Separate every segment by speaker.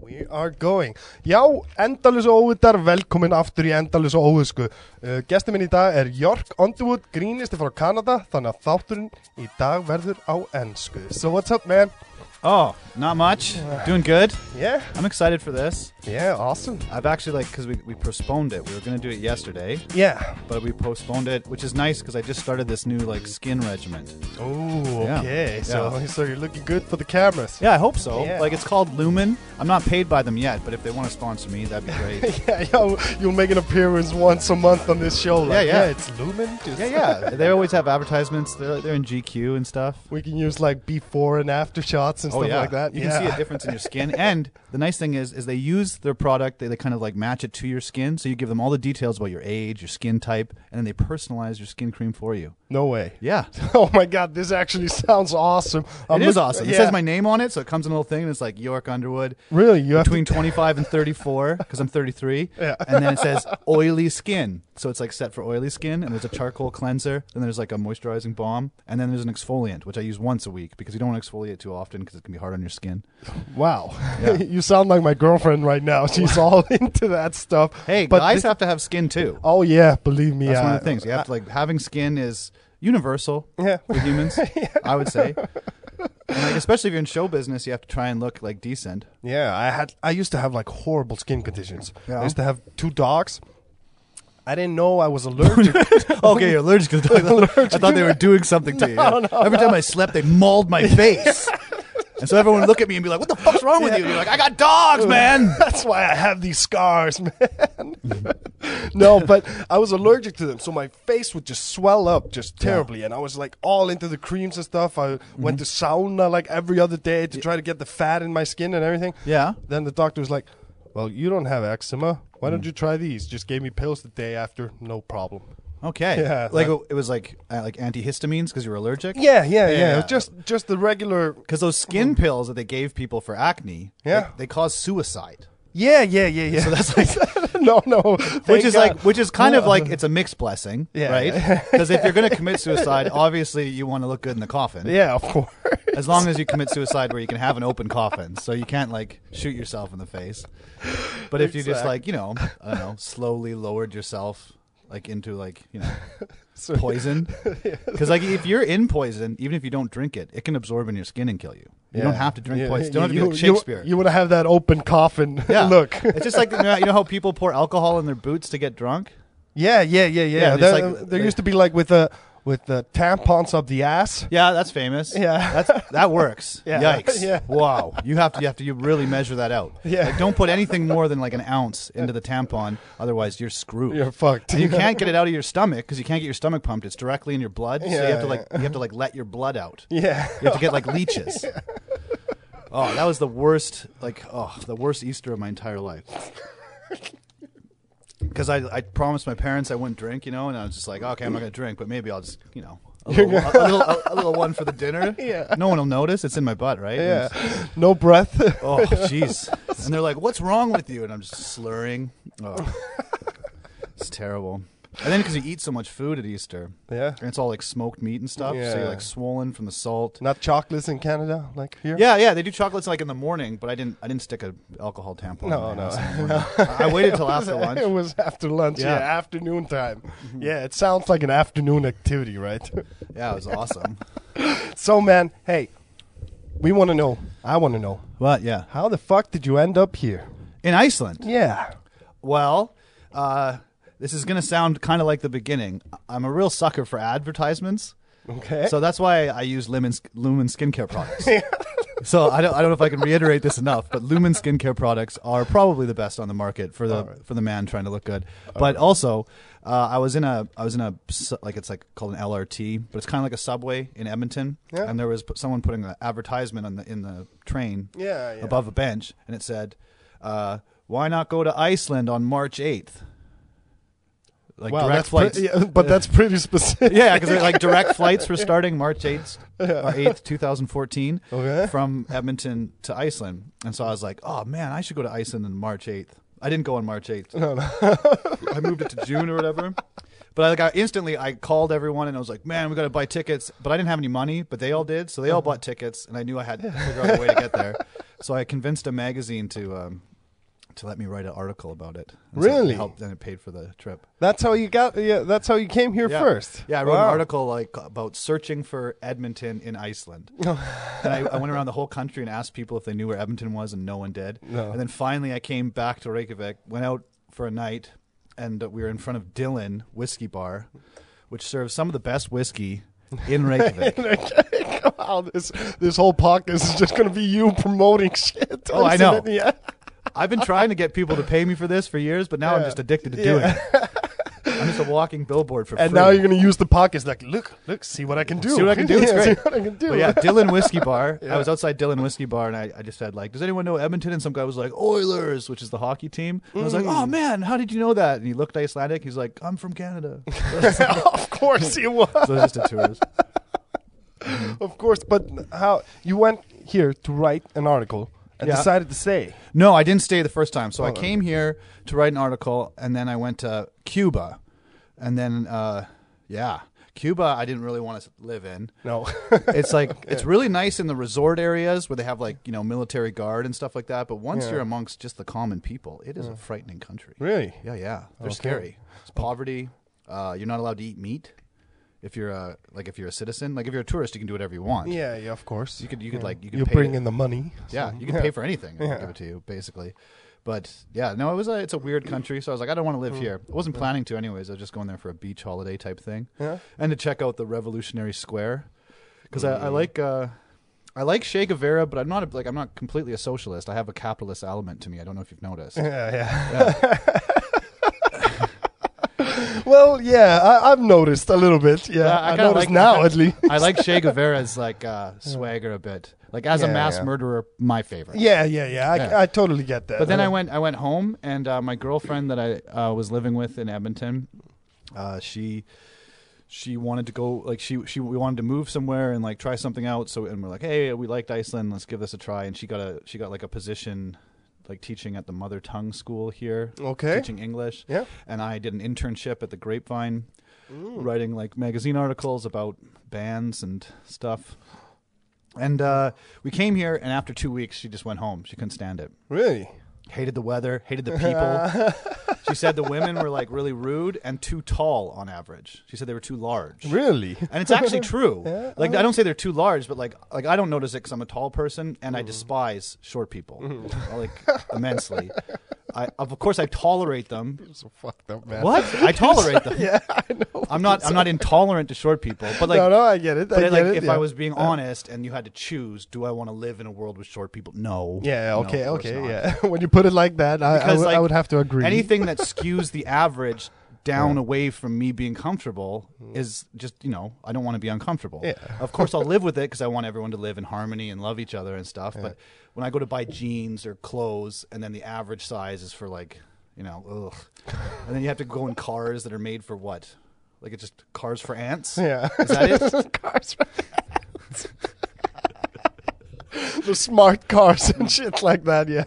Speaker 1: We are going Já, endalus og óvitar, velkomin aftur í endalus og óvisku uh, Gestur minn í dag er York Underwood, grínisti frá Kanada Þannig að þátturinn í dag verður á ennsku So what's up man?
Speaker 2: Oh, not much. Doing good.
Speaker 1: Yeah,
Speaker 2: I'm excited for this.
Speaker 1: yeah, awesome
Speaker 2: I've actually like because we, we postponed it. We were gonna do it yesterday,
Speaker 1: Yeah,
Speaker 2: but we postponed it, which is nice because I just started this new like skin regiment.
Speaker 1: oh,
Speaker 2: Yeah.
Speaker 1: okay So,
Speaker 2: Yeah.
Speaker 1: so you're looking good for the cameras
Speaker 2: Yeah, I hope so.
Speaker 1: Yeah.
Speaker 2: Like it's called Lumen. I'm not paid by them yet, but if they want to sponsor me, that'd be great.
Speaker 1: Yeah, yo, you'll make an appearance once a month on this show. Like,
Speaker 2: Yeah, yeah.
Speaker 1: it's Lumen. Just
Speaker 2: yeah, yeah. They always have advertisements. They're they're in GQ and stuff.
Speaker 1: We can use like before and after shots and
Speaker 2: Oh
Speaker 1: stuff
Speaker 2: yeah,
Speaker 1: like that.
Speaker 2: you
Speaker 1: yeah.
Speaker 2: can see a difference in your skin. And the nice thing is, is they use their product. They, they kind of like match it to your skin, so you give them all the details about your age, your skin type, and then they personalize your skin cream for you.
Speaker 1: No way.
Speaker 2: Yeah,
Speaker 1: Oh my god, this actually sounds awesome.
Speaker 2: It
Speaker 1: I'm
Speaker 2: is
Speaker 1: look-
Speaker 2: Um, awesome. It
Speaker 1: yeah.
Speaker 2: says my name on it, so it comes in a little thing, and it's like York Underwood.
Speaker 1: Really, you have
Speaker 2: Between 25 and 34, because I'm 33.
Speaker 1: Yeah.
Speaker 2: And then it says oily skin. So it's like set for oily skin, and there's a charcoal cleanser, and there's like a moisturizing balm, and then there's an exfoliant, which I use once a week because you don't want to exfoliate too often because it can be hard on your skin.
Speaker 1: to. Wow, you sound like my girlfriend right now. She's all into that stuff.
Speaker 2: Oh, Hey,
Speaker 1: but
Speaker 2: guys
Speaker 1: this-
Speaker 2: have to have skin too.
Speaker 1: oh yeah, believe me.
Speaker 2: That's
Speaker 1: I-
Speaker 2: one of the things. You have to like having skin is universal
Speaker 1: Yeah.
Speaker 2: with humans, I would say. And like, especially if you're in show business, you have to try and look like decent.
Speaker 1: Yeah, I had. I used to have like horrible skin conditions.
Speaker 2: Yeah.
Speaker 1: I used to have two dogs. I didn't know I was allergic.
Speaker 2: Oh, Okay, you're allergic to the I thought they were doing something to you. Every time I slept, they mauled my face. and so everyone would look at me and be like, what the fuck's wrong with you? And you're like, I got dogs, man.
Speaker 1: That's why I have these scars, man. no, but I was allergic to them, so my face would just swell up just terribly, and I was like all into the creams and stuff. I went to sauna like every other day to try to get the fat in my skin and everything.
Speaker 2: Yeah.
Speaker 1: Then the doctor was like, "Well, you don't have eczema. Why don't you try these?" Just gave me pills the day after, no problem.
Speaker 2: Okay.
Speaker 1: Yeah,
Speaker 2: like,
Speaker 1: that-
Speaker 2: it was like uh, like antihistamines because you were allergic?
Speaker 1: Yeah, yeah, yeah.
Speaker 2: Yeah. Mm-hmm.
Speaker 1: Just just the regular.
Speaker 2: Because those skin pills that they gave people for acne,
Speaker 1: Yeah.
Speaker 2: they, they cause suicide.
Speaker 1: Yeah, yeah, yeah, yeah. So that's like no, no.
Speaker 2: which
Speaker 1: Thank
Speaker 2: is
Speaker 1: God.
Speaker 2: like which is kind of like it's a mixed blessing,
Speaker 1: Yeah.
Speaker 2: right? Because if you're going to commit suicide, obviously you want to look good in the coffin.
Speaker 1: yeah, of course.
Speaker 2: As long as you commit suicide where you can have an open coffin, so you can't like shoot yourself in the face. But if you just
Speaker 1: Exact-
Speaker 2: like you know, I don't know, slowly lowered yourself like into like you know
Speaker 1: So-
Speaker 2: poison, because like if you're in poison, even if you don't drink it, it can absorb in your skin and kill you. You don't
Speaker 1: Yeah.
Speaker 2: have to drink
Speaker 1: Yeah,
Speaker 2: poison. You don't have to be like
Speaker 1: you-
Speaker 2: Shakespeare.
Speaker 1: You, want to have that open coffin
Speaker 2: yeah,
Speaker 1: look.
Speaker 2: it's just like you know, you know how people pour alcohol in their boots to get drunk.
Speaker 1: Yeah, yeah, yeah, yeah.
Speaker 2: Yeah,
Speaker 1: there
Speaker 2: there's like-
Speaker 1: there used to be like with the with the tampons up the ass.
Speaker 2: Yeah, that's famous.
Speaker 1: Yeah.
Speaker 2: that's that works.
Speaker 1: Yeah.
Speaker 2: Yikes!
Speaker 1: Yeah.
Speaker 2: Wow, you have to you have to you really measure that out.
Speaker 1: Yeah.
Speaker 2: like, don't put anything more than like an ounce into the tampon, otherwise you're screwed.
Speaker 1: You're fucked.
Speaker 2: And you can't get it out of your stomach because you can't get your stomach pumped. It's directly in your blood, so you
Speaker 1: Yeah,
Speaker 2: have to like you have to like let your blood out.
Speaker 1: Yeah.
Speaker 2: You have to get like leeches. Oh, that was the worst. Like, oh, the worst Easter of my entire life. Because I, I promised my parents I wouldn't drink, you know, and I was just like, okay, I'm not gonna drink, but maybe I'll just, you know, a little, a, little, a, a little one for the dinner.
Speaker 1: Yeah.
Speaker 2: No one will notice. It's in my butt, right?
Speaker 1: Yeah.
Speaker 2: And it's-
Speaker 1: No breath.
Speaker 2: Oh, jeez. And they're like, "What's wrong with you?" And I'm just slurring. Oh. It's terrible. And then because you eat so much food at Easter,
Speaker 1: Yeah.
Speaker 2: and it's all like smoked meat and stuff, so
Speaker 1: Yeah.
Speaker 2: you're like swollen from the salt.
Speaker 1: Not chocolates in Canada like here.
Speaker 2: Yeah, yeah, they do chocolates like in the morning, but I didn't. I didn't stick a alcohol tampon.
Speaker 1: No,
Speaker 2: in my
Speaker 1: no.
Speaker 2: ass in the morning. I I waited till after
Speaker 1: It
Speaker 2: lunch.
Speaker 1: was after lunch. Yeah,
Speaker 2: Yeah. Mm-hmm.
Speaker 1: afternoon time. Yeah, it sounds like an afternoon activity, right?
Speaker 2: Yeah, it was awesome.
Speaker 1: so man, hey, we want to know. I want to know.
Speaker 2: But yeah,
Speaker 1: How the fuck did you end up here?
Speaker 2: in Iceland.
Speaker 1: Yeah.
Speaker 2: Well, uh, this is gonna sound kind of like the beginning. I'm a real sucker for advertisements.
Speaker 1: Okay.
Speaker 2: So that's why I use Lumen, Lumen skincare products. so I don't, I don't know if I can reiterate this enough, but Lumen skincare products are probably the best on the market for the for the man trying to look good. but also, uh, I was in a I was in a s- like it's like called an LRT, but it's kind of like a subway in Edmonton.
Speaker 1: Yeah.
Speaker 2: And there was p- someone putting an advertisement on the in the train
Speaker 1: Yeah, yeah.
Speaker 2: above a bench, and it said, uh, "Why not go to Iceland on March 8th? Like
Speaker 1: Wow,
Speaker 2: direct
Speaker 1: that's pre-
Speaker 2: flights.
Speaker 1: yeah, but that's pretty specific.
Speaker 2: Yeah, because like direct flights were starting March 8th, or 8th 2014
Speaker 1: Okay.
Speaker 2: from Edmonton to Iceland. And so I was like, oh man, I should go to Iceland on March 8th. I didn't go on March 8th.
Speaker 1: Oh,
Speaker 2: I moved it to June or whatever. But I, like, I instantly I called everyone and I was like, man, we got to buy
Speaker 1: Uh-huh.
Speaker 2: tickets. But I didn't have any money, but they all did. So they all bought tickets and I knew I had to figure out a way to get there. So I convinced a magazine to um, to let me write an article about it. And So
Speaker 1: Really?
Speaker 2: it helped and it paid for the trip.
Speaker 1: That's how you got. Yeah, that's how you came here
Speaker 2: Yeah.
Speaker 1: first.
Speaker 2: Yeah, I wrote
Speaker 1: Wow.
Speaker 2: an article like about searching for Edmonton in Iceland. and I, I went around the whole country and asked people if they knew where Edmonton was, and no one did.
Speaker 1: No.
Speaker 2: And then finally, I came back to Reykjavik, went out for a night, and uh, we were in front of Dylan Whiskey Bar, which serves some of the best whiskey in Reykjavik.
Speaker 1: wow, this this whole podcast is just gonna be you promoting shit.
Speaker 2: Oh, I
Speaker 1: Isn't
Speaker 2: know.
Speaker 1: it? Yeah.
Speaker 2: I've been trying to get people to pay me for this for years, but now I'm
Speaker 1: Yeah.
Speaker 2: just addicted to
Speaker 1: Yeah.
Speaker 2: doing it. I'm just a walking billboard for
Speaker 1: And
Speaker 2: free.
Speaker 1: now you're gonna use the podcast like, look, look, see what I can do.
Speaker 2: See what I can do, it's
Speaker 1: Yeah,
Speaker 2: great.
Speaker 1: See what I can do.
Speaker 2: But yeah, Dylan Whiskey Bar. I was outside Dylan Whiskey Bar, and I, I just said like, "Does anyone know Edmonton?" And some guy was like, "Oilers," which is the hockey team. And I was like, "Oh man, how did you know that?" And he looked Icelandic. He's like, "I'm from Canada."
Speaker 1: of course you was.
Speaker 2: So it's just a tourist.
Speaker 1: Of course, but how you went here to write an article and
Speaker 2: Yeah.
Speaker 1: decided to say
Speaker 2: No, I didn't stay the first time. So I came here to write an article, and then I went to Cuba, and then uh, yeah, Cuba. I didn't really want to live in.
Speaker 1: no.
Speaker 2: it's like it's really nice in the resort areas where they have like you know military guard and stuff like that. But once
Speaker 1: Yeah.
Speaker 2: you're amongst just the common people, it is a frightening country.
Speaker 1: really?
Speaker 2: Yeah, yeah, they're
Speaker 1: Okay. Oh.
Speaker 2: scary. It's poverty. Uh, you're not allowed to eat meat if you're a like if you're a citizen. Like if you're a tourist, you can do whatever you want.
Speaker 1: Yeah, yeah, of course.
Speaker 2: You could you could like you could
Speaker 1: You
Speaker 2: pay
Speaker 1: bring in the money.
Speaker 2: yeah, you can pay for anything. and I'll give it to you basically. But yeah, no, it was a, it's a weird country. So I was like, I don't want to
Speaker 1: Mm.
Speaker 2: live here. I wasn't planning to anyways. I was just going there for a beach holiday type thing,
Speaker 1: Yeah.
Speaker 2: and to check out the Revolutionary Square because I, I
Speaker 1: Mm.
Speaker 2: like uh, I like Che Guevara, but I'm not a, like I'm not completely a socialist. I have a capitalist element to me. I don't know if you've noticed.
Speaker 1: Yeah, yeah. well, yeah, I, I've noticed a little bit. Yeah,
Speaker 2: Yeah,
Speaker 1: I,
Speaker 2: kinda
Speaker 1: noticed
Speaker 2: like-
Speaker 1: now at least.
Speaker 2: I like Che Guevara's like uh, swagger a bit. Like as a
Speaker 1: Yeah,
Speaker 2: mass
Speaker 1: yeah.
Speaker 2: murderer, my favorite.
Speaker 1: Yeah, yeah, yeah. I,
Speaker 2: Yeah.
Speaker 1: I totally get that.
Speaker 2: But then I went. I went home, and uh, my girlfriend that I uh, was living with in Edmonton, uh, she she wanted to go. Like she she we wanted to move somewhere and like try something out. So and we're like, hey, we liked Iceland. Let's give this a try. And she got a she got like a position, like teaching at the mother tongue school here.
Speaker 1: Okay.
Speaker 2: teaching English.
Speaker 1: Yeah.
Speaker 2: And I did an internship at the Grapevine, writing like magazine articles about bands and stuff. And uh, we came here, and after two weeks, she just went home. She couldn't stand it
Speaker 1: really.
Speaker 2: hated the weather, hated the people. she said the women were like really rude and too tall on average. She said they were too large.
Speaker 1: Really?
Speaker 2: And it's actually true. Like I don't say they're too large, but like like I don't notice it because I'm a tall person and I
Speaker 1: Mm-hmm.
Speaker 2: despise short people like immensely. I of course I tolerate them.
Speaker 1: so fucked up, man.
Speaker 2: What I tolerate them. yeah, I know. I'm not I'm not intolerant to short people, but like
Speaker 1: no, no, I get it. I
Speaker 2: but
Speaker 1: get
Speaker 2: like
Speaker 1: it,
Speaker 2: if
Speaker 1: yeah.
Speaker 2: I was being honest and you had to choose, do I want to live in a world with short people? No.
Speaker 1: Yeah,
Speaker 2: No,
Speaker 1: okay,
Speaker 2: of course
Speaker 1: okay,
Speaker 2: not.
Speaker 1: yeah. when you put it like that, I, I,
Speaker 2: Because,
Speaker 1: would- I
Speaker 2: like,
Speaker 1: would have to agree.
Speaker 2: anything that skews the average down away from me being comfortable is just you know i don't want to be uncomfortable
Speaker 1: Yeah.
Speaker 2: of course i'll live with it because i want everyone to live in harmony and love each other and stuff but when i go to buy jeans or clothes and then the average size is for like you know ugh. and then you have to go in cars that are made for what like it's just cars for ants
Speaker 1: Yeah.
Speaker 2: is that it
Speaker 1: cars. the smart cars and shit like that, yeah.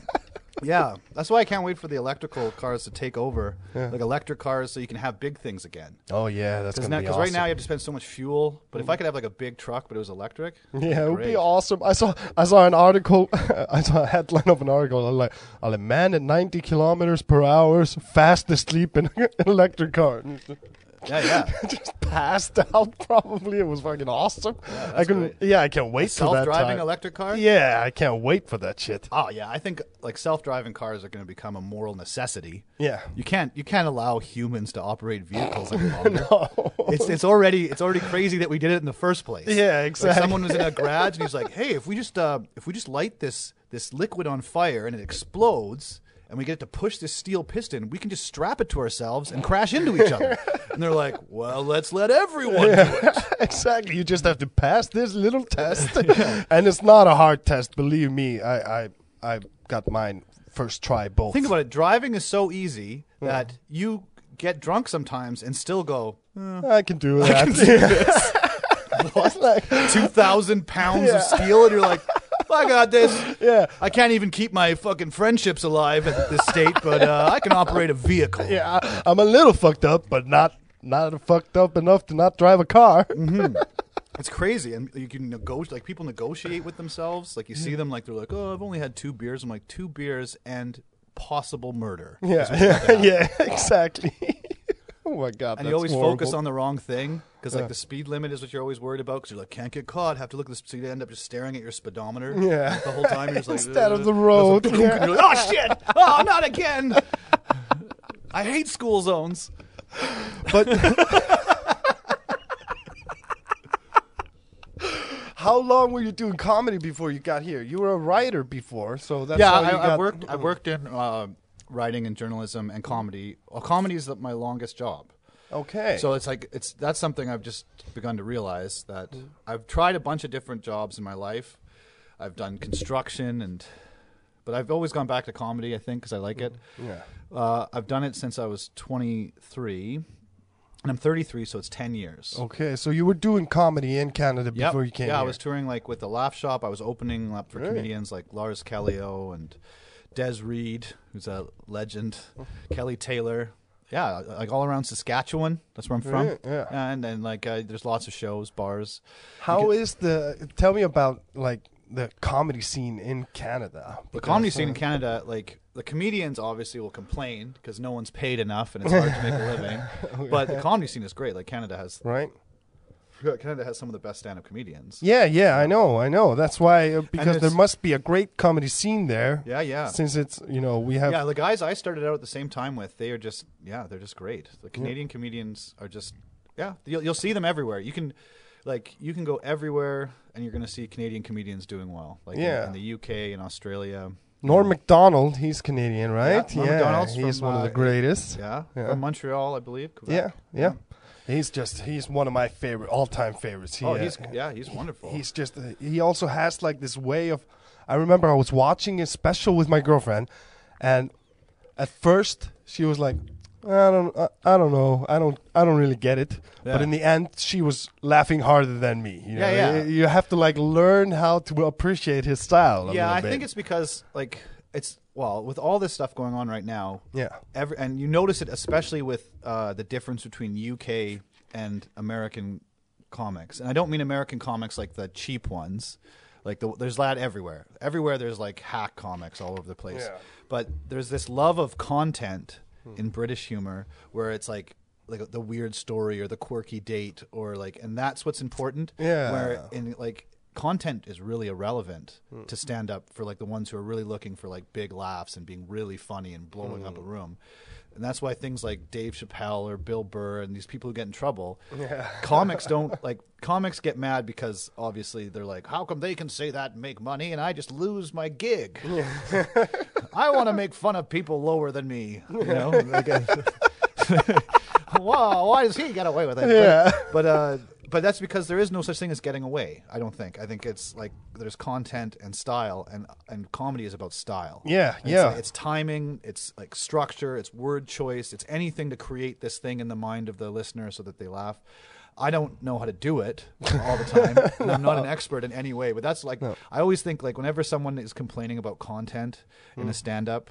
Speaker 2: Yeah, that's why I can't wait for the electrical cars to take over, like electric cars, so you can have big things again.
Speaker 1: Oh, yeah, that's
Speaker 2: Because
Speaker 1: gonna be awesome.
Speaker 2: right now you have to spend so much fuel. But if I could have like a big truck, but it was electric,
Speaker 1: Yeah, it would be
Speaker 2: great.
Speaker 1: awesome. I saw I saw an article, I saw a headline of an article. I'm like, "Oh, a man at 90 kilometers per hour, is fast asleep in an electric car,
Speaker 2: Yeah, yeah.
Speaker 1: just passed out. Probably it was fucking awesome. I
Speaker 2: that's
Speaker 1: can, not yeah, I can't wait for that
Speaker 2: Self-driving
Speaker 1: time.
Speaker 2: electric car.
Speaker 1: Yeah, I can't wait for that shit.
Speaker 2: Oh yeah, I think like self-driving cars are going to become a moral necessity.
Speaker 1: Yeah.
Speaker 2: You can't you can't allow humans to operate vehicles any longer. It's it's already it's already crazy that we did it in the first place.
Speaker 1: Yeah,
Speaker 2: Like
Speaker 1: exactly.
Speaker 2: someone was in a garage and he's like, "Hey, if we just uh, if we just light this this liquid on fire and it explodes." And we get it to push this steel piston. We can just strap it to ourselves and crash into each other. And they're like, "Well, let's let everyone." do it."
Speaker 1: exactly. You just have to pass this little test, and it's not a hard test. Believe me, I I I got mine first try. Both.
Speaker 2: Think about it. Driving is so easy that you get drunk sometimes and still go
Speaker 1: I can do that. Yeah. It's like-
Speaker 2: two thousand pounds
Speaker 1: Yeah.
Speaker 2: of steel, and you're like, "I got this."
Speaker 1: yeah.
Speaker 2: I can't even keep my fucking friendships alive at this state, but uh, I can operate a vehicle.
Speaker 1: Yeah, I, I'm a little fucked up, but not not fucked up enough to not drive a car.
Speaker 2: it's crazy, and you can negotiate. Like people negotiate with themselves. Like you see them, like they're like, "Oh, I've only had two beers." I'm like, two beers and possible murder." is
Speaker 1: Yeah,
Speaker 2: what's
Speaker 1: yeah,
Speaker 2: happening.
Speaker 1: yeah, exactly. oh my god,
Speaker 2: And
Speaker 1: that's
Speaker 2: you always
Speaker 1: horrible.
Speaker 2: focus on the wrong thing because like the speed limit is what you're always worried about because you're like can't get caught have to look at the speed end up just staring at your speedometer
Speaker 1: Yeah.
Speaker 2: the whole time you're just like
Speaker 1: Instead of the
Speaker 2: "Ugh."
Speaker 1: road.
Speaker 2: There's a
Speaker 1: Yeah.
Speaker 2: and you're like, oh shit oh not again I hate school zones
Speaker 1: But how long were you doing comedy before you got here? You were a writer before, so that's
Speaker 2: yeah,
Speaker 1: how you
Speaker 2: I, I
Speaker 1: got-
Speaker 2: worked. I worked in uh, writing and journalism and comedy. Well, comedy is the, my longest job.
Speaker 1: Okay,
Speaker 2: So it's like it's that's something I've just begun to realize that I've tried a bunch of different jobs in my life. I've done construction and, but I've always gone back to comedy. I think because I like it.
Speaker 1: Mm-hmm. yeah,
Speaker 2: Uh, I've done it since I was 23, and I'm 33, so it's 10 years.
Speaker 1: okay. So you were doing comedy in Canada
Speaker 2: Yep.
Speaker 1: before you came
Speaker 2: Yeah, I
Speaker 1: here.
Speaker 2: was touring like with the Laugh Shop. I was opening up for comedians like Lars Callio and Des Reed, who's a legend.
Speaker 1: Oh.
Speaker 2: Kelly Taylor. Yeah, uh, like all around Saskatchewan. That's where I'm from.
Speaker 1: Right, yeah.
Speaker 2: And then like uh, there's lots of shows, bars.
Speaker 1: How is the? Tell me about like the comedy scene in Canada.
Speaker 2: The comedy scene in Canada, like the comedians obviously will complain because no one's paid enough and it's hard to make a living.
Speaker 1: Oh,
Speaker 2: But the comedy scene is great. Like Canada has
Speaker 1: uh, right?
Speaker 2: Canada has some of the best stand-up comedians.
Speaker 1: Yeah, yeah, I know, I know. That's why uh, because there
Speaker 2: it's-
Speaker 1: must be a great comedy scene there.
Speaker 2: Yeah, yeah.
Speaker 1: Since it's you know we have
Speaker 2: yeah, the guys I started out at the same time with, they are just yeah, they're just great. The Canadian comedians are just yeah, you'll, you'll see them everywhere. You can like you can go everywhere and you're going to see Canadian comedians doing well. Like in-
Speaker 1: Yeah.
Speaker 2: in, the UK and Australia.
Speaker 1: Norm Macdonald. He's Canadian, right?
Speaker 2: Norm Macdonald's
Speaker 1: he's
Speaker 2: from,
Speaker 1: one of the
Speaker 2: uh,
Speaker 1: greatest.
Speaker 2: Yeah.
Speaker 1: Yeah.
Speaker 2: From Montreal, I believe.
Speaker 1: yeah,
Speaker 2: Quebec.
Speaker 1: yeah. He's just he's one of my favorite all time favorites. He,
Speaker 2: Oh,
Speaker 1: uh,
Speaker 2: he's yeah, he's wonderful.
Speaker 1: he's just he also has like this way of i remember i was watching a special with my girlfriend and at first she was like i don't i, I don't know i don't i don't really get it but
Speaker 2: Yeah.
Speaker 1: in the end she was laughing harder than me you know?
Speaker 2: Yeah, yeah.
Speaker 1: Y- you have to like learn how to appreciate his style a
Speaker 2: yeah,
Speaker 1: little
Speaker 2: I
Speaker 1: bit.
Speaker 2: think it's because like it's well, with all this stuff going on right now,
Speaker 1: yeah
Speaker 2: every and you notice it especially with uh, the difference between UK and American comics. And I don't mean American comics like the cheap ones. Like the, there's that everywhere. Everywhere there's like hack comics all over the place.
Speaker 1: Yeah.
Speaker 2: But there's this love of content in British humor where it's like like the weird story or the quirky date or like and that's what's important.
Speaker 1: Yeah.
Speaker 2: Where in like content is really irrelevant to stand up for like the ones who are really looking for like big laughs and being really funny and blowing up a room. And that's why things like Dave Chappelle or Bill Burr and these people who get in trouble, comics don't like comics get mad because obviously they're like, how come they can say that and make money and I just lose my gig? I want to make fun of people lower than me. You know, like, uh, wow, why does he get away with it?
Speaker 1: Yeah.
Speaker 2: But, but, uh, but that's because there is no such thing as getting away. I don't think. I think it's like there's content and style, and and comedy is about style.
Speaker 1: Yeah,
Speaker 2: And it's
Speaker 1: yeah.
Speaker 2: like- it's timing, it's like structure, it's word choice, it's anything to create this thing in the mind of the listener so that they laugh. I don't know how to do it all the time. and I'm not an expert in any way, but that's like I always think like whenever someone is complaining about content in a
Speaker 1: Mm.
Speaker 2: stand up,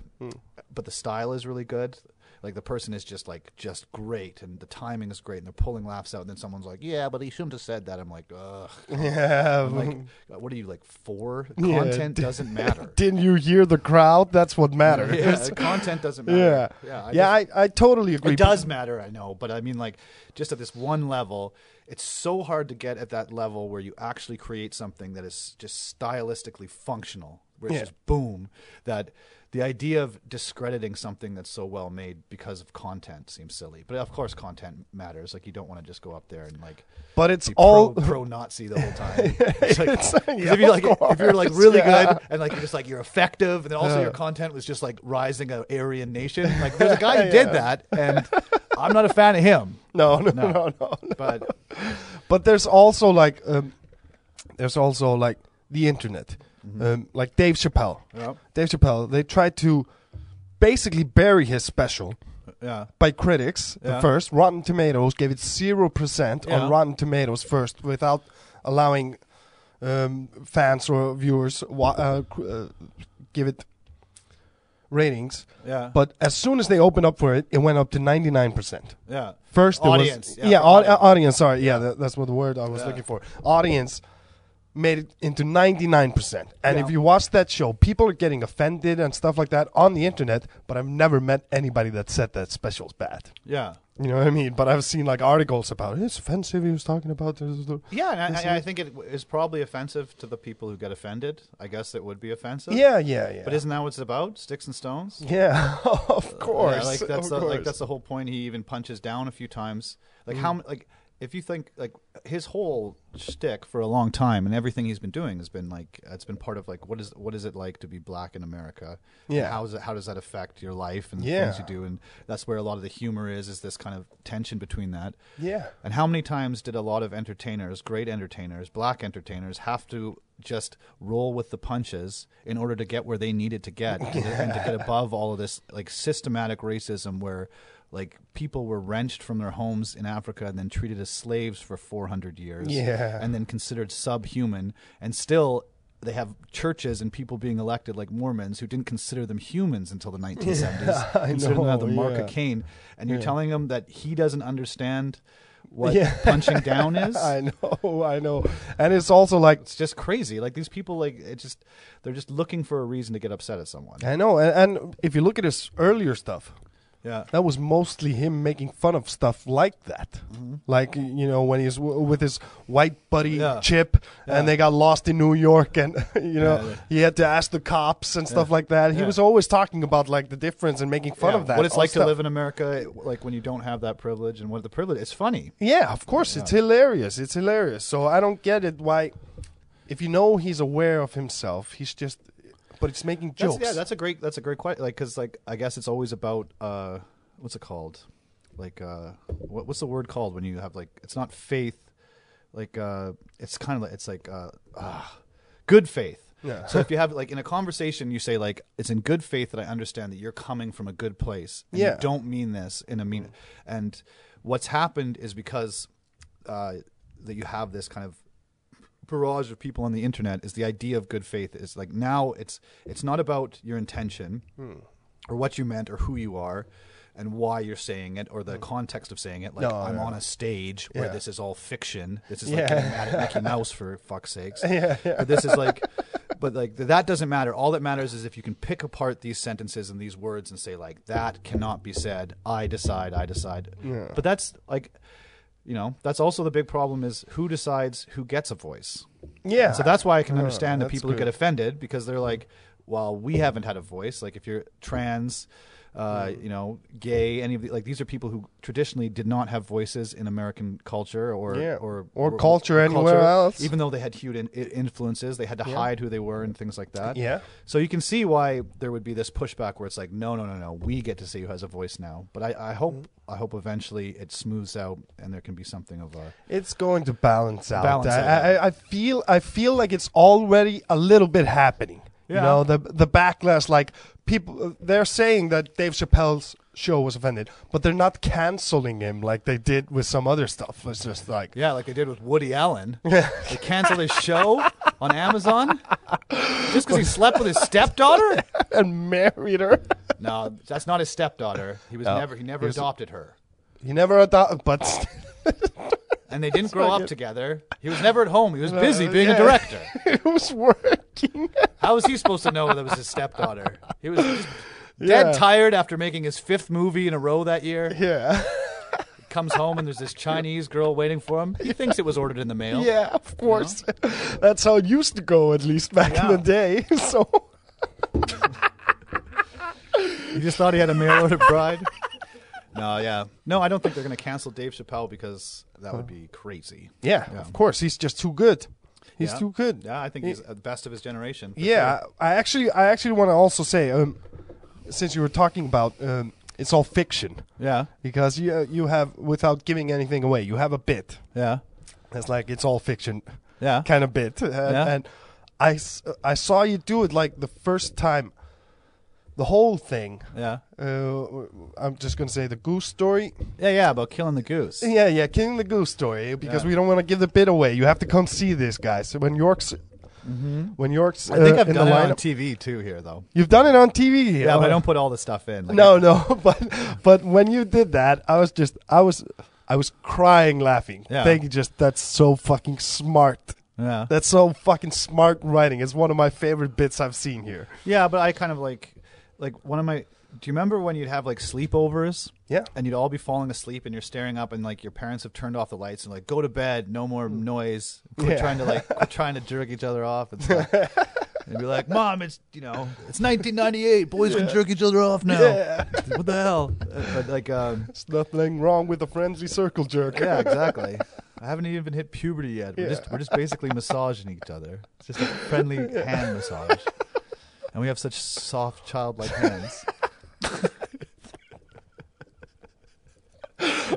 Speaker 2: but the style is really good, like the person is just like just great and the timing is great and they're pulling laughs out and then someone's like, "Yeah, but he shouldn't have said that." I'm like, "Ugh."
Speaker 1: yeah
Speaker 2: I'm like, what are you like for? Content doesn't matter.
Speaker 1: didn't you hear the crowd that's what matters
Speaker 2: Yeah, the content doesn't matter.
Speaker 1: yeah
Speaker 2: yeah. I
Speaker 1: yeah, I, I totally agree
Speaker 2: it does matter, I know, but I mean, like, just at this one level, it's so hard to get at that level where you actually create something that is just stylistically functional, where it's
Speaker 1: Yeah.
Speaker 2: just boom. That the idea of discrediting something that's so well made because of content seems silly, but of course, content matters. Like, you don't want to just go up there and like.
Speaker 1: but it's
Speaker 2: be
Speaker 1: all
Speaker 2: pro, pro Nazi the whole time. It's like- 'cause
Speaker 1: yeah,
Speaker 2: if you like,
Speaker 1: of
Speaker 2: if you're like
Speaker 1: course,
Speaker 2: really
Speaker 1: yeah.
Speaker 2: good and like you're just like you're effective, and then also your content was just like rising a Aryan nation. Like there's a guy who did that, and I'm not a fan of him.
Speaker 1: no no no no, no.
Speaker 2: But
Speaker 1: but there's also like um, there's also like the internet
Speaker 2: Mm-hmm.
Speaker 1: um, like dave chappelle
Speaker 2: Yep.
Speaker 1: dave chappelle they tried to basically bury his special
Speaker 2: yeah,
Speaker 1: by critics the
Speaker 2: Yeah.
Speaker 1: first rotten tomatoes gave it 0%
Speaker 2: Yeah.
Speaker 1: on rotten tomatoes first without allowing um, fans or viewers wa- uh, cr- uh, give it ratings.
Speaker 2: Yeah.
Speaker 1: But as soon as they opened up for it, it went up to 99%.
Speaker 2: Yeah.
Speaker 1: First, it
Speaker 2: Audience,
Speaker 1: was
Speaker 2: yeah,
Speaker 1: yeah, au-
Speaker 2: audience.
Speaker 1: audience. Sorry, yeah, that, that's what the word I was looking for. Audience made it into ninety nine percent. And if you watch that show, people are getting offended and stuff like that on the internet. But I've never met anybody that said that special's bad.
Speaker 2: Yeah.
Speaker 1: You know what I mean? But I've seen like articles about it's offensive. He was talking about this. this, this."
Speaker 2: Yeah, and I- I, I think it w- is probably offensive to the people who get offended. I guess it would be offensive.
Speaker 1: Yeah, yeah, yeah.
Speaker 2: But isn't that what it's about? Sticks and stones?
Speaker 1: yeah, of course.
Speaker 2: Yeah, like that's
Speaker 1: of
Speaker 2: the, like
Speaker 1: course. Mm.
Speaker 2: that's the whole point. He even punches down a few times. Like how m- like if you think like his whole shtick for a long time and everything he's been doing has been like it's been part of like what is what is it like to be black in America? And
Speaker 1: Yeah.
Speaker 2: how is it how does that affect your life and the
Speaker 1: Yeah.
Speaker 2: things you do? And that's where a lot of the humor is. Is this kind of tension between that?
Speaker 1: Yeah.
Speaker 2: And how many times did a lot of entertainers, great entertainers, black entertainers, have to just roll with the punches in order to get where they needed to get and, to, and to get above all of this like systematic racism where like people were wrenched from their homes in Africa and then treated as slaves for 400 years
Speaker 1: Yeah.
Speaker 2: and then considered subhuman and still they have churches and people being elected like Mormons who didn't consider them humans until the 1970s
Speaker 1: I
Speaker 2: considered them to have the
Speaker 1: know,
Speaker 2: mark
Speaker 1: yeah.
Speaker 2: of Cain and you're telling him that he doesn't understand what
Speaker 1: Yeah.
Speaker 2: punching down is.
Speaker 1: I know, I know, and it's also like
Speaker 2: It's just crazy. Like these people, like it just they're just looking for a reason to get upset at someone.
Speaker 1: I know, and, and if you look at his earlier stuff,
Speaker 2: Yeah,
Speaker 1: that was mostly him making fun of stuff like that.
Speaker 2: Mm-hmm.
Speaker 1: Like, you know, when he's w- with his white buddy
Speaker 2: Yeah.
Speaker 1: Chip
Speaker 2: Yeah.
Speaker 1: and they got lost in New York and, you know,
Speaker 2: Yeah.
Speaker 1: he had to ask the cops and stuff like that. He
Speaker 2: Yeah.
Speaker 1: was always talking about, like, the difference and making fun
Speaker 2: Yeah.
Speaker 1: of that.
Speaker 2: What it's
Speaker 1: all
Speaker 2: like to
Speaker 1: stuff.
Speaker 2: live in America, like when you don't have that privilege and what the privilege. It's funny.
Speaker 1: Yeah, of course. It's hilarious. It's hilarious. So I don't get it why, if you know he's aware of himself, he's just, but it's making
Speaker 2: That's,
Speaker 1: jokes.
Speaker 2: yeah, that's a great. That's a great question. Like, because like I guess it's always about uh, what's it called? Like, uh, what, what's the word called when you have like it's not faith. Like, uh, it's kind of like it's like uh, ah, good faith.
Speaker 1: Yeah.
Speaker 2: So if you have like in a conversation, you say like it's in good faith that I understand that you're coming from a good place. And You
Speaker 1: Yeah.
Speaker 2: don't mean this in a mean. And what's happened is because uh, that you have this kind of barrage of people on the internet is the idea of good faith is like now it's it's not about your intention or what you meant or who you are and why you're saying it or the context of saying it like
Speaker 1: No,
Speaker 2: i'm
Speaker 1: no.
Speaker 2: on a stage where
Speaker 1: Yeah.
Speaker 2: this is all fiction this is like
Speaker 1: Yeah.
Speaker 2: getting mad at mickey mouse for fuck's sakes but this is like but like th- that doesn't matter all that matters is if you can pick apart these sentences and these words and say like that cannot be said i decide i decide but that's like you know that's also the big problem is who decides who gets a voice
Speaker 1: yeah. Oh,
Speaker 2: so that's why I can understand the
Speaker 1: that's
Speaker 2: people who
Speaker 1: good.
Speaker 2: get offended because they're like, well, we haven't had a voice. Like if you're trans, uh,
Speaker 1: Mm.
Speaker 2: you know, gay, any of the, like these are people who traditionally did not have voices in American culture or
Speaker 1: Yeah.
Speaker 2: or,
Speaker 1: Or culture anywhere else.
Speaker 2: Even though they had huge in, i- influences, they had to hide who they were and things like that.
Speaker 1: Yeah.
Speaker 2: So you can see why there would be this pushback where it's like, no, no, no, no, we get to see who has a voice now. But I, I hope
Speaker 1: Mm.
Speaker 2: I hope eventually it smooths out and there can be something of a
Speaker 1: It's going to balance out.
Speaker 2: Balance
Speaker 1: I,
Speaker 2: it out.
Speaker 1: I, I feel I feel like it's already a little bit happening.
Speaker 2: Yeah.
Speaker 1: You know the the backlash. Like people, they're saying that Dave Chappelle's show was offended, but they're not canceling him like they did with some other stuff. It's just like
Speaker 2: Yeah, like they did with Woody Allen. they canceled his show on Amazon just because he slept with his stepdaughter.
Speaker 1: and married her.
Speaker 2: No, that's not his stepdaughter. He was never. He never adopted her,
Speaker 1: He never adopted, but
Speaker 2: and they didn't grow up together. He was never at home. He was busy being a
Speaker 1: yeah.
Speaker 2: director.
Speaker 1: it was working.
Speaker 2: How was he supposed to know that was his stepdaughter? He was just dead
Speaker 1: Yeah.
Speaker 2: tired after making his fifth movie in a row that year.
Speaker 1: Yeah,
Speaker 2: Comes home and there's this Chinese girl waiting for him. He thinks it was ordered in the mail.
Speaker 1: yeah, of course. That's how it used to go, at least back in
Speaker 2: Yeah.
Speaker 1: the day. So.
Speaker 2: He just thought he had a mail order bride. No, yeah, no, I don't think they're going to cancel Dave Chappelle because that would be crazy.
Speaker 1: Yeah, of course. He's just too good. He's
Speaker 2: Yeah.
Speaker 1: too good.
Speaker 2: Yeah, I think he's the best of his generation. for
Speaker 1: Yeah, I I actually, I actually want to also say, um, since you were talking about, um, it's all fiction
Speaker 2: sure. yeah,
Speaker 1: because you uh, you have without giving anything away, you have a bit.
Speaker 2: yeah,
Speaker 1: It's like it's all fiction,
Speaker 2: Yeah.
Speaker 1: kind of bit. And,
Speaker 2: Yeah.
Speaker 1: and I s- I saw you do it like the first time, the whole thing.
Speaker 2: yeah,
Speaker 1: Uh, I'm just gonna say the goose story.
Speaker 2: yeah, yeah. About killing the goose.
Speaker 1: Yeah, yeah, King the Goose story because
Speaker 2: Yeah.
Speaker 1: we don't want to give the bit away. You have to come see this, guys. So when York's When York's,
Speaker 2: Mm-hmm. I think
Speaker 1: uh,
Speaker 2: I've
Speaker 1: in
Speaker 2: done
Speaker 1: the
Speaker 2: it
Speaker 1: lineup.
Speaker 2: on TV too here though.
Speaker 1: You've done it on TV.
Speaker 2: Yeah, but I
Speaker 1: uh,
Speaker 2: don't put all the stuff in. Like,
Speaker 1: No, no, but but when you did that, I was just I was I was crying laughing.
Speaker 2: Yeah.
Speaker 1: Thank you. Just that's so fucking smart.
Speaker 2: Yeah.
Speaker 1: That's so fucking smart writing. It's one of my favorite bits I've seen here.
Speaker 2: Yeah, but I kind of like like one of my do you remember when you'd have like sleepovers?
Speaker 1: Yeah.
Speaker 2: And you'd all be falling asleep and you're staring up and like your parents have turned off the lights and like go to bed, no more noise. Quit
Speaker 1: Hmm. Yeah.
Speaker 2: trying to like quit trying to jerk each other off and stuff. and be like, Mom, it's you know, it's nineteen ninety eight, boys can jerk each other off now.
Speaker 1: Yeah.
Speaker 2: What the hell? Uh, But like um
Speaker 1: There's nothing wrong with a friendly circle jerk.
Speaker 2: yeah, exactly. I haven't even hit puberty yet. We're just we're just basically massaging each other. It's just a friendly hand massage. And we have such soft childlike hands.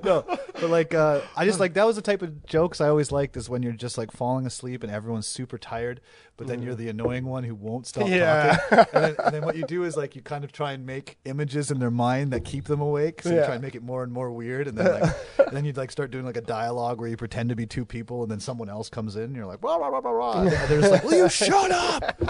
Speaker 2: no, but like uh, I just like that was the type of jokes I always liked is when you're just like falling asleep and everyone's super tired, but then you're the annoying one who won't stop
Speaker 1: Yeah.
Speaker 2: talking. And then, and then what you do is like you kind of try and make images in their mind that keep them awake. So you
Speaker 1: Yeah.
Speaker 2: try and make it more and more weird, and then like then you'd like start doing like a dialogue where you pretend to be two people, and then someone else comes in, and you're like, rah, rah, rah, rah, rah. and they're just like, will you shut up?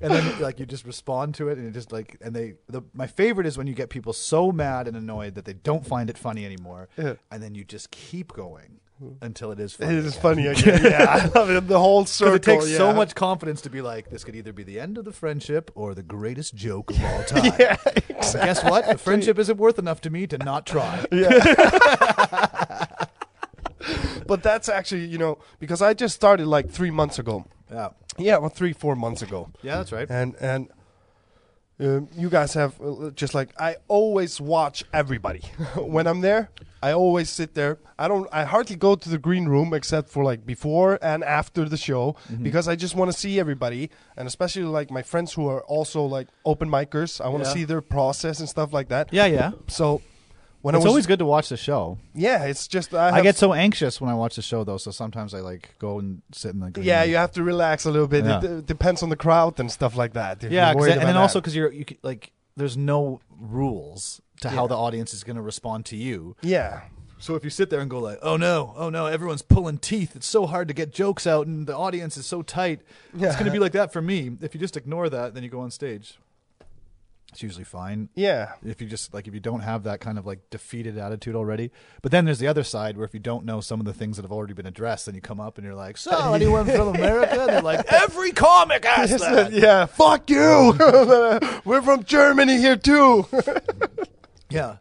Speaker 2: And then like you just respond to it, and it just like and they the my favorite is when you get people so mad and annoyed that they don't find it funny anymore,
Speaker 1: Yeah.
Speaker 2: and then you just keep going until it is funny.
Speaker 1: It is funny again. Yeah, I love it. The whole circle.
Speaker 2: Because it takes so
Speaker 1: yeah.
Speaker 2: much confidence to be like, this could either be the end of the friendship or the greatest joke of all time.
Speaker 1: Yeah,
Speaker 2: And guess what? The friendship isn't worth enough to me to not try.
Speaker 1: Yeah. but that's actually, you know, because I just started like three months ago.
Speaker 2: Yeah,
Speaker 1: Yeah, well, three, four months ago.
Speaker 2: yeah, that's right.
Speaker 1: And and um, you guys have uh, just like I always watch everybody when I'm there. I always sit there. I don't. I hardly go to the green room except for like before and after the show
Speaker 2: Mm-hmm.
Speaker 1: because I just want to see everybody and especially like my friends who are also like open micers. I want to
Speaker 2: Yeah.
Speaker 1: see their process and stuff like that.
Speaker 2: Yeah, yeah.
Speaker 1: So when I
Speaker 2: It's
Speaker 1: was
Speaker 2: always good to watch the show.
Speaker 1: yeah, it's just I,
Speaker 2: I,
Speaker 1: have-
Speaker 2: get so anxious when I watch the show, though. So sometimes I like go and sit in the green
Speaker 1: yeah.
Speaker 2: room.
Speaker 1: You have to relax a little bit.
Speaker 2: Yeah.
Speaker 1: It d- depends on the crowd and stuff like that. if
Speaker 2: yeah.
Speaker 1: you're
Speaker 2: 'cause-
Speaker 1: worried
Speaker 2: and
Speaker 1: about
Speaker 2: then
Speaker 1: that.
Speaker 2: also because you're you c- like there's no rules to how the audience is going to respond to you.
Speaker 1: yeah.
Speaker 2: So if you sit there and go like, "Oh no, oh no, everyone's pulling teeth. It's so hard to get jokes out, and the audience is so tight," it's
Speaker 1: Yeah.
Speaker 2: going to be like that for me. If you just ignore that, then you go on stage. It's usually fine.
Speaker 1: Yeah.
Speaker 2: if you just like if you don't have that kind of like defeated attitude already. But then there's the other side where if you don't know some of the things that have already been addressed, then you come up and you're like, "So anyone from America?" And they're like, "Every comic has that."
Speaker 1: yeah, fuck you. We're from Germany here too.
Speaker 2: Yeah,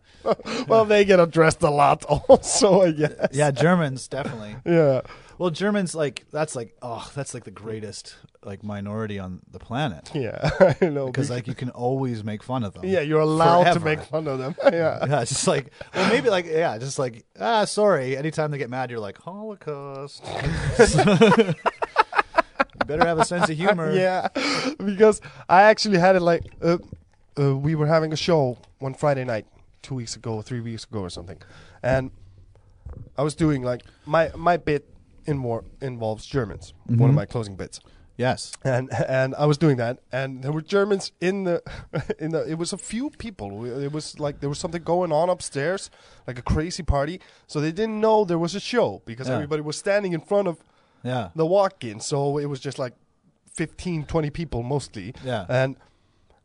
Speaker 1: well, they get addressed a lot also, I guess.
Speaker 2: yeah, Germans definitely.
Speaker 1: Yeah.
Speaker 2: Well, Germans like that's like oh that's like the greatest like minority on the planet
Speaker 1: Yeah. I know.
Speaker 2: because like you can always make fun of them.
Speaker 1: yeah, you're allowed
Speaker 2: forever.
Speaker 1: to make fun of them. yeah.
Speaker 2: Yeah, it's just like well maybe like yeah, just like ah sorry. Anytime they get mad, you're like Holocaust. You Better have a sense of humor.
Speaker 1: Yeah. Because I actually had it like uh, uh, we were having a show one Friday night 2 weeks ago, 3 weeks ago or something. And I was doing like my my bit in more involves Germans. One of my closing bits.
Speaker 2: Yes.
Speaker 1: and and I was doing that, and there were Germans in the in the. It was a few people. It was like there was something going on upstairs, like a crazy party. So they didn't know there was a show because
Speaker 2: Yeah.
Speaker 1: everybody was standing in front of
Speaker 2: Yeah.
Speaker 1: the walk-in. So it was just like 15, 20 people mostly.
Speaker 2: Yeah.
Speaker 1: and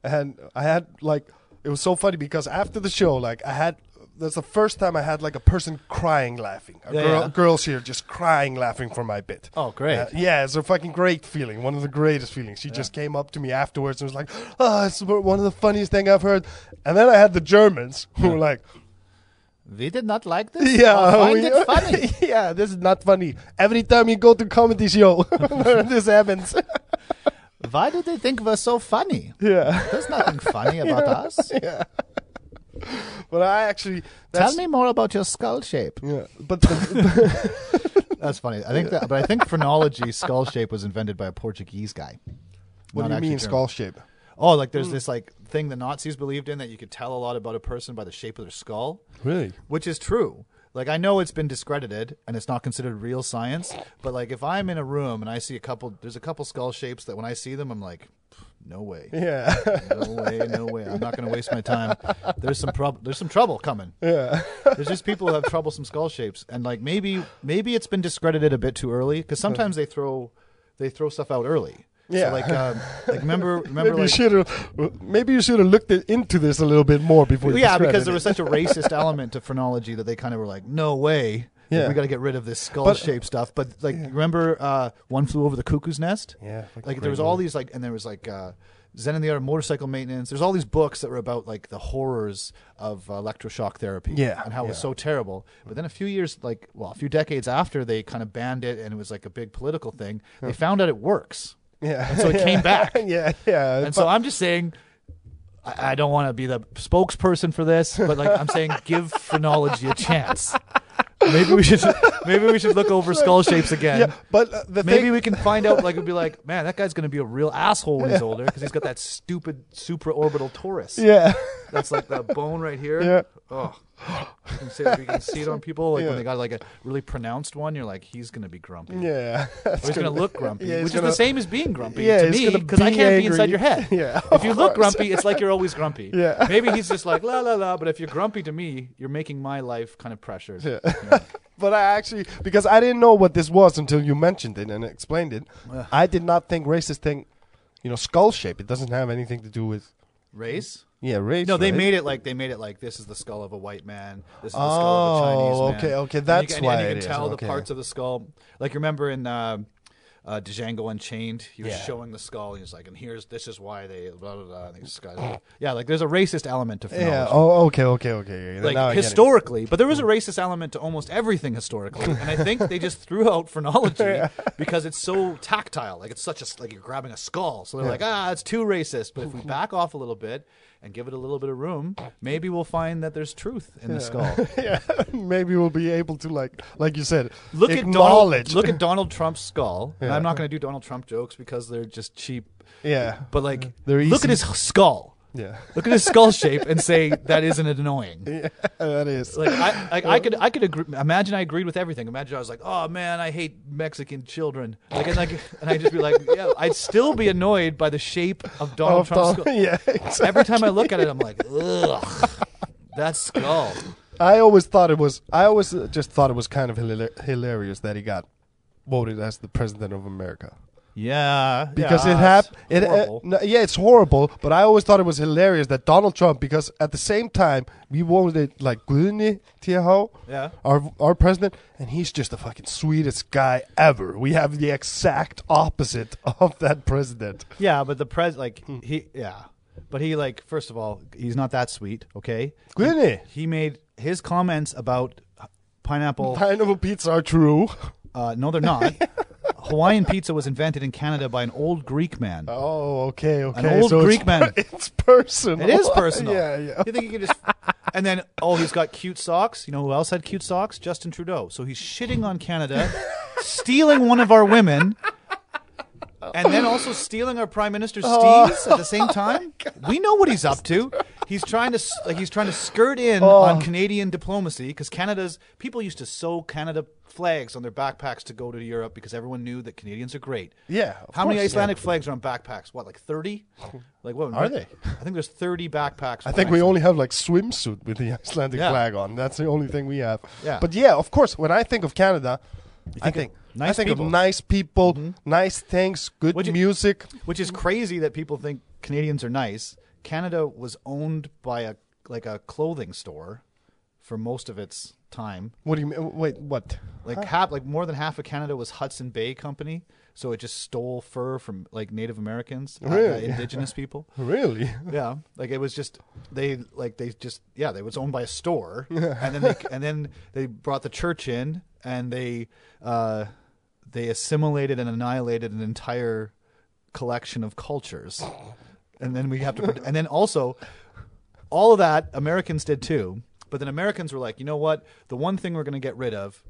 Speaker 1: and I had like it was so funny because after the show, like I had. That's the first time I had like a person crying, laughing. A
Speaker 2: Yeah,
Speaker 1: girl,
Speaker 2: yeah.
Speaker 1: girls here just crying, laughing for my bit.
Speaker 2: Oh, great.
Speaker 1: Uh, yeah, it's a fucking great feeling. One of the greatest feelings. She just came up to me afterwards and was like, "Oh, it's one of the funniest thing I've heard." And then I had the Germans who were like,
Speaker 2: We did not like this.
Speaker 1: "Yeah,
Speaker 2: or Oh, find
Speaker 1: we-
Speaker 2: it funny.
Speaker 1: yeah, this is not funny. Every time you go to comedy show, this happens."
Speaker 2: Why do they think we're so funny?
Speaker 1: yeah,
Speaker 2: There's nothing funny about us.
Speaker 1: but I actually
Speaker 2: Tell
Speaker 1: that's,
Speaker 2: me more about your skull shape.
Speaker 1: Yeah, but the,
Speaker 2: That's funny. I think that, but I think phrenology skull shape was invented by a Portuguese guy.
Speaker 1: what do
Speaker 2: Not
Speaker 1: you
Speaker 2: actually
Speaker 1: mean
Speaker 2: German.
Speaker 1: skull shape?
Speaker 2: Oh, like
Speaker 1: Mm.
Speaker 2: there's this like thing the Nazis believed in that you could tell a lot about a person by the shape of their skull.
Speaker 1: Really?
Speaker 2: Which is true. Like I know it's been discredited and it's not considered real science, but like if I'm in a room and I see a couple there's a couple skull shapes that when I see them I'm like no way.
Speaker 1: Yeah,
Speaker 2: No way, no way. I'm not going to waste my time. There's some prob- there's some trouble coming.
Speaker 1: yeah,
Speaker 2: There's just people who have troublesome skull shapes, and like maybe maybe it's been discredited a bit too early because sometimes they throw they throw stuff out early.
Speaker 1: Yeah.
Speaker 2: So like, um, like remember, remember,
Speaker 1: Maybe you
Speaker 2: like,
Speaker 1: should have. Maybe you should have looked it- into this a little bit more before. you
Speaker 2: yeah,
Speaker 1: described
Speaker 2: because there
Speaker 1: it.
Speaker 2: was such a racist element to phrenology that they kind of were like, no way. Like,
Speaker 1: Yeah. uh,
Speaker 2: we got to get rid of this skull-shaped stuff. But like, remember, uh, one flew over the cuckoo's nest.
Speaker 1: Yeah, fucking
Speaker 2: like
Speaker 1: great
Speaker 2: there was all these like, and there was like uh, Zen and the Art of Motorcycle Maintenance. There's all these books that were about like the horrors of uh, electroshock therapy.
Speaker 1: Yeah,
Speaker 2: and how it was
Speaker 1: yeah.
Speaker 2: so terrible. But then a few years, like well, a few decades after they kind of banned it, and it was like a big political thing. They found out it works,
Speaker 1: Yeah.
Speaker 2: and so it came back.
Speaker 1: yeah, yeah.
Speaker 2: And so I'm just saying, I, I don't want to be the spokesperson for this, but like I'm saying, give phrenology a chance. Maybe we should maybe we should look over skull shapes again.
Speaker 1: yeah, but uh, the
Speaker 2: Maybe
Speaker 1: thing,
Speaker 2: we can find out. Like, it'd be like, man, that guy's gonna be a real asshole when he's older because he's got that stupid supraorbital torus.
Speaker 1: yeah,
Speaker 2: That's like the bone right here.
Speaker 1: Yeah.
Speaker 2: Oh, you can, see, you can see it on people. Like
Speaker 1: Yeah.
Speaker 2: when they got like a really pronounced one, you're like, he's gonna be grumpy.
Speaker 1: yeah.
Speaker 2: Or he's going to look grumpy,
Speaker 1: yeah, he's
Speaker 2: which
Speaker 1: gonna-
Speaker 2: is the same as being grumpy
Speaker 1: Yeah,
Speaker 2: to
Speaker 1: he's
Speaker 2: me
Speaker 1: gonna
Speaker 2: because I
Speaker 1: be
Speaker 2: can't be inside
Speaker 1: angry.
Speaker 2: your head.
Speaker 1: Yeah,
Speaker 2: if you look grumpy, it's like you're always grumpy.
Speaker 1: Yeah.
Speaker 2: Maybe he's just like la la la, but if you're grumpy to me, you're making my life kind of pressured. Yeah.
Speaker 1: But I actually, because I didn't know what this was until you mentioned it and explained it, I did not think racist thing, you know, skull shape. It doesn't have anything to do with
Speaker 2: Race?
Speaker 1: yeah race.
Speaker 2: No, they
Speaker 1: right?
Speaker 2: made it like they made it like this is the skull of a white man. This is the skull
Speaker 1: Oh,
Speaker 2: of a Chinese man.
Speaker 1: okay, okay,
Speaker 2: And
Speaker 1: that's
Speaker 2: you can,
Speaker 1: why
Speaker 2: and you
Speaker 1: it
Speaker 2: can
Speaker 1: is,
Speaker 2: tell
Speaker 1: okay.
Speaker 2: the parts of the skull. Like remember in uh, uh, Django Unchained, he was
Speaker 1: Yeah.
Speaker 2: showing the skull, and he's like, "And here's this is why they blah blah blah." And this guy, yeah, like there's a racist element to phrenology.
Speaker 1: Yeah. Oh, okay, okay, okay. yeah, now I
Speaker 2: like
Speaker 1: get it.
Speaker 2: historically, but there was a racist element to almost everything historically, and I think they just threw out phrenology because it's so tactile. Like it's such a like you're grabbing a skull, so they're like, ah, it's too racist. But if we back off a little bit and give it a little bit of room, maybe we'll find that there's truth in the skull.
Speaker 1: yeah, maybe we'll be able to like, like you said,
Speaker 2: Look at Donald,
Speaker 1: acknowledge.
Speaker 2: look at Donald Trump's skull. And I'm not going to do Donald Trump jokes because they're just cheap.
Speaker 1: yeah,
Speaker 2: But like,
Speaker 1: They're
Speaker 2: look at his skull.
Speaker 1: yeah,
Speaker 2: Look at his skull shape and say that isn't annoying.
Speaker 1: yeah, that is.
Speaker 2: Like I, like I could, I could agree, imagine I agreed with everything. Imagine I was like, "Oh man, I hate Mexican children," like and like, and I'd just be like, "Yeah," I'd still be annoyed by the shape of Donald
Speaker 1: Of
Speaker 2: Trump's
Speaker 1: Donald-
Speaker 2: skull.
Speaker 1: yeah, exactly.
Speaker 2: Every time I look at it, I'm like, "Ugh, that skull."
Speaker 1: I always thought it was. I always uh, just thought it was kind of hila- hilarious that he got voted as the president of America.
Speaker 2: Yeah,
Speaker 1: because it happened. It, uh, no, yeah, it's horrible. But I always thought it was hilarious that Donald Trump, because at the same time we voted like Guðni Tjahó,
Speaker 2: Yeah.
Speaker 1: our our president, and he's just the fucking sweetest guy ever. We have the exact opposite of that president.
Speaker 2: yeah, but the pres, like he, yeah, but he like first of all, he's not that sweet. Okay,
Speaker 1: Guðni,
Speaker 2: he made his comments about pineapple
Speaker 1: pineapple pizza are true.
Speaker 2: Uh, no, they're not. Hawaiian pizza was invented in Canada by an old Greek man.
Speaker 1: Oh, okay, okay.
Speaker 2: old
Speaker 1: so
Speaker 2: Greek
Speaker 1: it's,
Speaker 2: man.
Speaker 1: It's personal.
Speaker 2: It is personal.
Speaker 1: yeah, yeah.
Speaker 2: You think you could just. And then, oh, he's got cute socks. You know who else had cute socks? Justin Trudeau. So he's shitting on Canada, stealing one of our women, and then also stealing our prime minister's
Speaker 1: Oh.
Speaker 2: steeds at the same time. We know what he's up to. He's trying to s- like he's trying to skirt in
Speaker 1: Oh.
Speaker 2: on Canadian diplomacy because Canada's people used to sew Canada flags on their backpacks to go to Europe because everyone knew that Canadians are great.
Speaker 1: Yeah, of
Speaker 2: How many
Speaker 1: course, yeah.
Speaker 2: Icelandic flags are on backpacks? What, like thirty? Like what
Speaker 1: Are they?
Speaker 2: I think there's 30 backpacks.
Speaker 1: I think we only have like swimsuit with the Icelandic
Speaker 2: Yeah.
Speaker 1: flag on. That's the only thing we have.
Speaker 2: Yeah.
Speaker 1: But yeah, of course, when I think of Canada, I think I
Speaker 2: nice
Speaker 1: think
Speaker 2: people. Mm-hmm.
Speaker 1: of nice people, nice things, good
Speaker 2: Would you-
Speaker 1: music.
Speaker 2: which is crazy that people think Canadians are nice. Canada was owned by a like a clothing store for most of its time.
Speaker 1: What do you mean? Wait, what?
Speaker 2: Like half, like more than half of Canada was Hudson Bay Company, so it just stole fur from like Native Americans, uh,
Speaker 1: Really?
Speaker 2: indigenous people.
Speaker 1: Really?
Speaker 2: Yeah, like it was just they like they just yeah they was owned by a store, and then they and then they brought the church in and they uh, they assimilated and annihilated an entire collection of cultures, and then we have to and then also all of that Americans did too, but then Americans were like, you know what, the one thing we're going to get rid of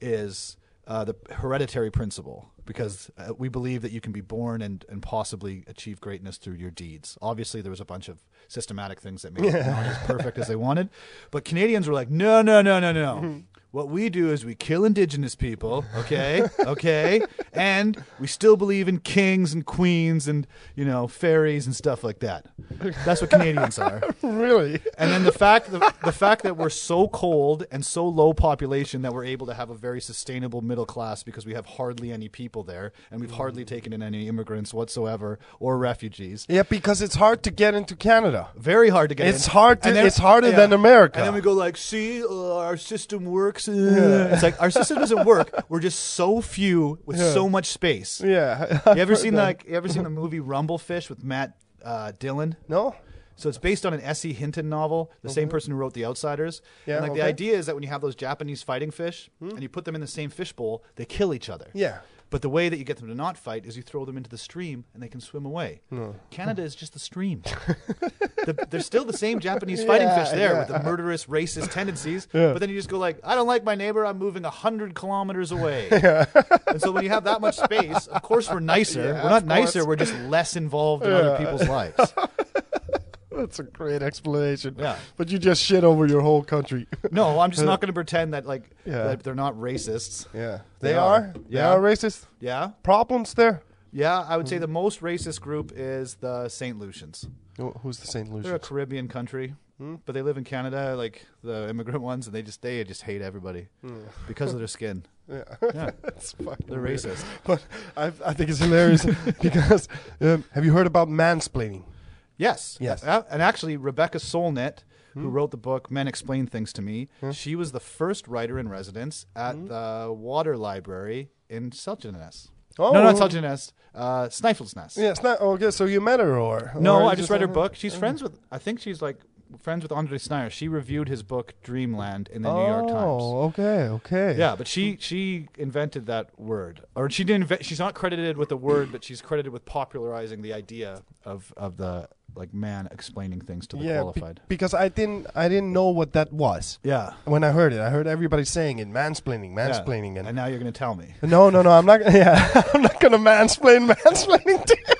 Speaker 2: is uh, the hereditary principle because uh, we believe that you can be born and, and possibly achieve greatness through your deeds. Obviously, there was a bunch of systematic things that made it not as perfect as they wanted, but Canadians were like, no, no, no, no, no. What we do is we kill indigenous people, okay? Okay? and we still believe in kings and queens and, you know, fairies and stuff like that. That's what Canadians are.
Speaker 1: really?
Speaker 2: And then the fact the, the fact that we're so cold and so low population that we're able to have a very sustainable middle class because we have hardly any people there and we've hardly taken in any immigrants whatsoever or refugees.
Speaker 1: Yeah, because it's hard to get into Canada.
Speaker 2: Very hard to get.
Speaker 1: It's
Speaker 2: in.
Speaker 1: hard to-
Speaker 2: And then-
Speaker 1: it's harder than America.
Speaker 2: And then we go like, see, uh, our system works. uh." It's like our system doesn't work. We're just so few with so much space.
Speaker 1: Yeah.
Speaker 2: You ever seen like you ever seen the movie Rumblefish with Matt uh, Dillon?
Speaker 1: no?
Speaker 2: So it's based on an S.E. Hinton novel, the same person who wrote The Outsiders.
Speaker 1: Yeah,
Speaker 2: and like the
Speaker 1: okay. Hmm?
Speaker 2: idea is that when you have those Japanese fighting fish and you put them in the same fishbowl, they kill each other.
Speaker 1: Yeah.
Speaker 2: But the way that you get them to not fight is you throw them into the stream and they can swim away. Canada is just the stream. the, they're still the same Japanese fighting
Speaker 1: Yeah,
Speaker 2: fish there
Speaker 1: yeah.
Speaker 2: with the murderous racist tendencies. But then you just go like, I don't like my neighbor. I'm moving hundred kilometers away. And so when you have that much space, of course we're nicer. we're not
Speaker 1: of
Speaker 2: nicer.
Speaker 1: course.
Speaker 2: We're just less involved in other people's lives.
Speaker 1: That's a great explanation.
Speaker 2: Yeah.
Speaker 1: But you just shit over your whole country.
Speaker 2: No, I'm just not going to pretend that like
Speaker 1: Yeah.
Speaker 2: that they're not racists.
Speaker 1: yeah. They,
Speaker 2: They
Speaker 1: are.
Speaker 2: are.
Speaker 1: They
Speaker 2: Yeah.
Speaker 1: are racist.
Speaker 2: Yeah,
Speaker 1: Problems there?
Speaker 2: yeah. I would say the most racist group is the Saint Lucians.
Speaker 1: Wh- Who's the St.
Speaker 2: They're a
Speaker 1: Lucians? Hmm?
Speaker 2: Caribbean country, but they live in Canada, like the immigrant ones, and they just they just hate everybody
Speaker 1: Hmm.
Speaker 2: because of their skin.
Speaker 1: yeah.
Speaker 2: Yeah,
Speaker 1: That's fucking
Speaker 2: they're
Speaker 1: weird.
Speaker 2: racist.
Speaker 1: But I, I think it's hilarious because um, have you heard about mansplaining?
Speaker 2: Yes,
Speaker 1: Yes. Hmm?
Speaker 2: A- And actually, Rebecca Solnit, who wrote the book "Men Explain Things to Me," she was the first writer in residence at
Speaker 1: Hmm?
Speaker 2: the Water Library in Seltjenest.
Speaker 1: Oh.
Speaker 2: No, not Seltjenest, uh, Snæfellsnes.
Speaker 1: Yeah, it's not oh, okay. So you met her, or
Speaker 2: No,
Speaker 1: or
Speaker 2: I
Speaker 1: you
Speaker 2: just read her book. She's friends with. I think she's like friends with Andre Snyder. She reviewed his book Dreamland in the New York Times.
Speaker 1: Oh, okay, okay.
Speaker 2: Yeah, but she she invented that word, or she didn't. Invent, she's not credited with the word, but she's credited with popularizing the idea of of the like man explaining things to the
Speaker 1: yeah. be-
Speaker 2: qualified.
Speaker 1: because I didn't, I didn't know what that was
Speaker 2: yeah,
Speaker 1: when I heard it. I heard everybody saying it, mansplaining,
Speaker 2: yeah.
Speaker 1: mansplaining, and
Speaker 2: and now you're gonna tell me.
Speaker 1: No, no, no. I'm not. Yeah, I'm not gonna mansplain mansplaining to you.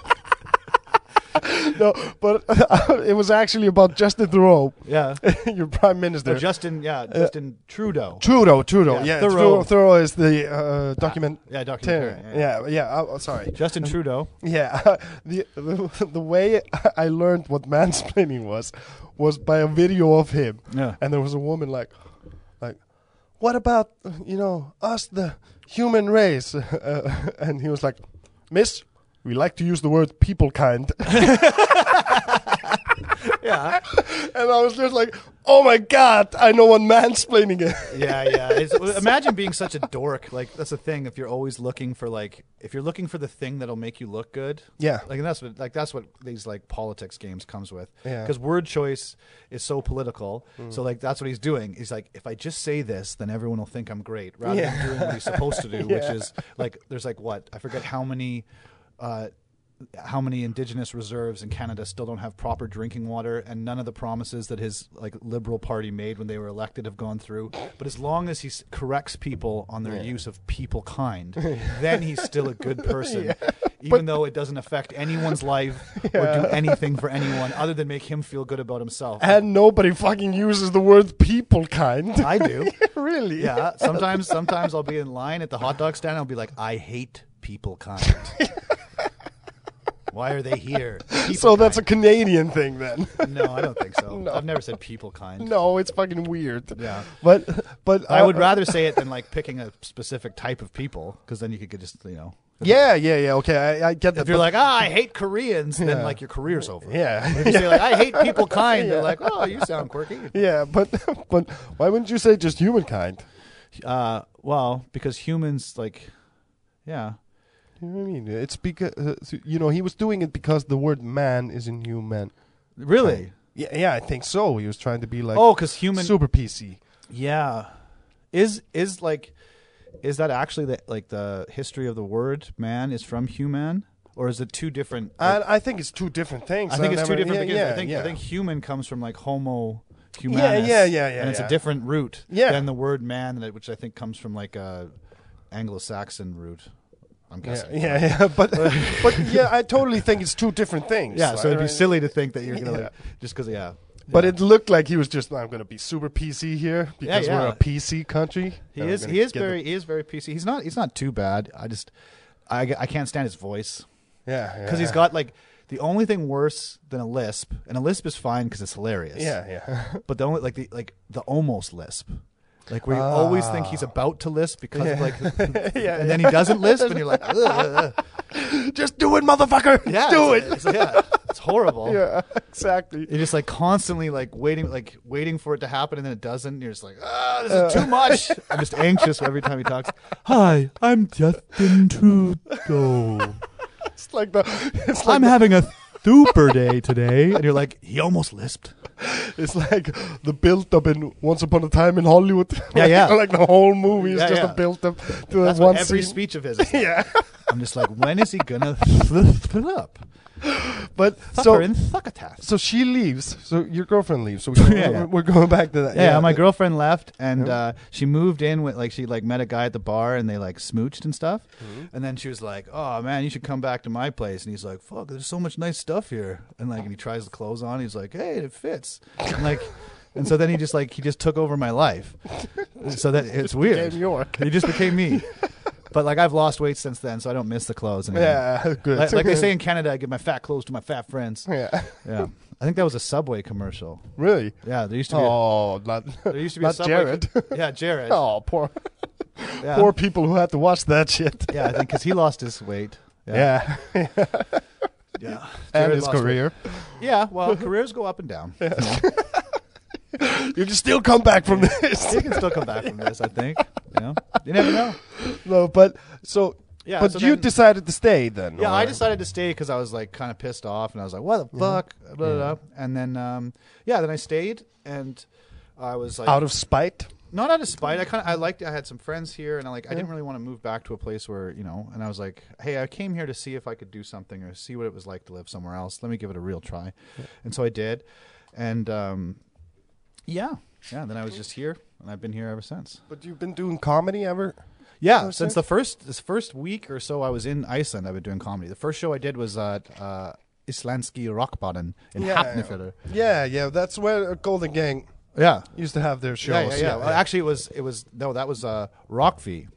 Speaker 1: no, but it was actually about Justin Thoreau,
Speaker 2: Yeah,
Speaker 1: your prime
Speaker 2: or
Speaker 1: minister.
Speaker 2: Justin. Yeah, Justin Trudeau.
Speaker 1: Trudeau, Trudeau. Yeah,
Speaker 2: Yeah,
Speaker 1: Thoreau.
Speaker 2: Thoreau.
Speaker 1: Thoreau is the uh, document.
Speaker 2: Yeah, documentary.
Speaker 1: Terror.
Speaker 2: Yeah,
Speaker 1: Yeah, yeah. Oh, sorry.
Speaker 2: Justin Trudeau.
Speaker 1: Yeah, the, the the way I learned what mansplaining was was by a video of him.
Speaker 2: Yeah.
Speaker 1: and there was a woman like, like, what about you know us the human race? Uh, and he was like, Miss, we like to use the word people kind, and
Speaker 2: Yeah,
Speaker 1: I was just like, oh my god, I know what mansplaining is.
Speaker 2: yeah, yeah. It's, well, imagine being such a dork. Like that's the thing. If you're always looking for like, if you're looking for the thing that'll make you look good.
Speaker 1: Yeah.
Speaker 2: Like and that's what like that's what these like politics games comes with.
Speaker 1: Yeah. Mm.
Speaker 2: Because word choice is so political. So like that's what he's doing. He's like, if I just say this, then everyone will think I'm great, rather
Speaker 1: Yeah.
Speaker 2: than doing what he's supposed to do,
Speaker 1: Yeah.
Speaker 2: which is like there's like what I forget how many. Uh, how many indigenous reserves in Canada still don't have proper drinking water, and none of the promises that his like Liberal Party made when they were elected have gone through. But as long as he s- corrects people on their use of people kind, then he's still a good person, even though it doesn't affect anyone's life or do anything for anyone other than make him feel good about himself.
Speaker 1: And nobody fucking uses the word people kind.
Speaker 2: I do.
Speaker 1: really?
Speaker 2: Yeah, sometimes sometimes I'll be in line at the hot dog stand. I'll be like, I hate people kind. Why are they here? People
Speaker 1: So that's a
Speaker 2: kind.
Speaker 1: Canadian thing then.
Speaker 2: No, I don't think so. I've never said people kind.
Speaker 1: no, it's fucking weird.
Speaker 2: Yeah.
Speaker 1: But but
Speaker 2: I would
Speaker 1: rather.
Speaker 2: rather say it than like picking a specific type of people because then you could just, you know.
Speaker 1: Yeah, yeah, yeah. Okay, I, I get that.
Speaker 2: If you're
Speaker 1: but-
Speaker 2: like, ah, I hate Koreans, then like your career's over.
Speaker 1: Yeah.
Speaker 2: If you say like, I hate people kind, they're like, oh, you sound quirky.
Speaker 1: yeah, but but why wouldn't you say just humankind?
Speaker 2: Uh, well, because humans like, yeah,
Speaker 1: You know what I mean? It's because uh, so- you know he was doing it because the word man is in human.
Speaker 2: really.
Speaker 1: Yeah, yeah, I think so. He was trying to be like
Speaker 2: Oh, because human.
Speaker 1: super PC.
Speaker 2: Yeah. Is is like is that actually the like the history of the word man is from human or is it two different like-
Speaker 1: I, I think it's two different things.
Speaker 2: I think it's two
Speaker 1: never-
Speaker 2: different
Speaker 1: yeah,
Speaker 2: because
Speaker 1: yeah,
Speaker 2: I think
Speaker 1: yeah.
Speaker 2: I think human comes from like homo humanus.
Speaker 1: yeah, yeah, yeah,
Speaker 2: And it's
Speaker 1: yeah.
Speaker 2: a different root
Speaker 1: Yeah.
Speaker 2: than the word man that- which I think comes from like a Anglo-Saxon root. I'm
Speaker 1: Yeah,
Speaker 2: guessing.
Speaker 1: yeah, yeah, but but yeah, I totally think it's two different things.
Speaker 2: Yeah, so it'd be
Speaker 1: Right?
Speaker 2: silly to think that you're gonna
Speaker 1: Yeah.
Speaker 2: like, just because yeah.
Speaker 1: But it looked like he was just, I'm going to be super PC here because
Speaker 2: yeah.
Speaker 1: we're a PC country.
Speaker 2: He
Speaker 1: And we're
Speaker 2: is
Speaker 1: gonna
Speaker 2: he is
Speaker 1: get the-
Speaker 2: very he is very PC. He's not he's not too bad. I just I, I can't stand his voice
Speaker 1: yeah.
Speaker 2: because he's
Speaker 1: yeah.
Speaker 2: got like the only thing worse than a lisp, and a lisp is fine because it's hilarious.
Speaker 1: Yeah, yeah.
Speaker 2: But the only like the like the almost lisp, like where you always think he's about to lisp because of like,
Speaker 1: yeah,
Speaker 2: and then he doesn't lisp, and you're like, Ugh.
Speaker 1: Just do it, motherfucker.
Speaker 2: yeah,
Speaker 1: do
Speaker 2: it's- oh.
Speaker 1: it.
Speaker 2: it's- yeah, it's horrible.
Speaker 1: Yeah, exactly.
Speaker 2: You're just like constantly like waiting, like waiting for it to happen, and then it doesn't. And you're just like, ah, this is too much. I'm just anxious every time he talks. Hi, I'm Justin Trudeau.
Speaker 1: It's like the it's like
Speaker 2: I'm having a super day today, and you're like, he almost lisped.
Speaker 1: it's like the build up in Once Upon a Time in Hollywood.
Speaker 2: Yeah, yeah.
Speaker 1: like the whole movie is
Speaker 2: Yeah,
Speaker 1: just
Speaker 2: yeah.
Speaker 1: a build up to
Speaker 2: That's
Speaker 1: that one
Speaker 2: what every
Speaker 1: scene.
Speaker 2: speech of his. Is like.
Speaker 1: yeah,
Speaker 2: I'm just like, when is he gonna fill up?
Speaker 1: but
Speaker 2: So
Speaker 1: so
Speaker 2: in Thuckatass.
Speaker 1: so she leaves. So your girlfriend leaves. So we're,
Speaker 2: Yeah, yeah.
Speaker 1: we're going back to that.
Speaker 2: yeah, my girlfriend left and uh, she moved in with like she like met a guy at the bar and they like smooched and stuff and then she was like oh man you should come back to my place and he's like fuck there's so much nice stuff here and like and he tries the clothes on he's like hey it fits and like and so then he just like he just took over my life so that it's weird
Speaker 1: became York.
Speaker 2: he just became me but like I've lost weight since then so I don't miss the clothes anymore.
Speaker 1: Yeah, good.
Speaker 2: like, like they say in Canada I give my fat clothes to my fat friends
Speaker 1: Yeah,
Speaker 2: yeah I think that was a Subway commercial
Speaker 1: really.
Speaker 2: yeah there used to be a,
Speaker 1: Oh, not
Speaker 2: there used to be a
Speaker 1: not
Speaker 2: Subway
Speaker 1: Jared.
Speaker 2: yeah, Jared.
Speaker 1: oh, poor
Speaker 2: yeah.
Speaker 1: poor people who had to watch that shit.
Speaker 2: yeah, I think because he lost his weight.
Speaker 1: Yeah,
Speaker 2: yeah.
Speaker 1: and
Speaker 2: Jared
Speaker 1: his
Speaker 2: lost
Speaker 1: career.
Speaker 2: weight. Yeah, well, careers go up and down.
Speaker 1: You can still come back from this.
Speaker 2: He can still come back from this, I think. You know, you never know.
Speaker 1: no, but so.
Speaker 2: Yeah,
Speaker 1: but
Speaker 2: so
Speaker 1: you
Speaker 2: then-
Speaker 1: decided to stay then.
Speaker 2: Yeah, I
Speaker 1: or-
Speaker 2: decided to stay because I was like kind of pissed off, and I was like, "What
Speaker 1: Mm-hmm.
Speaker 2: the fuck?" Blah, blah, blah. And then, um, yeah, then I stayed, and I was like,
Speaker 1: out of spite.
Speaker 2: not out of spite. I kind of I liked. I had some friends here, and I like. I didn't really want to move back to a place where you know. And I was like, hey, I came here to see if I could do something or see what it was like to live somewhere else. Let me give it a real try. And so I did, and um, yeah, yeah. Then I was just here, and I've been here ever since.
Speaker 1: But you've been doing comedy ever?
Speaker 2: Yeah, since the first this first week or so I was in Iceland, I've been doing comedy. The first show I did was at uh, Islandski Rockbaden in
Speaker 1: Yeah.
Speaker 2: Hafnarfjörður.
Speaker 1: Yeah, yeah. That's where Golden Gang
Speaker 2: Yeah.
Speaker 1: used to have their shows.
Speaker 2: Yeah, yeah, yeah. Well, actually, it was it was no, that was uh, Rockvi,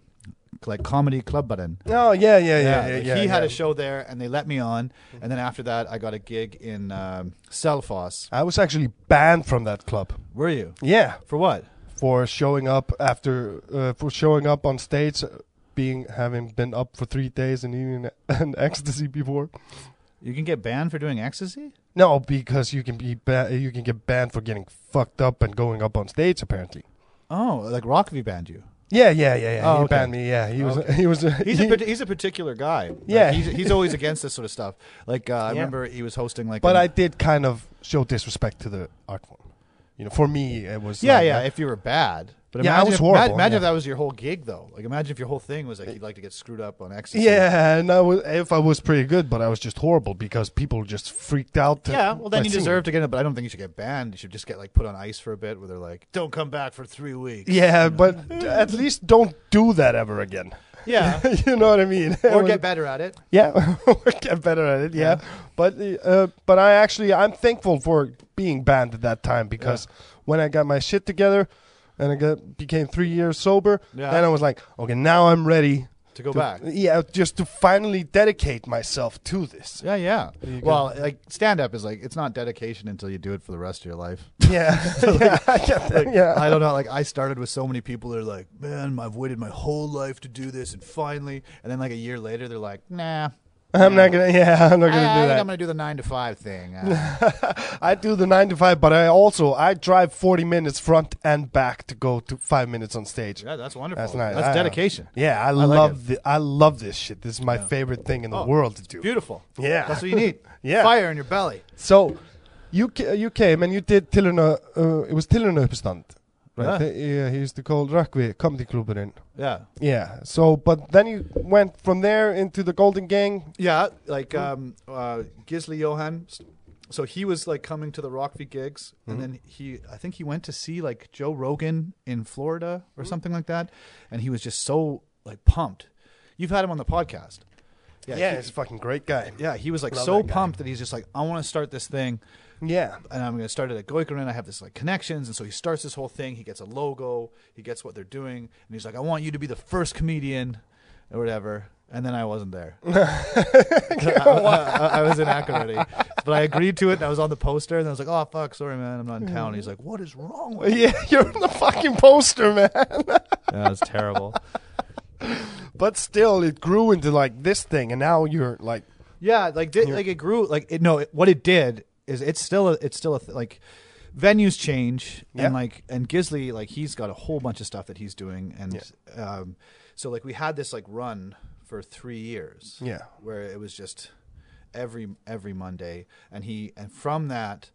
Speaker 2: like comedy club button.
Speaker 1: Oh, yeah, yeah, yeah, yeah.
Speaker 2: like,
Speaker 1: yeah, yeah.
Speaker 2: he had
Speaker 1: Mm-hmm.
Speaker 2: a show there, and they let me on. And then after that, I got a gig in um, Selfoss.
Speaker 1: I was actually banned from that club.
Speaker 2: Were you
Speaker 1: Yeah,
Speaker 2: for what?
Speaker 1: for showing up after uh, for showing up on stage, uh, being having been up for three days and eating an ecstasy before.
Speaker 2: You can get banned for doing ecstasy.
Speaker 1: No, because you can be ba- you can get banned for getting fucked up and going up on stage. Apparently.
Speaker 2: Oh, like Rockvi banned you.
Speaker 1: Yeah, yeah, yeah, yeah.
Speaker 2: Oh,
Speaker 1: he
Speaker 2: okay.
Speaker 1: banned me. Yeah, he was he was
Speaker 2: He's
Speaker 1: he-
Speaker 2: a pat- he's a particular guy. Like,
Speaker 1: Yeah.
Speaker 2: he's, he's always against this sort of stuff. Like uh, I
Speaker 1: Yeah.
Speaker 2: remember he was hosting like.
Speaker 1: But
Speaker 2: I
Speaker 1: I did kind of show disrespect to the art form. You know, for me, it was
Speaker 2: yeah
Speaker 1: like
Speaker 2: yeah
Speaker 1: that.
Speaker 2: if you were bad. But
Speaker 1: Yeah, I
Speaker 2: imagine
Speaker 1: was
Speaker 2: if,
Speaker 1: horrible,
Speaker 2: ima- Imagine
Speaker 1: yeah.
Speaker 2: if that was your whole gig though. Like imagine if your whole thing was like you'd like to get screwed up on ecstasy.
Speaker 1: yeah. And I was, if I was pretty good, but I was just horrible because people just freaked out. to-
Speaker 2: Yeah, well, then
Speaker 1: by
Speaker 2: you
Speaker 1: seeing
Speaker 2: deserve to get it, but I don't think you should get banned. You should just get like put on ice for a bit, where they're like, "Don't come back for three
Speaker 1: it.
Speaker 2: weeks."
Speaker 1: Yeah, but at least don't do that ever again.
Speaker 2: Yeah,
Speaker 1: you know what I mean?
Speaker 2: or get better at it.
Speaker 1: yeah, or get better at it. Yeah, but uh, but I actually I'm thankful for being banned at that time because when I got my shit together and I got, became three years sober,
Speaker 2: Yeah.
Speaker 1: then I was like, okay, now I'm ready
Speaker 2: To go
Speaker 1: to-
Speaker 2: back.
Speaker 1: Yeah, just to finally dedicate myself to this.
Speaker 2: Yeah, yeah.
Speaker 1: you go.
Speaker 2: Well, like stand up is like it's not dedication until you do it for the rest of your life.
Speaker 1: Yeah, yeah, I get that. yeah.
Speaker 2: I don't know. Like I started with so many people that are like, "Man, I've waited my whole life to do this, and finally," and then like a year later, they're like, "Nah."
Speaker 1: I'm not gonna. Yeah, I'm not
Speaker 2: I,
Speaker 1: gonna do
Speaker 2: I think
Speaker 1: that.
Speaker 2: I'm gonna do the nine to five thing. Uh,
Speaker 1: I do the nine to five, but I also I drive 40 minutes front and back to go to five minutes on stage.
Speaker 2: yeah, that's wonderful.
Speaker 1: That's nice. I-
Speaker 2: That's dedication.
Speaker 1: Yeah, I,
Speaker 2: like
Speaker 1: love the I love this shit. This is my favorite thing in the
Speaker 2: Oh,
Speaker 1: world to do.
Speaker 2: Beautiful.
Speaker 1: Yeah.
Speaker 2: that's what you need.
Speaker 1: Yeah.
Speaker 2: fire in your belly.
Speaker 1: So, you ca- you came and you did Tillerna, uh, It was Tillerna Upstand, right?
Speaker 2: Yeah.
Speaker 1: They- yeah, he used to call Rakvi Comedy Club in.
Speaker 2: Yeah.
Speaker 1: Yeah. So, but then you went from there into the Golden Gang.
Speaker 2: Yeah, like um, uh, Gisli Johan. So he was like coming to the Rockvie gigs,
Speaker 1: Mm-hmm.
Speaker 2: and then he, I think he went to see like Joe Rogan in Florida
Speaker 1: Mm-hmm.
Speaker 2: or something like that, and he was just so like pumped. You've had him on the podcast.
Speaker 1: Yeah,
Speaker 2: he-
Speaker 1: he's a fucking great guy.
Speaker 2: yeah, he was like
Speaker 1: Love
Speaker 2: so
Speaker 1: that guy.
Speaker 2: pumped that he's just like, I want to start this thing,
Speaker 1: Yeah.
Speaker 2: and I'm going to start it at Goikeren. I have this like connections, and so he starts this whole thing. He gets a logo, he gets what they're doing, and he's like, I want you to be the first comedian, or whatever. And then I wasn't there. I, I- I was in Akureyri, but I agreed to it, and I was on the poster, and I was like, "Oh fuck, sorry man, I'm not in town." And he's like, "What is wrong with?" you?"
Speaker 1: Yeah, you're in the fucking poster, man.
Speaker 2: Yeah, it's terrible.
Speaker 1: But still, it grew into like this thing, and now you're like,
Speaker 2: Yeah, like did, like it grew like it, no, it, what it did is it's still a, it's still a th- like venues change
Speaker 1: Yeah.
Speaker 2: and like and Gisley like he's got a whole bunch of stuff that he's doing and um so like we had this like run for 3 years.
Speaker 1: Yeah.
Speaker 2: Where it was just every every Monday and he and from that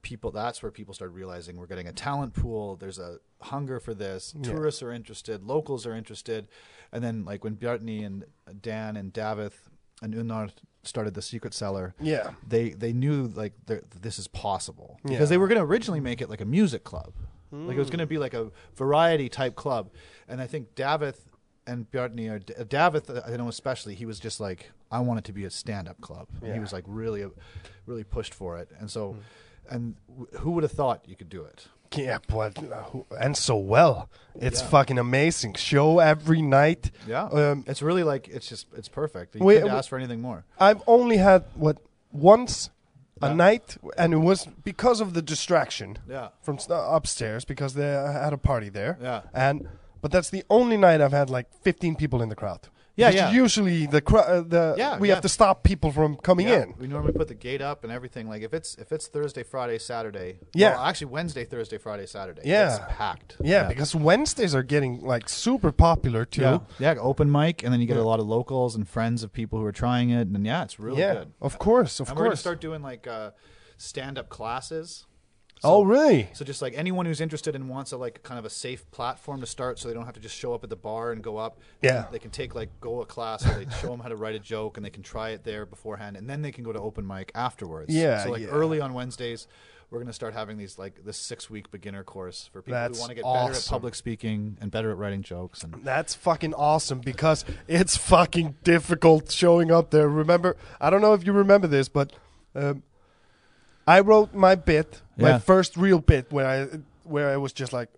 Speaker 2: people that's where people started realizing we're getting a talent pool there's a hunger for this tourists are interested locals are interested and then like when Bjartni and Dan and Davith and Unnar started the secret cellar
Speaker 1: Yeah.
Speaker 2: they they knew like they're- this is possible because
Speaker 1: Yeah.
Speaker 2: they were going to originally make it like a music club like it was going to be like a variety type club and i think Davith and Bjartni or D- Davith uh, I know especially he was just like I want it to be a stand up club And he
Speaker 1: Yeah.
Speaker 2: was like really really pushed for it and so
Speaker 1: Mm-hmm.
Speaker 2: and wh- who would have thought you could do it
Speaker 1: yeah, but uh, who- and so well. It's fucking amazing. Show every night.
Speaker 2: yeah
Speaker 1: Um,
Speaker 2: it's really like it's just it's perfect you
Speaker 1: We-
Speaker 2: couldn't
Speaker 1: we-
Speaker 2: ask for anything more
Speaker 1: I've only had what once a night, and it was because of the distraction.
Speaker 2: Yeah.
Speaker 1: From st- upstairs because they uh, had a party there.
Speaker 2: Yeah.
Speaker 1: And but that's the only night I've had like 15 people in the crowd.
Speaker 2: Yeah,
Speaker 1: Because
Speaker 2: yeah.
Speaker 1: Usually the cr- uh, the
Speaker 2: Yeah,
Speaker 1: we
Speaker 2: yeah.
Speaker 1: have to stop people from coming
Speaker 2: Yeah,
Speaker 1: in.
Speaker 2: We normally put the gate up and everything. Like if it's if it's Thursday, Friday, Saturday.
Speaker 1: Yeah.
Speaker 2: well, actually Wednesday, Thursday, Friday, Saturday.
Speaker 1: Yeah.
Speaker 2: It's packed.
Speaker 1: Yeah, because Wednesdays are getting like super popular too.
Speaker 2: yeah. Yeah, open mic, and then you get a lot of locals and friends of people who are trying it, and yeah, it's really
Speaker 1: Yeah,
Speaker 2: good.
Speaker 1: of course, of
Speaker 2: and we're gonna
Speaker 1: course.
Speaker 2: start doing like uh, stand up classes.
Speaker 1: oh, really?
Speaker 2: So just like anyone who's interested and wants a like kind of a safe platform to start, so they don't have to just show up at the bar and go up.
Speaker 1: Yeah.
Speaker 2: they can take like go a class where they show them how to write a joke and they can try it there beforehand, and then they can go to open mic afterwards.
Speaker 1: Yeah,
Speaker 2: so like
Speaker 1: yeah.
Speaker 2: early on Wednesdays, we're gonna start having these like this six week beginner course for people
Speaker 1: That's
Speaker 2: who want to get better at
Speaker 1: awesome.
Speaker 2: public speaking and better at writing jokes and
Speaker 1: That's fucking awesome because it's fucking difficult showing up there. Remember, I don't know if you remember this, but um, I wrote my bit,
Speaker 2: Yeah.
Speaker 1: my first real bit, where I where I was just like,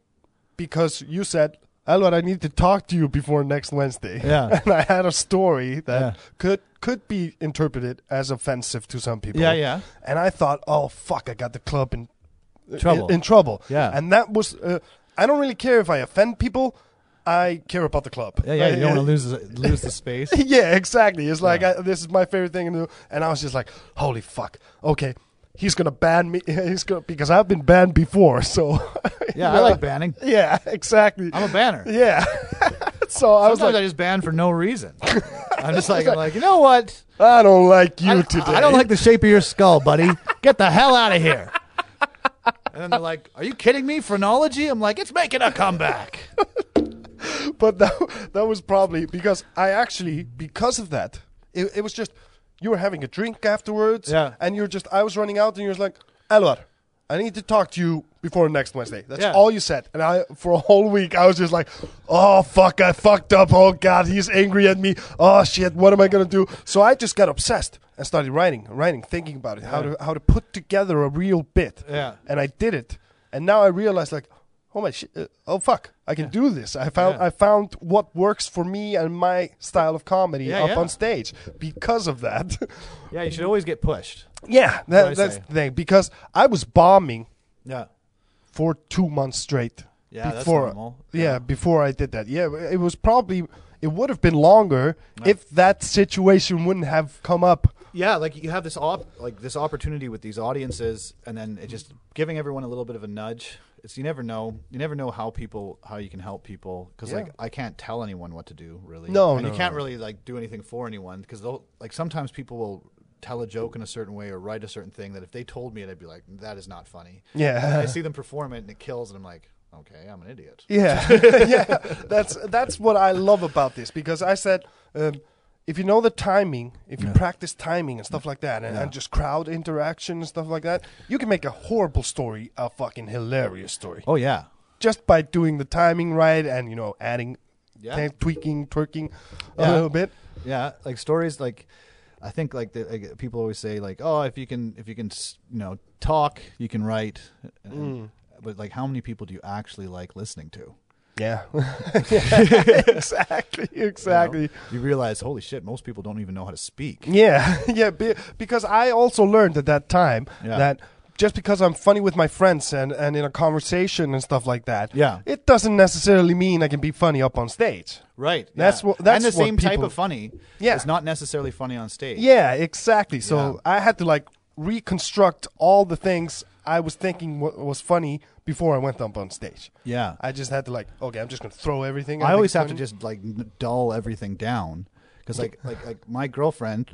Speaker 1: because you said, "Alvar, I need to talk to you before next Wednesday."
Speaker 2: Yeah.
Speaker 1: and I had a story that
Speaker 2: Yeah.
Speaker 1: could could be interpreted as offensive to some people.
Speaker 2: Yeah, yeah.
Speaker 1: And I thought, oh fuck, I got the club in
Speaker 2: Trouble.
Speaker 1: In, in trouble.
Speaker 2: Yeah.
Speaker 1: And that was. Uh, I don't really care if I offend people. I care about the club.
Speaker 2: yeah, yeah, you don't
Speaker 1: Uh,
Speaker 2: want to lose lose the space.
Speaker 1: yeah, exactly. It's like I, this is my favorite thing to do, and I was just like, "Holy fuck! Okay, he's gonna ban me. He's gonna because I've been banned before, so
Speaker 2: Yeah, I like banning.
Speaker 1: yeah, exactly.
Speaker 2: I'm a banner.
Speaker 1: yeah, so I was
Speaker 2: Sometimes
Speaker 1: like,
Speaker 2: I just ban for no reason. I'm just like, I'm like, you know what?
Speaker 1: I, don't like you
Speaker 2: I,
Speaker 1: today.
Speaker 2: I don't like the shape of your skull, buddy. Get the hell out of here. And then they're like, "Are you kidding me? Phrenology?" I'm like, "It's making a comeback."
Speaker 1: but that, that was probably because I actually because of that it, it was just you were having a drink afterwards
Speaker 2: Yeah.
Speaker 1: and you're just I was running out and you're just like Elvar I need to talk to you before next Wednesday that's
Speaker 2: Yeah.
Speaker 1: all you said and I for a whole week I was just like oh fuck I fucked up oh god he's angry at me oh shit what am I gonna do so I just got obsessed and started writing writing thinking about it how to how to put together a real bit
Speaker 2: Yeah.
Speaker 1: and I did it. And now I realize, like, oh my shit, uh, oh fuck, I can do this. I found
Speaker 2: Yeah.
Speaker 1: I found what works for me and my style of comedy
Speaker 2: Yeah,
Speaker 1: up
Speaker 2: yeah.
Speaker 1: on stage because of that.
Speaker 2: Yeah, you should always get pushed.
Speaker 1: yeah,
Speaker 2: I
Speaker 1: that, that's
Speaker 2: say.
Speaker 1: the thing. Because I was bombing
Speaker 2: Yeah,
Speaker 1: for two months straight.
Speaker 2: Yeah, that's normal.
Speaker 1: Yeah, before I did that. Yeah, it was probably it would have been longer if that situation wouldn't have come up.
Speaker 2: yeah. Like you have this op, like this opportunity with these audiences, and then it just giving everyone a little bit of a nudge. It's you never know. You never know how people how you can help people because like I can't tell anyone what to do really.
Speaker 1: No,
Speaker 2: and
Speaker 1: no,
Speaker 2: you can't really like do anything for anyone because they'll like sometimes people will tell a joke in a certain way or write a certain thing that if they told me it, I'd be like, that is not funny.
Speaker 1: Yeah.
Speaker 2: I see them perform it and it kills, and I'm like, okay, I'm an idiot.
Speaker 1: Yeah, yeah. That's that's what I love about this because I said, um, if you know the timing, if you practice timing and stuff like that, and, and just crowd interaction and stuff like that, you can make a horrible story a fucking hilarious story
Speaker 2: Oh yeah,
Speaker 1: just by doing the timing right and you know adding
Speaker 2: Yeah.
Speaker 1: tan- tweaking, twerking a
Speaker 2: Yeah.
Speaker 1: little bit.
Speaker 2: Yeah, like stories like I think like, the, like people always say like oh if you can if you can s- you know talk you can write,
Speaker 1: Mm.
Speaker 2: And- but like how many people do you actually like listening to?
Speaker 1: Yeah. Yeah, exactly. Exactly.
Speaker 2: You realize holy shit most people don't even know how to speak.
Speaker 1: Yeah, yeah, be, because I also learned at that time
Speaker 2: Yeah.
Speaker 1: that just because I'm funny with my friends and, and in a conversation and stuff like that,
Speaker 2: Yeah.
Speaker 1: it doesn't necessarily mean I can be funny up on stage.
Speaker 2: Right.
Speaker 1: That's what- that's
Speaker 2: and the
Speaker 1: what
Speaker 2: same type
Speaker 1: people-
Speaker 2: of funny.
Speaker 1: Yeah.
Speaker 2: It's not necessarily funny on stage.
Speaker 1: Yeah, exactly. So
Speaker 2: Yeah.
Speaker 1: I had to like reconstruct all the things I was thinking wa was funny before I went up on stage.
Speaker 2: Yeah.
Speaker 1: I just had to like, okay, I'm just gonna throw everything.
Speaker 2: I
Speaker 1: think
Speaker 2: always
Speaker 1: is
Speaker 2: have to
Speaker 1: funny.
Speaker 2: just like n- dull everything down because like like like my girlfriend,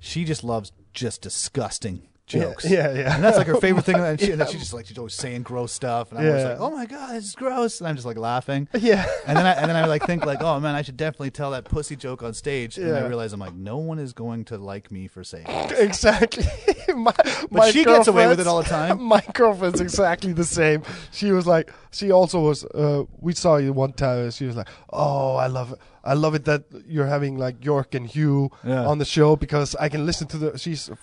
Speaker 2: she just loves just disgusting jokes.
Speaker 1: yeah, yeah.
Speaker 2: And that's like her favorite thing. And, she, and then she just like she's always saying gross stuff, and I'm always
Speaker 1: Yeah.
Speaker 2: like, oh my god, this is gross, and I'm just like laughing.
Speaker 1: yeah.
Speaker 2: And then I and then I like think like, oh man, I should definitely tell that pussy joke on stage. And I
Speaker 1: Yeah.
Speaker 2: realize I'm like, no one is going to like me for saying. It.
Speaker 1: exactly. my, my
Speaker 2: she gets away with it
Speaker 1: girlfriend's-
Speaker 2: all the time.
Speaker 1: my girlfriend's exactly the same. She was like, she also was. Uh, we saw you one time. And she was like, "Oh, I love it. I love it that you're having like York and Hugh
Speaker 2: Yeah.
Speaker 1: on the show because I can listen to the. She's f-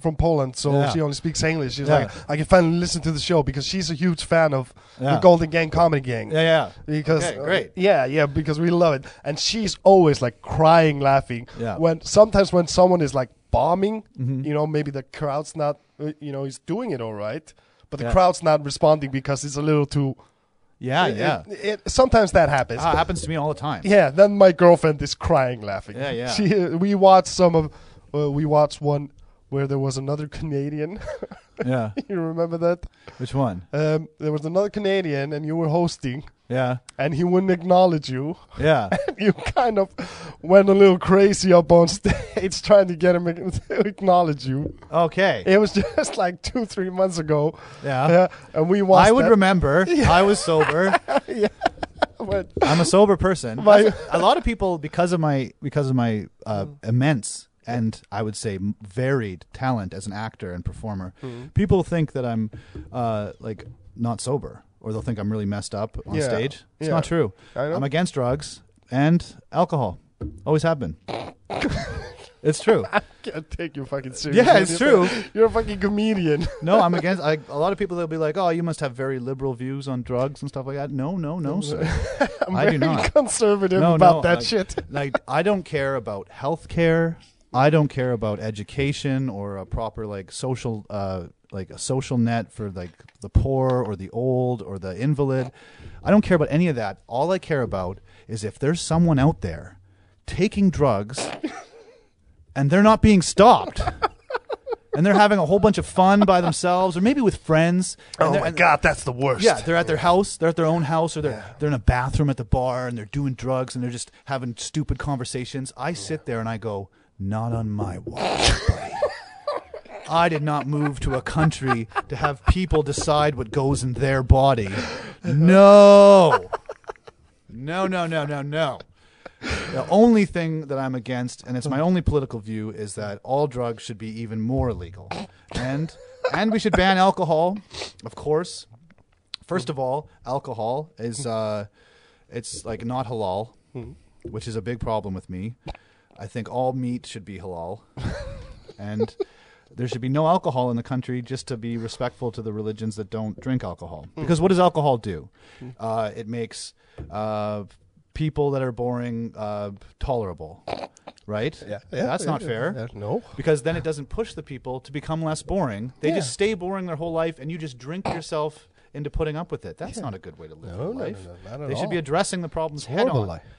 Speaker 1: from Poland, so
Speaker 2: Yeah.
Speaker 1: she only speaks English. She's
Speaker 2: Yeah.
Speaker 1: like, I can finally listen to the show because she's a huge fan of
Speaker 2: Yeah.
Speaker 1: the Golden Gang Comedy Gang.
Speaker 2: Yeah, yeah.
Speaker 1: Because uh,
Speaker 2: Okay, great.
Speaker 1: yeah, yeah, because we love it, and she's always like crying, laughing.
Speaker 2: Yeah. Mm-hmm.
Speaker 1: When sometimes when someone is like bombing, you know, maybe the crowd's not, uh, you know, is doing it all right, but the
Speaker 2: Yeah.
Speaker 1: crowd's not responding because it's a little too.
Speaker 2: Yeah,
Speaker 1: it-
Speaker 2: yeah.
Speaker 1: It, it- sometimes that happens.
Speaker 2: Ah, it happens to me all the time.
Speaker 1: Yeah. Then my girlfriend is crying, laughing.
Speaker 2: Yeah, yeah.
Speaker 1: She, uh, we watched some of, uh, we watched one where there was another Canadian.
Speaker 2: yeah.
Speaker 1: you remember that?
Speaker 2: Which one?
Speaker 1: Um, there was another Canadian, and you were hosting,
Speaker 2: Yeah.
Speaker 1: and he wouldn't acknowledge you.
Speaker 2: Yeah.
Speaker 1: you kind of went a little crazy up on stage trying to get him to acknowledge you.
Speaker 2: Okay.
Speaker 1: It was just like two, three months ago.
Speaker 2: Yeah.
Speaker 1: and we watched.
Speaker 2: I would
Speaker 1: that,
Speaker 2: remember. I was sober.
Speaker 1: but-
Speaker 2: I'm a sober person.
Speaker 1: My-
Speaker 2: That's- a lot of people, because of my because of my uh,
Speaker 1: Mm.
Speaker 2: immense and I would say m- varied talent as an actor and performer,
Speaker 1: Mm.
Speaker 2: people think that I'm uh, like not sober, or they'll think I'm really messed up on
Speaker 1: Yeah.
Speaker 2: stage. It's
Speaker 1: Yeah.
Speaker 2: not true.
Speaker 1: I know.
Speaker 2: I'm against drugs and alcohol. Always have been. it's true.
Speaker 1: Can't take you fucking seriously.
Speaker 2: Yeah, it's true.
Speaker 1: You're a fucking comedian.
Speaker 2: No, I'm against. I, a lot of people they'll be like, "Oh, you must have very liberal views on drugs and stuff like that." No, no, no, sir.
Speaker 1: I'm
Speaker 2: I
Speaker 1: very
Speaker 2: do not.
Speaker 1: conservative
Speaker 2: No,
Speaker 1: about
Speaker 2: no,
Speaker 1: that
Speaker 2: I-
Speaker 1: shit.
Speaker 2: like I don't care about health care. I don't care about education or a proper like social uh like a social net for like the poor or the old or the invalid. I don't care about any of that. All I care about is if there's someone out there taking drugs and they're not being stopped. And they're having a whole bunch of fun by themselves, or maybe with friends.
Speaker 1: Oh,
Speaker 2: and they're- and-
Speaker 1: that's the worst.
Speaker 2: yeah, they're at their house. They're at their own house, or they're they're in a bathroom at the bar, and they're doing drugs, and they're just having stupid conversations. I sit there and I go, "Not on my watch, buddy. I did not move to a country to have people decide what goes in their body. No, no, no, no, no, no." The only thing that I'm against, and it's my only political view, is that all drugs should be even more illegal, and and we should ban alcohol, of course. First of all, alcohol is uh, it's like not halal, which is a big problem with me. I think all meat should be halal, and there should be no alcohol in the country just to be respectful to the religions that don't drink alcohol. Because what does alcohol do? Uh, it makes uh, people that are boring uh, tolerable, right? Yeah, that's not fair
Speaker 1: Yeah, no.
Speaker 2: because then it doesn't push the people to become less boring. They
Speaker 1: Yeah.
Speaker 2: just stay boring their whole life, and you just drink yourself into putting up with it. That's not a good way to live
Speaker 1: No,
Speaker 2: your
Speaker 1: no,
Speaker 2: life.
Speaker 1: no, no, not at
Speaker 2: they should be
Speaker 1: all.
Speaker 2: addressing the problems head
Speaker 1: Horrible
Speaker 2: on.
Speaker 1: life.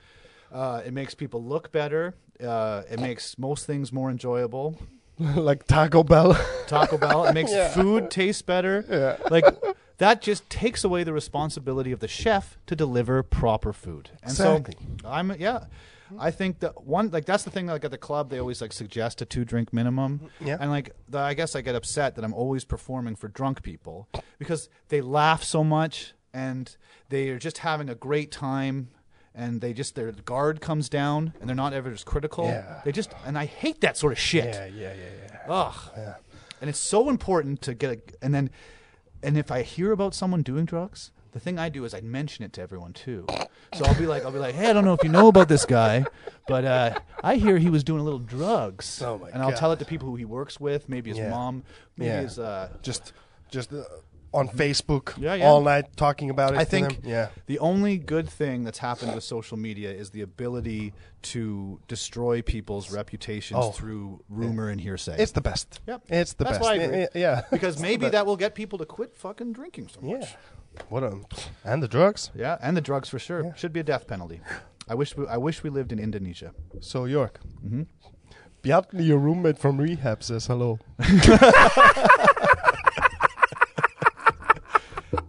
Speaker 2: Uh, it makes people look better. Uh, it makes most things more enjoyable.
Speaker 1: like Taco Bell.
Speaker 2: Taco Bell. It makes food taste better. Like that just takes away the responsibility of the chef to deliver proper food. And
Speaker 1: Exactly.
Speaker 2: so I'm yeah. I think that one like that's the thing like at the club they always like suggest a two drink minimum.
Speaker 1: Yeah.
Speaker 2: And like the, I guess I get upset that I'm always performing for drunk people because they laugh so much and they are just having a great time and they just their guard comes down and they're not ever as critical.
Speaker 1: Yeah.
Speaker 2: They just and I hate that sort of shit.
Speaker 1: yeah, yeah, yeah, yeah.
Speaker 2: Ugh. And it's so important to get a, and then, and if I hear about someone doing drugs, the thing I do is I mention it to everyone too. So I'll be like, I'll be like, hey, I don't know if you know about this guy, but uh, I hear he was doing a little drugs.
Speaker 1: Oh my
Speaker 2: and I'll
Speaker 1: God.
Speaker 2: tell it to people who he works with, maybe his
Speaker 1: Yeah.
Speaker 2: mom, maybe
Speaker 1: Yeah.
Speaker 2: his. Uh,
Speaker 1: Just, just uh, on Facebook
Speaker 2: Yeah, yeah.
Speaker 1: all night talking about it.
Speaker 2: I
Speaker 1: to
Speaker 2: think
Speaker 1: them. yeah.
Speaker 2: the only good thing that's happened with social media is the ability to destroy people's reputations
Speaker 1: Oh.
Speaker 2: through rumor and hearsay.
Speaker 1: It's the best.
Speaker 2: Yep.
Speaker 1: It's the
Speaker 2: That's
Speaker 1: best.
Speaker 2: why I agree.
Speaker 1: Yeah, Yeah.
Speaker 2: because maybe that will get people to quit fucking drinking so much.
Speaker 1: yeah. What a, and the drugs.
Speaker 2: Yeah, and the drugs for sure should be a death penalty. I wish we, I wish we lived in Indonesia. Mm-hmm.
Speaker 1: So York. Bjartli, your roommate from rehab, says hello.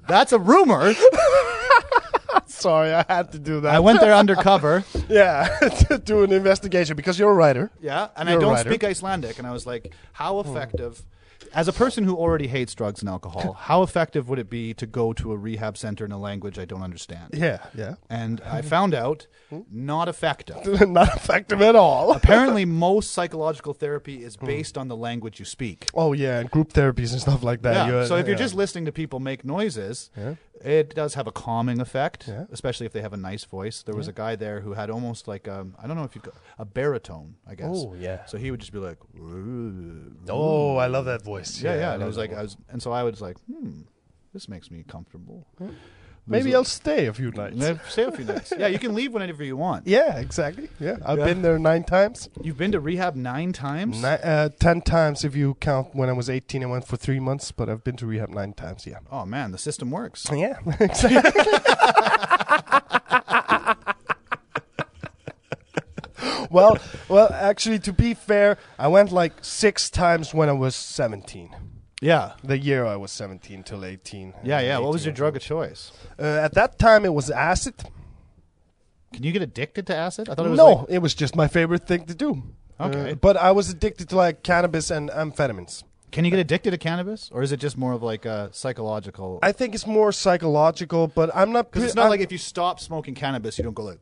Speaker 2: That's a rumor.
Speaker 1: Sorry, I had to do that.
Speaker 2: I went there undercover.
Speaker 1: yeah, to do an investigation because you're a writer.
Speaker 2: Yeah, and
Speaker 1: You're a
Speaker 2: I don't
Speaker 1: writer.
Speaker 2: speak Icelandic, and I was like, how effective. Hmm. As a person who already hates drugs and alcohol, how effective would it be to go to a rehab center in a language I don't understand?
Speaker 1: Yeah, yeah.
Speaker 2: And I found out, not effective.
Speaker 1: Not effective at all.
Speaker 2: Apparently, most psychological therapy is based on the language you speak.
Speaker 1: Oh yeah, and group therapies and stuff like that.
Speaker 2: Yeah. so if you're just listening to people make noises, it does have a calming effect,
Speaker 1: Yeah.
Speaker 2: especially if they have a nice voice. There was a guy there who had almost like um, I don't know if you have got a baritone, I guess.
Speaker 1: Oh, yeah.
Speaker 2: So he would just be like,
Speaker 1: oh, I love that voice.
Speaker 2: yeah, yeah.
Speaker 1: I
Speaker 2: And
Speaker 1: love
Speaker 2: I was
Speaker 1: that
Speaker 2: like,
Speaker 1: voice.
Speaker 2: I was, and so I was like, hmm, this makes me comfortable.
Speaker 1: maybe I'll stay a few nights.
Speaker 2: And I stay a few nights. Yeah, you can leave whenever you want.
Speaker 1: Yeah, exactly. Yeah, I've
Speaker 2: Yeah.
Speaker 1: been there nine times.
Speaker 2: You've been to rehab nine times.
Speaker 1: Ni- uh, ten times if you count when I was 18 I went for three months, but I've been to rehab nine times, yeah.
Speaker 2: Oh man, the system works.
Speaker 1: Yeah, exactly. well, well, actually, to be fair, I went like six times when I was 17.
Speaker 2: Yeah.
Speaker 1: The year I was 17 till 18.
Speaker 2: Yeah, yeah. What was
Speaker 1: 18.
Speaker 2: your drug of choice?
Speaker 1: Uh, at that time, it was acid.
Speaker 2: Can you get addicted to acid? I thought it was
Speaker 1: No,
Speaker 2: like-
Speaker 1: it was just my favorite thing to do.
Speaker 2: Okay.
Speaker 1: Uh, but I was addicted to like cannabis and amphetamines.
Speaker 2: Can you get addicted to cannabis, or is it just more of like a psychological?
Speaker 1: I think it's more psychological, but I'm not.
Speaker 2: Because it's
Speaker 1: pre-
Speaker 2: not
Speaker 1: I'm-
Speaker 2: like if you stop smoking cannabis, you don't go like.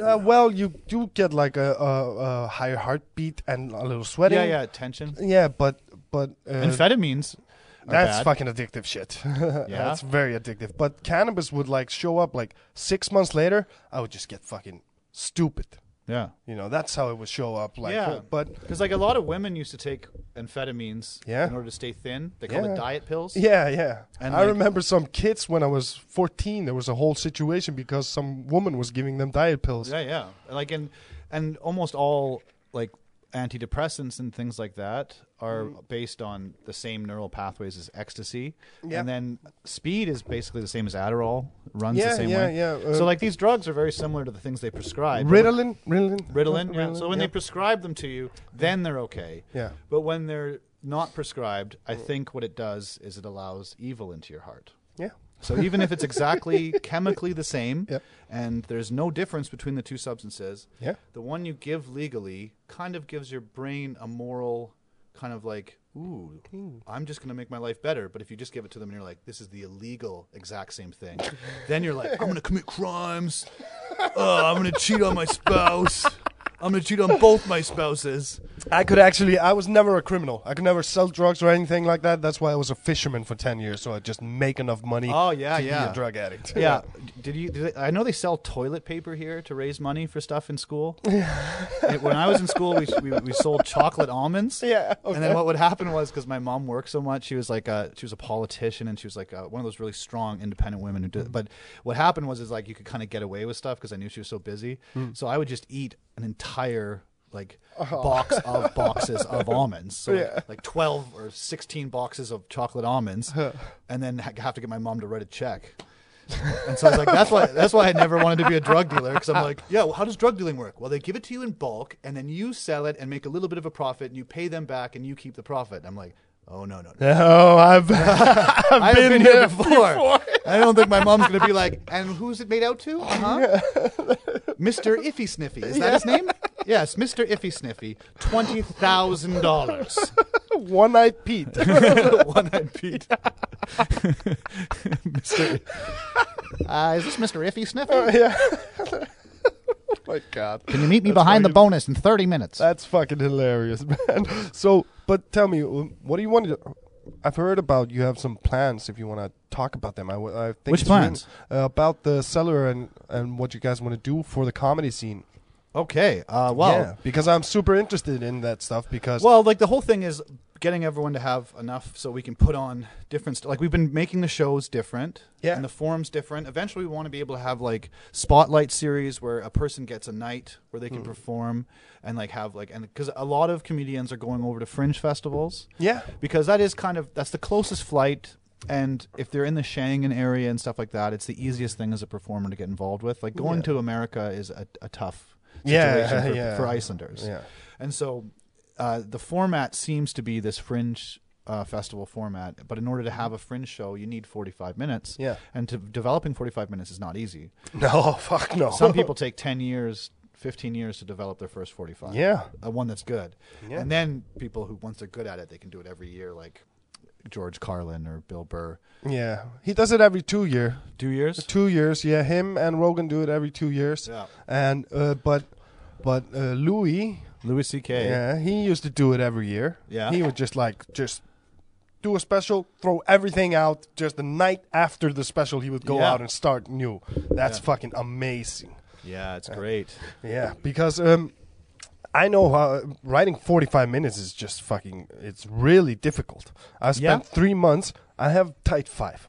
Speaker 1: Uh, well, you do get like a, a, a higher heartbeat and a little sweating.
Speaker 2: Yeah, yeah, tension.
Speaker 1: Yeah, but but uh,
Speaker 2: Amphetamines. are
Speaker 1: that's
Speaker 2: bad.
Speaker 1: fucking addictive shit. yeah,
Speaker 2: Yeah?
Speaker 1: that's very addictive. But cannabis would like show up like six months later. I would just get fucking stupid.
Speaker 2: Yeah.
Speaker 1: You know, that's how it would show up. Like, uh,
Speaker 2: Yeah.
Speaker 1: but
Speaker 2: Because like a lot of women used to take amphetamines
Speaker 1: Yeah.
Speaker 2: in order to stay thin. They call
Speaker 1: Yeah.
Speaker 2: it diet pills.
Speaker 1: yeah, yeah.
Speaker 2: And,
Speaker 1: I
Speaker 2: like-
Speaker 1: remember some kids when I was 14. There was a whole situation because some woman was giving them diet pills.
Speaker 2: Yeah, yeah. Like in and almost all like antidepressants and things like that are
Speaker 1: Mm-hmm.
Speaker 2: based on the same neural pathways as ecstasy.
Speaker 1: Yeah.
Speaker 2: And then speed is basically the same as Adderall, runs
Speaker 1: Yeah,
Speaker 2: the same
Speaker 1: yeah,
Speaker 2: way.
Speaker 1: yeah, uh,
Speaker 2: so like these drugs are very similar to the things they prescribe.
Speaker 1: Ritalin, Ritalin,
Speaker 2: Ritalin, yeah. So when
Speaker 1: yeah.
Speaker 2: they prescribe them to you, then they're okay.
Speaker 1: Yeah. Mm.
Speaker 2: But when they're not prescribed, I think what it does is it allows evil into your heart.
Speaker 1: yeah,
Speaker 2: So even if it's exactly chemically the same,
Speaker 1: Yep.
Speaker 2: and there's no difference between the two substances,
Speaker 1: Yeah.
Speaker 2: the one you give legally kind of gives your brain a moral kind of like, ooh, I'm just going to make my life better. But if you just give it to them and you're like, this is the illegal exact same thing, then you're like, I'm going to commit crimes. Uh, I'm going to cheat on my spouse. I'm going to cheat on both my spouses.
Speaker 1: I could actually. I was never a criminal. I could never sell drugs or anything like that. That's why I was a fisherman for ten years, so I just make enough money.
Speaker 2: Oh, yeah,
Speaker 1: to be
Speaker 2: yeah.
Speaker 1: a drug addict.
Speaker 2: Yeah. Did you? Did they, I know they sell toilet paper here to raise money for stuff in school. And when I was in school, we, we, we sold chocolate almonds.
Speaker 1: Yeah,
Speaker 2: And then what would happen was because my mom worked so much, she was like uh, she was a politician and she was like uh, one of those really strong independent women who did. But what happened was is like you could kind of get away with stuff because I knew she was so busy. So I would just eat an entire. Like box of boxes of almonds, so like, like twelve or sixteen boxes of chocolate almonds, and then ha- have to get my mom to write a check. And so I was like, that's why that's why I never wanted to be a drug dealer because I'm like, yeah, well, how does drug dealing work? Well, they give it to you in bulk, and then you sell it and make a little bit of a profit, and you pay them back, and you keep the profit. And I'm like, oh no, no, no.
Speaker 1: Oh, I've I've,
Speaker 2: I've
Speaker 1: been,
Speaker 2: been,
Speaker 1: here,
Speaker 2: here before. I don't think my mom's gonna be like, and who's it made out to? Uh huh. Mr. Iffy Sniffy, is that his name? Yes, Mr. Iffy Sniffy, twenty thousand dollars.
Speaker 1: One eyed Pete.
Speaker 2: Oh, One eyed Pete. Mr. Uh, is this Mr. Iffy Sniffy?
Speaker 1: yeah. oh my God.
Speaker 2: Can you meet me
Speaker 1: That's
Speaker 2: behind the
Speaker 1: fucking-
Speaker 2: bonus in 30 minutes?
Speaker 1: That's fucking hilarious, man. So, but tell me, um, what do you want to? I've heard about you have some plans. If you want to talk about them, I, w- I think
Speaker 2: Which
Speaker 1: it's really-
Speaker 2: plans?
Speaker 1: uh, about the cellar and and what you guys want to do for the comedy scene.
Speaker 2: Okay. Uh, well,
Speaker 1: yeah, because I'm super interested in that stuff. Because
Speaker 2: Well, like the whole thing is getting everyone to have enough so we can put on different st- like we've been making the shows different
Speaker 1: Yeah.
Speaker 2: and the forums different eventually we want to be able to have like spotlight series where a person gets a night where they can
Speaker 1: Hmm.
Speaker 2: perform and like have like and because a lot of comedians are going over to fringe festivals
Speaker 1: yeah,
Speaker 2: because that is kind of that's the closest flight and if they're in the Schengen area and stuff like that, it's the easiest thing as a performer to get involved with. Like going
Speaker 1: Yeah.
Speaker 2: to America is a, a tough
Speaker 1: Yeah,
Speaker 2: situation for,
Speaker 1: yeah.
Speaker 2: for Icelanders.
Speaker 1: Yeah.
Speaker 2: And so uh, the format seems to be this fringe uh, festival format, but in order to have a fringe show, you need 45 minutes.
Speaker 1: Yeah.
Speaker 2: And to developing 45 minutes is not easy.
Speaker 1: no, fuck no.
Speaker 2: Some people take 10 years, 15 years to develop their first 45
Speaker 1: Yeah.
Speaker 2: a one that's good.
Speaker 1: Yeah.
Speaker 2: And then people who once they're good at it, they can do it every year, like George Carlin or Bill Burr.
Speaker 1: Yeah, he does it every two year.
Speaker 2: Two years.
Speaker 1: Two years, yeah. Him and Rogan do it every two years.
Speaker 2: Yeah.
Speaker 1: And uh, but but uh, Louis,
Speaker 2: Louis C.K.
Speaker 1: yeah, he used to do it every year.
Speaker 2: Yeah.
Speaker 1: He would just like just do a special, throw everything out. Just the night after the special, he would go
Speaker 2: Yeah.
Speaker 1: out and start new. That's fucking amazing.
Speaker 2: Yeah, it's great.
Speaker 1: Yeah, because um, I know how uh, writing 45 minutes is just fucking. It's really difficult. I spent three months. I have tight five.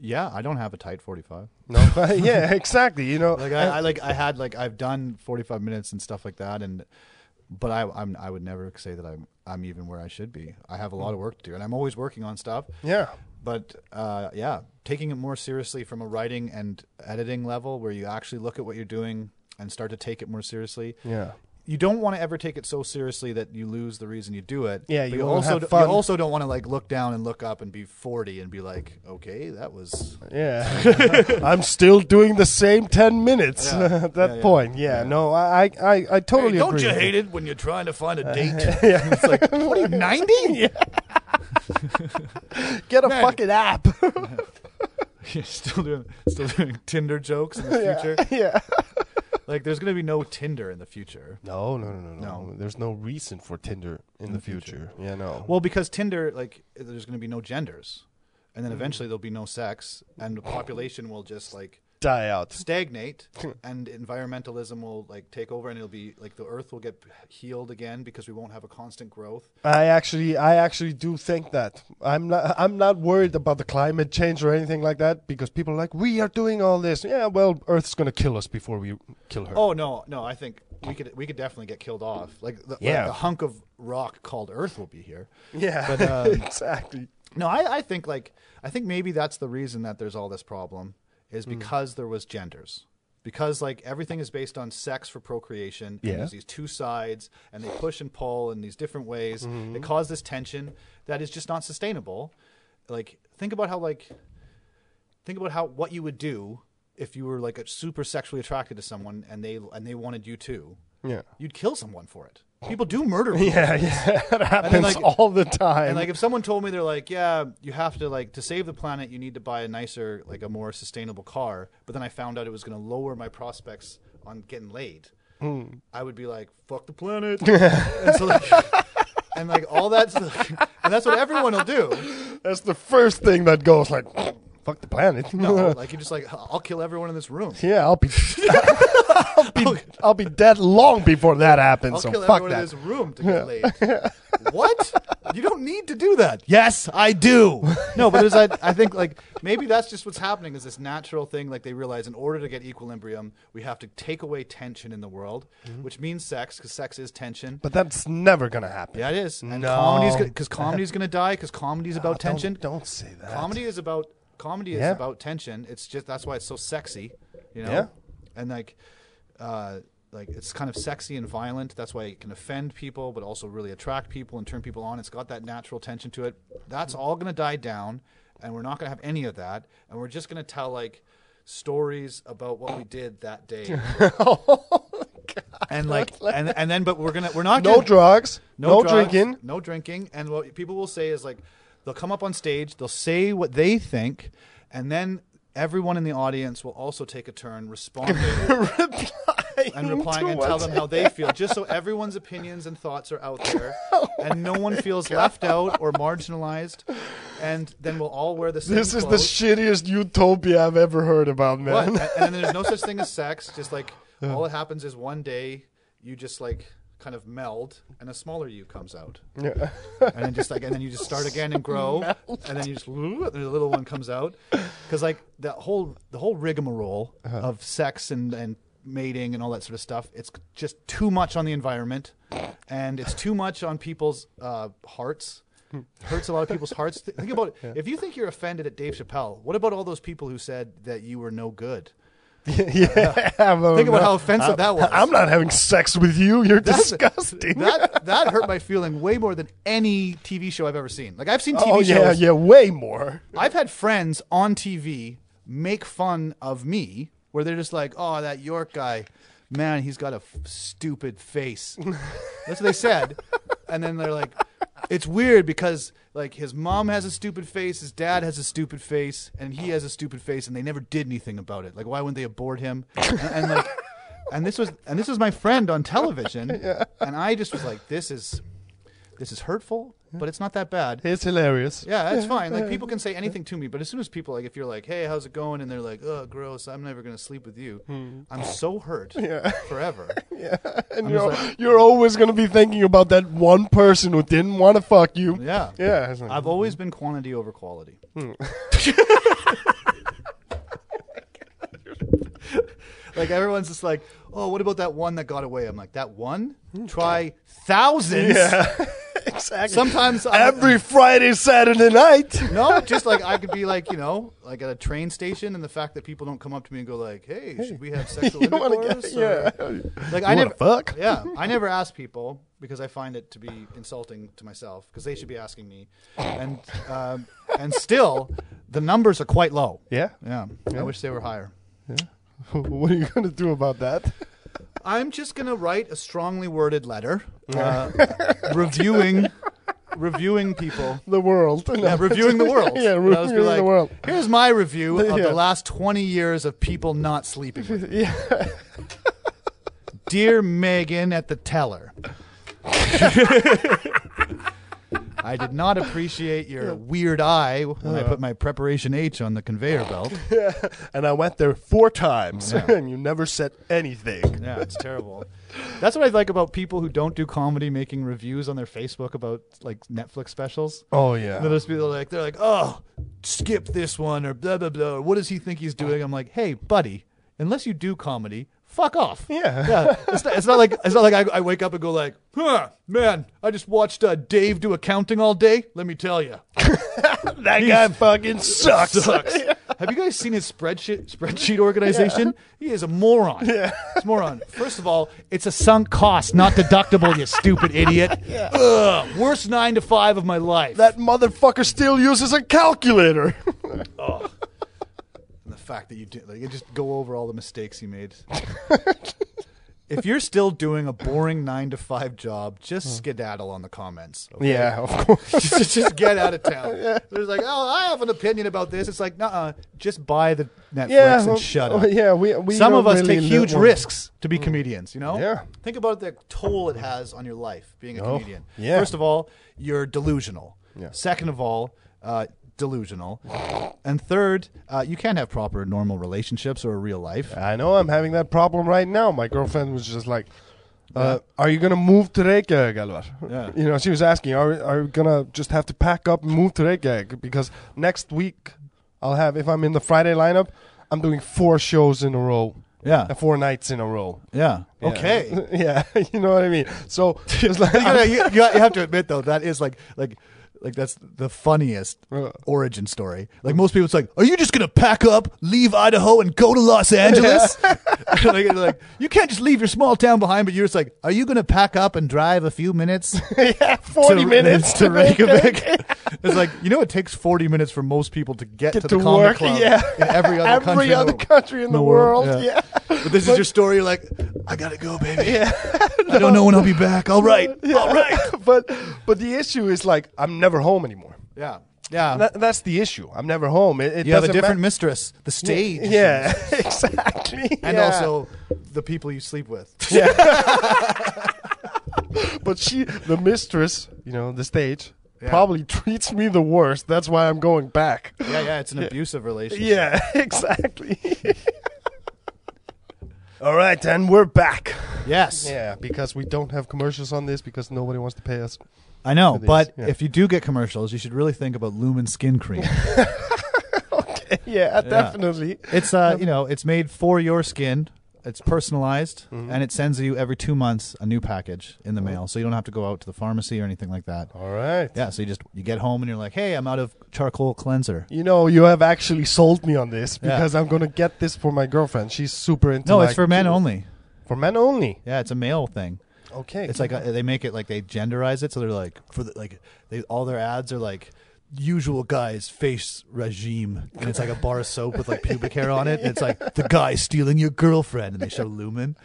Speaker 2: Yeah, I don't have a tight forty-five.
Speaker 1: No, yeah, exactly. You know,
Speaker 2: Like I, I like I had like I've done forty-five minutes and stuff like that, and but I I'm, I would never say that I'm I'm even where I should be. I have a lot of work to do, and I'm always working on stuff.
Speaker 1: yeah.
Speaker 2: But uh, yeah, taking it more seriously from a writing and editing level, where you actually look at what you're doing and start to take it more seriously.
Speaker 1: Yeah.
Speaker 2: you don't want to ever take it so seriously that you lose the reason you do it.
Speaker 1: Yeah,
Speaker 2: But
Speaker 1: you
Speaker 2: you
Speaker 1: wanna
Speaker 2: also
Speaker 1: have
Speaker 2: do, you
Speaker 1: fun.
Speaker 2: also don't want to like look down and look up and be forty and be like, okay, that was
Speaker 1: Yeah, I'm still doing the same ten minutes
Speaker 2: Yeah.
Speaker 1: at that
Speaker 2: Yeah, yeah.
Speaker 1: point. Yeah, no, I, I- I, I totally
Speaker 2: Hey, don't
Speaker 1: agree.
Speaker 2: you
Speaker 1: with Uh,
Speaker 2: hate it when you're trying to find a date? it's like, what are you, 90?
Speaker 1: Get a
Speaker 2: Man.
Speaker 1: fucking app.
Speaker 2: You're still doing, still doing Tinder jokes in the future.
Speaker 1: yeah.
Speaker 2: Like, there's going to be no Tinder in the future.
Speaker 1: No, no, no, no, no,
Speaker 2: No.
Speaker 1: There's no reason for Tinder in, the, future. Yeah, no.
Speaker 2: Well, because Tinder, like, there's going to be no genders. And then eventually there'll be no sex. And the population will just, like,
Speaker 1: die out.
Speaker 2: stagnate and environmentalism will like take over and it'll be like the earth will get healed again because we won't have a constant growth
Speaker 1: I actually, I actually do think that I'm not, I'm not worried about the climate change or anything like that because people are like, we are doing all this. Yeah, well, Earth's gonna kill us before we kill her.
Speaker 2: oh no no i think we could we could definitely get killed off like the,
Speaker 1: Yeah.
Speaker 2: like, the hunk of rock called earth will be here
Speaker 1: yeah,
Speaker 2: but, um,
Speaker 1: exactly.
Speaker 2: no I, I think like i think maybe that's the reason that there's all this problem is because there was genders because like everything is based on sex for procreation
Speaker 1: Yeah.
Speaker 2: and there's these two sides and they push and pull in these different ways it caused this tension that is just not sustainable like think about how like think about how what you would do if you were like a super sexually attracted to someone and they and they wanted you too
Speaker 1: Yeah.
Speaker 2: you'd kill someone for it people do murder people
Speaker 1: Yeah, yeah, that happens
Speaker 2: like-
Speaker 1: all the time.
Speaker 2: and like if someone told me they're like, yeah, you have to like to save the planet, you need to buy a nicer, like a more sustainable car. But then I found out it was going to lower my prospects on getting laid. I would be like, fuck the planet. and so like, and like all that's and that's what everyone will do.
Speaker 1: That's the first thing that goes like, fuck the planet.
Speaker 2: No, like you're just like, I'll kill everyone in this room.
Speaker 1: yeah, I'll be, I'll be, I'll be dead long before that happens.
Speaker 2: I'll
Speaker 1: so
Speaker 2: kill
Speaker 1: fuck
Speaker 2: everyone in
Speaker 1: that.
Speaker 2: this room to get laid. what? You don't need to do that. Yes, I do. No, but there's I, I think like maybe that's just what's happening is this natural thing like they realize in order to get equilibrium, we have to take away tension in the world, which means sex cuz sex is tension.
Speaker 1: Mm-hmm. But that's never gonna happen.
Speaker 2: yeah, it is. And
Speaker 1: No.
Speaker 2: comedy's cuz comedy's going to die cuz comedy's about
Speaker 1: Don't-
Speaker 2: tension.
Speaker 1: Don't, say that.
Speaker 2: Comedy is about comedy is
Speaker 1: Yeah.
Speaker 2: about tension. It's just that's why it's so sexy, you know.
Speaker 1: Yeah.
Speaker 2: And like, uh, like it's kind of sexy and violent. That's why it can offend people, but also really attract people and turn people on. It's got that natural tension to it. That's all gonna die down, and we're not gonna have any of that. And we're just gonna tell like stories about what we did that day, and like, and and then but we're gonna we're not
Speaker 1: No
Speaker 2: gonna,
Speaker 1: drugs. No,
Speaker 2: drugs,
Speaker 1: drinking.
Speaker 2: No drinking. And what people will say is like, they'll come up on stage, they'll say what they think, and then everyone in the audience will also take a turn responding
Speaker 1: replying
Speaker 2: and replying
Speaker 1: to
Speaker 2: and tell
Speaker 1: what's-
Speaker 2: them how they feel, just so everyone's opinions and thoughts are out there,
Speaker 1: Oh
Speaker 2: and no one feels left out or marginalized, and then we'll all wear the same.
Speaker 1: This is the
Speaker 2: clothes.
Speaker 1: shittiest utopia I've ever heard about,
Speaker 2: What?
Speaker 1: man.
Speaker 2: And- and then there's no such thing as sex. Just like all that happens is one day you just like kind of meld, and a smaller you comes out,
Speaker 1: Yeah.
Speaker 2: and then just like and then you just start again and grow, and then you just and the little one comes out, because like that whole the whole rigmarole
Speaker 1: Uh-huh.
Speaker 2: of sex and and mating and all that sort of stuff it's just too much on the environment and it's too much on people's uh, hearts hurts a lot of people's hearts Th- think about it if you think you're offended at dave chappelle what about all those people who said that you were no good
Speaker 1: Oh, yeah. I'm-
Speaker 2: Think about
Speaker 1: I'm-
Speaker 2: how offensive that was.
Speaker 1: Uh, I'm not having sex with you. You're
Speaker 2: That's-
Speaker 1: disgusting.
Speaker 2: That that hurt my feeling way more than any TV show I've ever seen. Like I've seen TV
Speaker 1: oh
Speaker 2: shows.
Speaker 1: yeah, yeah, way more.
Speaker 2: I've had friends on TV make fun of me where they're just like, "Oh, that York guy, man, he's got a f- stupid face." That's what they said, and then they're like, "It's weird because like his mom has a stupid face, his dad has a stupid face, and he has a stupid face, and they never did anything about it. Like, why wouldn't they abort him?" And, and like, and this was and this was my friend on television, and I just was like, "This is." This is hurtful, but it's not that bad.
Speaker 1: It's hilarious.
Speaker 2: Yeah, that's fine. Like people can say anything to me, but as soon as people like, if you're like, "Hey, how's it going?" and they're like, "Oh, gross! I'm never gonna sleep with you," I'm so hurt forever.
Speaker 1: And you're, you're always gonna be thinking about that one person who didn't want to fuck you.
Speaker 2: Yeah, Hmm.
Speaker 1: Yeah. it's like-
Speaker 2: I've always been quantity over quality. like everyone's just like, "Oh, what about that one that got away?" I'm like, "That one? Try thousands."
Speaker 1: yeah. exactly.
Speaker 2: Sometimes I'm-
Speaker 1: every Friday, Saturday night.
Speaker 2: No, just like I could be like, you know, like at a train station, and the fact that people don't come up to me and go like, "Hey, should we have sexual
Speaker 1: You wanna
Speaker 2: intercourse?"
Speaker 1: get-
Speaker 2: or-
Speaker 1: yeah.
Speaker 2: Like
Speaker 1: You wanna
Speaker 2: I never
Speaker 1: fuck?
Speaker 2: Yeah, I never ask people because I find it to be insulting to myself because they should be asking me, and um, and still, the numbers are quite low.
Speaker 1: Yeah.
Speaker 2: Yeah, I wish they were higher.
Speaker 1: What are you gonna do about that?
Speaker 2: I'm just gonna write a strongly worded letter, uh, reviewing, reviewing people.
Speaker 1: The world.
Speaker 2: Yeah, reviewing the world.
Speaker 1: yeah,
Speaker 2: And I'll just be
Speaker 1: reviewing the
Speaker 2: like,
Speaker 1: world.
Speaker 2: Here's my review of
Speaker 1: Yeah.
Speaker 2: the last 20 years of people not sleeping. With me.
Speaker 1: Yeah.
Speaker 2: Dear Megan at the teller, I did not appreciate your weird eye when
Speaker 1: Uh.
Speaker 2: I put my preparation H on the conveyor belt.
Speaker 1: and I went there four times,
Speaker 2: Yeah.
Speaker 1: and you never said anything.
Speaker 2: Yeah, it's terrible. That's what I like about people who don't do comedy making reviews on their Facebook about like Netflix specials.
Speaker 1: Oh
Speaker 2: They'll
Speaker 1: yeah.
Speaker 2: just be like, they're like, oh, skip this one or blah blah blah. Or what does he think he's doing? I'm like, hey, buddy, unless you do comedy, fuck off.
Speaker 1: Yeah.
Speaker 2: yeah. It's not, it's not like it's not like I, I wake up and go like, huh, man, I just watched uh, Dave do accounting all day. Let me tell you,
Speaker 1: That guy fucking sucks.
Speaker 2: sucks. Have you guys seen his spreadsheet spreadsheet organization? He is a moron. Yeah. It's a moron. First of all, it's a sunk cost, not deductible. You stupid idiot. Ugh, worst nine to five of my life.
Speaker 1: that motherfucker still uses a calculator.
Speaker 2: and the fact that you did like you just go over all the mistakes you made. if you're still doing a boring nine to five job, just skedaddle on the comments. okay?
Speaker 1: Hmm. yeah, of course.
Speaker 2: just, just get out of town. There's like, oh, I have an opinion about this. It's like, nah, just buy the Netflix
Speaker 1: Yeah, well,
Speaker 2: and shut
Speaker 1: oh,
Speaker 2: up.
Speaker 1: yeah, we- we
Speaker 2: some
Speaker 1: don't
Speaker 2: of us
Speaker 1: really
Speaker 2: take
Speaker 1: live
Speaker 2: huge
Speaker 1: one.
Speaker 2: risks to be comedians. You know,
Speaker 1: Yeah. Oh,
Speaker 2: Think about the toll it has on your life being a comedian.
Speaker 1: yeah.
Speaker 2: First of all, you're delusional.
Speaker 1: Yeah.
Speaker 2: Second of all, uh, delusional. And third, uh, you can't have proper normal relationships or a real life.
Speaker 1: I know I'm having that problem right now. My girlfriend was just like, uh, "Are you gonna move to Reykjavik, Alvar?"
Speaker 2: Yeah.
Speaker 1: You know, she was asking, "Are we- are we gonna just have to pack up and move to Reykjavik?" Because next week, I'll have if I'm in the Friday lineup, I'm doing four shows in a row.
Speaker 2: Yeah.
Speaker 1: Uh, four nights in a row.
Speaker 2: Yeah.
Speaker 1: Yeah.
Speaker 2: Okay.
Speaker 1: yeah, you know what I mean. So it's like,
Speaker 2: you, gotta- you, you you have to admit though that is like like like that's the funniest
Speaker 1: Uh.
Speaker 2: origin story. Like most people, it's like, are you just gonna pack up, leave Idaho, and go to Los Angeles? like, you're like, you can't just leave your small town behind. But you're just like, are you gonna pack up and drive a few minutes?
Speaker 1: yeah, forty
Speaker 2: to-
Speaker 1: minutes
Speaker 2: to
Speaker 1: make
Speaker 2: Reykjavik. it's like you know, it takes forty minutes for most people to get,
Speaker 1: Get
Speaker 2: to
Speaker 1: to
Speaker 2: the comedy
Speaker 1: work,
Speaker 2: club
Speaker 1: yeah.
Speaker 2: in every other
Speaker 1: Every
Speaker 2: country, in
Speaker 1: other
Speaker 2: the-
Speaker 1: country in the world, yeah.
Speaker 2: But this is your story. You're like, I gotta go, baby. I don't know when I'll be back. All right, all right.
Speaker 1: but but the issue is like I'm never home anymore.
Speaker 2: Yeah. Yeah.
Speaker 1: Tha- that's the issue. I'm never home. It, it
Speaker 2: you have a
Speaker 1: doesn't
Speaker 2: different
Speaker 1: ma-
Speaker 2: mistress, the stage, is
Speaker 1: Yeah, exactly.
Speaker 2: and
Speaker 1: yeah.
Speaker 2: also the people you sleep with.
Speaker 1: but she, the mistress, you know, the stage,
Speaker 2: Yeah.
Speaker 1: probably treats me the worst. That's why I'm going back.
Speaker 2: yeah, yeah, it's an abusive relationship.
Speaker 1: Yeah, exactly. All right, and we're back.
Speaker 2: Yes,
Speaker 1: Yeah, because we don't have commercials on this because nobody wants to pay us.
Speaker 2: I know,
Speaker 1: is,
Speaker 2: but
Speaker 1: yeah.
Speaker 2: if you do get commercials, you should really think about Lumen Skin Cream.
Speaker 1: yeah, definitely.
Speaker 2: it's uh,
Speaker 1: Um,
Speaker 2: you know, it's made for your skin. It's personalized,
Speaker 1: Mm-hmm.
Speaker 2: and it sends you every two months a new package in the mail, so you don't have to go out to the pharmacy or anything like that.
Speaker 1: All right.
Speaker 2: Yeah, so you just you get home and you're like, hey, I'm out of charcoal cleanser.
Speaker 1: You know, you have actually sold me on this
Speaker 2: Yeah.
Speaker 1: because I'm gonna get this for my girlfriend. She's super into.
Speaker 2: No, it's
Speaker 1: like-
Speaker 2: for men only.
Speaker 1: For men only.
Speaker 2: Yeah, it's a male thing.
Speaker 1: Okay.
Speaker 2: It's like uh they make it like they genderize it, so they're like for the, like they all their ads are like usual guys face regime, and it's like a bar of soap with like pubic hair on it. And it's like the guy stealing your girlfriend, and they show lumen.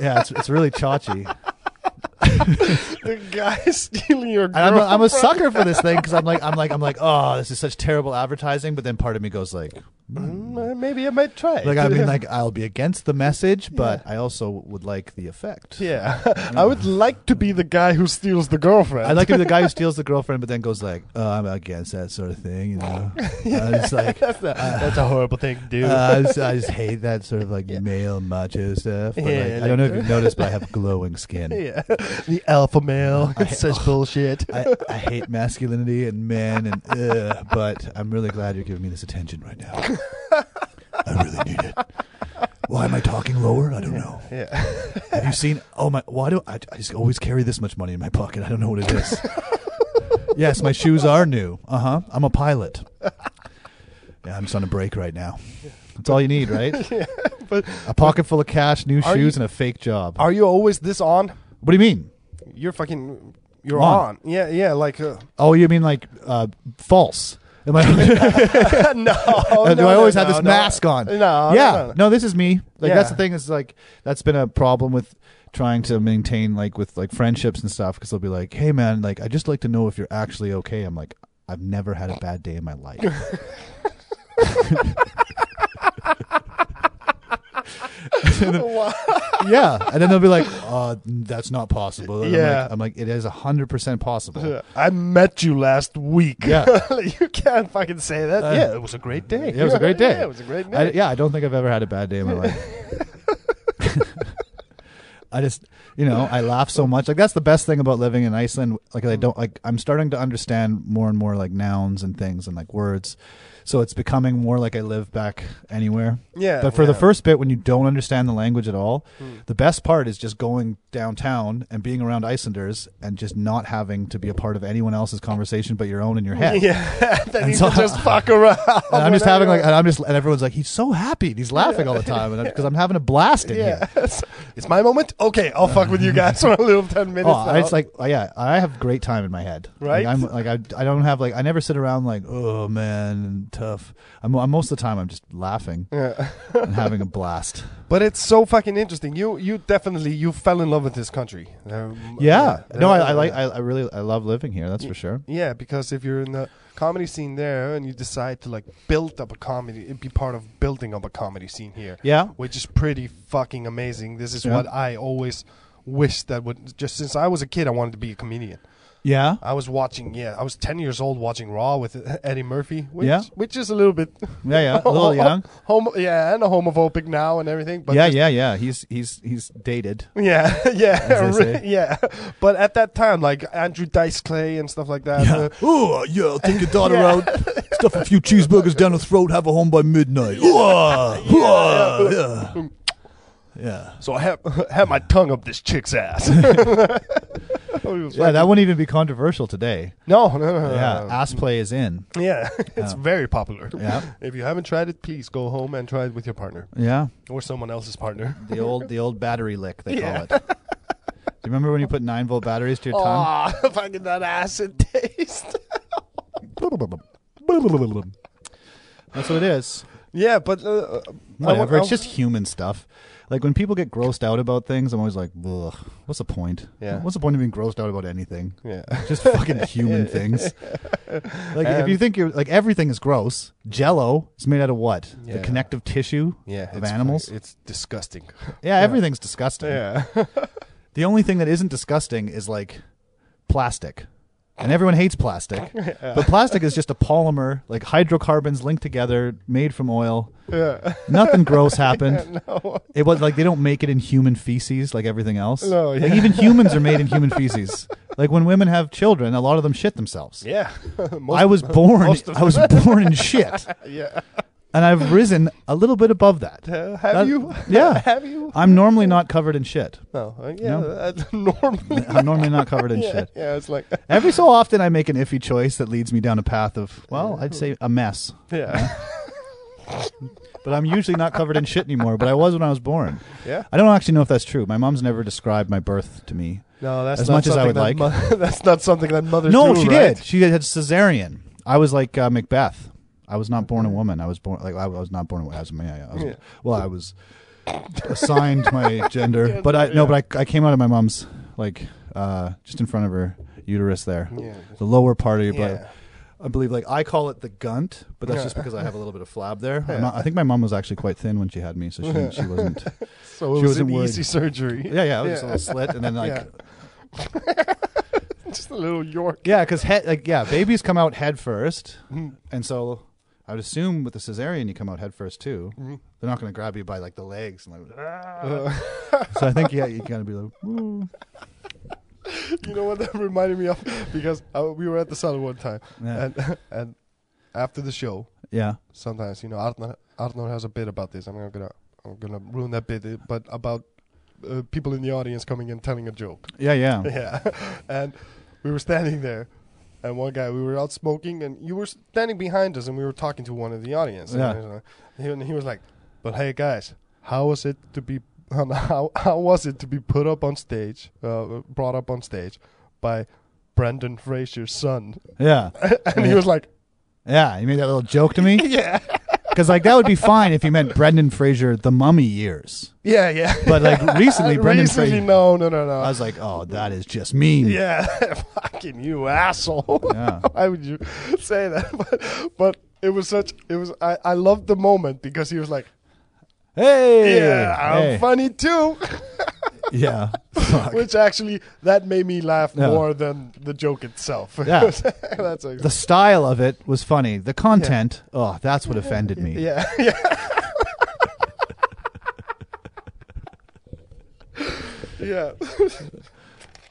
Speaker 2: Yeah, it's, it's really chachi.
Speaker 1: the guy stealing your
Speaker 2: And I'm a, I'm a
Speaker 1: girlfriend.
Speaker 2: sucker for this thing because I'm like I'm like I'm like oh this is such terrible advertising, but then part of me goes like
Speaker 1: Mm, uh, Maybe I might try. it.
Speaker 2: like I mean like I'll be against the message, but I also would like the effect.
Speaker 1: yeah, I would like to be the guy who steals the girlfriend.
Speaker 2: I'd like to be the guy who steals the girlfriend, but then goes like, "Oh, I'm against that sort of thing," you know. I just like,
Speaker 1: that's, a, that's a horrible thing, dude.
Speaker 2: uh, I, just, I just hate that sort of like male macho stuff. But,
Speaker 1: Yeah,
Speaker 2: like,
Speaker 1: like-
Speaker 2: I don't know if you've noticed, but I have glowing skin.
Speaker 1: yeah, the alpha male.
Speaker 2: I-
Speaker 1: It's such bullshit.
Speaker 2: I, I hate masculinity and men, and uh, but I'm really glad you're giving me this attention right now. I really need it. Why am I talking lower? I don't know.
Speaker 1: yeah,
Speaker 2: Have you seen? Oh my! Why do I, I just always carry this much money in my pocket? I don't know what it is. yes, my shoes are new. Uh huh. I'm a pilot. Yeah, I'm just on a break right now. That's all you need, right?
Speaker 1: but
Speaker 2: A pocket full of cash, new
Speaker 1: Are
Speaker 2: shoes,
Speaker 1: you-
Speaker 2: and a fake job.
Speaker 1: are you always this on?
Speaker 2: what do you mean?
Speaker 1: You're fucking. You're
Speaker 2: On.
Speaker 1: on. Yeah, yeah. Like uh,
Speaker 2: Oh, you mean like uh, false? Am I?
Speaker 1: no, no.
Speaker 2: do I always
Speaker 1: no,
Speaker 2: have this
Speaker 1: no.
Speaker 2: mask on?
Speaker 1: No, no,
Speaker 2: yeah.
Speaker 1: no, no.
Speaker 2: this is me. Like that's
Speaker 1: Yeah.
Speaker 2: the thing is like that's been a problem with trying to maintain like with like friendships and stuff because they'll be like, "Hey man, like I just like to know if you're actually okay." I'm like, "I've never had a bad day in my life."
Speaker 1: Wow.
Speaker 2: yeah, and then they'll be like, uh, "That's not possible." And I'm
Speaker 1: Yeah.
Speaker 2: like, I'm like, "It is hundred percent possible."
Speaker 1: I met you last week.
Speaker 2: Yeah.
Speaker 1: you can't fucking say that.
Speaker 2: Uh,
Speaker 1: yeah, it was a great day.
Speaker 2: Yeah, it was a great day.
Speaker 1: yeah, it was a great
Speaker 2: I,
Speaker 1: day.
Speaker 2: yeah, I don't think I've ever had a bad day in my life. I just, you know, I laugh so much. Like that's the best thing about living in Iceland. Like I don't like I'm starting to understand more and more like nouns and things and like words. So it's becoming more like I live back anywhere.
Speaker 1: Yeah,
Speaker 2: But for the
Speaker 1: yeah. Hmm.
Speaker 2: first bit when you don't understand the language at all, the best part is just going downtown and being around Icelanders and just not having to be a part of anyone else's conversation but your own in your head.
Speaker 1: yeah, then you
Speaker 2: so-
Speaker 1: can just fuck around.
Speaker 2: And I'm just
Speaker 1: whenever
Speaker 2: having
Speaker 1: you
Speaker 2: like, and I'm just, and everyone's like, he's so happy, and he's laughing all the time, and because I'm having a blast in
Speaker 1: Yeah,
Speaker 2: here.
Speaker 1: it's, it's my moment. Okay, I'll fuck with you guys for a little ten minutes.
Speaker 2: Oh, I- it's
Speaker 1: now.
Speaker 2: like, oh, yeah, I have great time in my head.
Speaker 1: Right?
Speaker 2: Like, I'm like, I, I don't have like, I never sit around like, oh man, tough. I'm, I'm most of the time, I'm just laughing
Speaker 1: Yeah.
Speaker 2: and having a blast.
Speaker 1: but it's so fucking interesting. You you definitely you fell in love with this country. Um,
Speaker 2: Yeah.
Speaker 1: uh,
Speaker 2: No, I, I
Speaker 1: uh,
Speaker 2: like, I, I really, I love living here. That's for sure.
Speaker 1: Yeah, because if you're in the comedy scene there and you decide to like build up a comedy, it'd be part of building up a comedy scene here.
Speaker 2: Yeah.
Speaker 1: which is pretty fucking amazing. This is
Speaker 2: Yeah.
Speaker 1: what I always wished that would just since I was a kid I wanted to be a comedian.
Speaker 2: Yeah.
Speaker 1: I was watching yeah, I was 10 years old watching Raw with Eddie Murphy, which
Speaker 2: Yeah.
Speaker 1: which is a little bit
Speaker 2: Yeah. Yeah. A little young.
Speaker 1: Homo- yeah, and a homophobic now and everything, but
Speaker 2: Yeah.
Speaker 1: just-
Speaker 2: Yeah. Yeah. He's, he's, he's dated.
Speaker 1: yeah, yeah,
Speaker 2: As they say.
Speaker 1: yeah. But at that time like Andrew Dice Clay and stuff like that. uh,
Speaker 2: Oh, yeah, I'll take your daughter
Speaker 1: Yeah.
Speaker 2: out, stuff a few cheeseburgers down her throat, have her home by midnight. Ooh-ah, ooh-ah, ah, yeah, yeah.
Speaker 1: so I have have my tongue up this chick's ass.
Speaker 2: Yeah, that wouldn't even be controversial today.
Speaker 1: No, no, no, no.
Speaker 2: yeah,
Speaker 1: no.
Speaker 2: ass play is in.
Speaker 1: yeah. it's very popular.
Speaker 2: Yeah.
Speaker 1: If you haven't tried it, please go home and try it with your partner
Speaker 2: Yeah,
Speaker 1: or someone else's partner.
Speaker 2: the old the old battery lick they
Speaker 1: Yeah.
Speaker 2: call it. Do you remember when you put nine volt batteries to your tongue?
Speaker 1: Aw, fucking that acid taste.
Speaker 2: That's what it is.
Speaker 1: yeah, but uh, I wa-
Speaker 2: Whatever,
Speaker 1: I
Speaker 2: it's
Speaker 1: wa-
Speaker 2: just human stuff. Like when people get grossed out about things, I'm always like, Ugh, what's the point?
Speaker 1: Yeah.
Speaker 2: What's the point of being grossed out about anything?
Speaker 1: Yeah.
Speaker 2: Just fucking human things. Like if
Speaker 1: And-
Speaker 2: you think you're like everything is gross. Jello is made out of what? The
Speaker 1: Yeah.
Speaker 2: connective tissue
Speaker 1: Yeah,
Speaker 2: of
Speaker 1: it's
Speaker 2: animals.
Speaker 1: fucking- It's disgusting.
Speaker 2: yeah, everything's disgusting.
Speaker 1: Yeah.
Speaker 2: The only thing that isn't disgusting is like plastic. And everyone hates plastic. But plastic is just a polymer, like hydrocarbons linked together, made from oil.
Speaker 1: yeah.
Speaker 2: Nothing gross happened.
Speaker 1: No.
Speaker 2: It was like they don't make it in human feces like everything else.
Speaker 1: No, yeah.
Speaker 2: Like even humans are made in human feces. Like when women have children, a lot of them shit themselves.
Speaker 1: Yeah. Most-
Speaker 2: I was born
Speaker 1: most of
Speaker 2: I was born in shit.
Speaker 1: yeah.
Speaker 2: And I've risen a little bit above that.
Speaker 1: Uh, have
Speaker 2: That-
Speaker 1: you?
Speaker 2: Yeah.
Speaker 1: have you?
Speaker 2: I'm normally not covered in shit.
Speaker 1: No. Uh, yeah.
Speaker 2: No.
Speaker 1: That's normally.
Speaker 2: I'm normally not covered in
Speaker 1: Yeah,
Speaker 2: shit.
Speaker 1: yeah. It's like.
Speaker 2: Every so often, I make an iffy choice that leads me down a path of, well, I'd say a mess.
Speaker 1: Yeah.
Speaker 2: But I'm usually not covered in shit anymore, but I was when I was born.
Speaker 1: Yeah.
Speaker 2: I don't actually know if that's true. My mom's never described my birth to me.
Speaker 1: No, that's
Speaker 2: As
Speaker 1: not
Speaker 2: much as I
Speaker 1: something
Speaker 2: would
Speaker 1: that mo- that's not something that mothers.
Speaker 2: no,
Speaker 1: do,
Speaker 2: she
Speaker 1: right?
Speaker 2: did. She had cesarean. I was like uh, Macbeth. I was not born a woman. I was born like I was not born a woman. I was, yeah, I was,
Speaker 1: Yeah.
Speaker 2: Well, I was assigned my gender, but I no,
Speaker 1: yeah.
Speaker 2: but I, I came out of my mom's like uh, just in front of her uterus there,
Speaker 1: Yeah.
Speaker 2: the lower part of your butt.
Speaker 1: Yeah.
Speaker 2: I believe like I call it the gunt, but that's
Speaker 1: Yeah.
Speaker 2: just because I have a little bit of flab there. I'm not- I think my mom was actually quite thin when she had me, so she, she wasn't.
Speaker 1: So it was
Speaker 2: She wasn't
Speaker 1: an
Speaker 2: worried.
Speaker 1: easy surgery.
Speaker 2: Yeah, yeah, it was just a little slit, and then like
Speaker 1: Yeah. Just a little York.
Speaker 2: Yeah, because head like yeah, babies come out head first, and so I would assume with the cesarean you come out head first too.
Speaker 1: Mm-hmm.
Speaker 2: They're not going to grab you by like the legs and like.
Speaker 1: Uh,
Speaker 2: "Ah." so I think yeah, you gotta be like. "Ooh."
Speaker 1: You know what that reminded me of? Because uh, we were at the salon one time,
Speaker 2: Yeah.
Speaker 1: and and after the show,
Speaker 2: Yeah.
Speaker 1: sometimes you know Arnold, Arnold has a bit about this. I'm not gonna I'm gonna ruin that bit, uh, but about uh, people in the audience coming and telling a joke.
Speaker 2: Yeah. Yeah.
Speaker 1: Yeah, and we were standing there, and one guy we were out smoking, and you were standing behind us, and we were talking to one of the audience.
Speaker 2: Yeah.
Speaker 1: and, uh, he, and he was like, "But hey guys, how was it to be how how was it to be put up on stage, uh, brought up on stage by Brendan Fraser's son?"
Speaker 2: Yeah.
Speaker 1: and he was like,
Speaker 2: Yeah. You made that little joke to me
Speaker 1: "Yeah,
Speaker 2: because like that would be fine if you meant Brendan Fraser, the Mummy years,
Speaker 1: yeah, yeah."
Speaker 2: but like recently Brendan
Speaker 1: Recently,
Speaker 2: Fraser.
Speaker 1: no, no, no, no.
Speaker 2: I was like, oh, that is just mean.
Speaker 1: yeah, fucking you asshole.
Speaker 2: Yeah.
Speaker 1: Why would you say that? But, but it was such. It was. I, I loved the moment because he was like,
Speaker 2: Hey.
Speaker 1: "Yeah, I'm
Speaker 2: hey.
Speaker 1: funny too,"
Speaker 2: Yeah. Fuck.
Speaker 1: which actually that made me laugh
Speaker 2: Yeah.
Speaker 1: more than the joke itself.
Speaker 2: Yeah.
Speaker 1: that's like,
Speaker 2: The style of it was funny. The content, oh, that's what offended me.
Speaker 1: yeah, yeah. Yeah,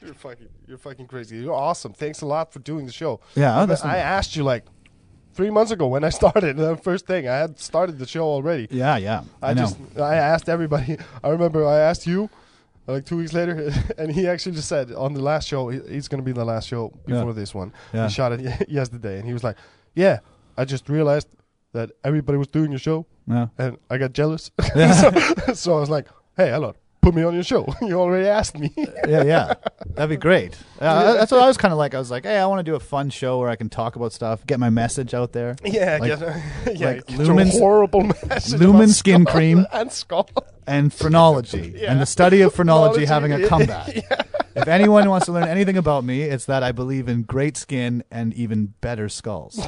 Speaker 1: you're fucking, you're fucking crazy. You're awesome. Thanks a lot for doing the show.
Speaker 2: Yeah, that's-
Speaker 1: I asked you like three months ago when I started the first thing. I had started the show already.
Speaker 2: yeah, yeah. I,
Speaker 1: I,
Speaker 2: know.
Speaker 1: just I asked everybody. I remember I asked you like two weeks later, and he actually just said on the last show he- he's going to be the last show
Speaker 2: Yeah.
Speaker 1: before this one.
Speaker 2: Yeah.
Speaker 1: We shot it ye- yesterday, and he was like, "Yeah, I just realized that everybody was doing your show,
Speaker 2: yeah.
Speaker 1: and I got jealous. so, so I was like, hey, hello." Put me on your show. You already asked me.
Speaker 2: yeah, yeah. That'd be great. Uh,
Speaker 1: Yeah.
Speaker 2: That's what I was kind of like. I was like, hey, I want to do a fun show where I can talk about stuff, get my message out there.
Speaker 1: yeah,
Speaker 2: Like-
Speaker 1: yeah, yeah.
Speaker 2: like
Speaker 1: it's a
Speaker 2: Lumen's-
Speaker 1: horrible message. about
Speaker 2: Lumen skin cream
Speaker 1: and skull.
Speaker 2: and phrenology
Speaker 1: Yeah.
Speaker 2: and the study of phrenology
Speaker 1: Phrenology,
Speaker 2: having a
Speaker 1: yeah.
Speaker 2: comeback. If anyone wants to learn anything about me, it's that I believe in great skin and even better skulls.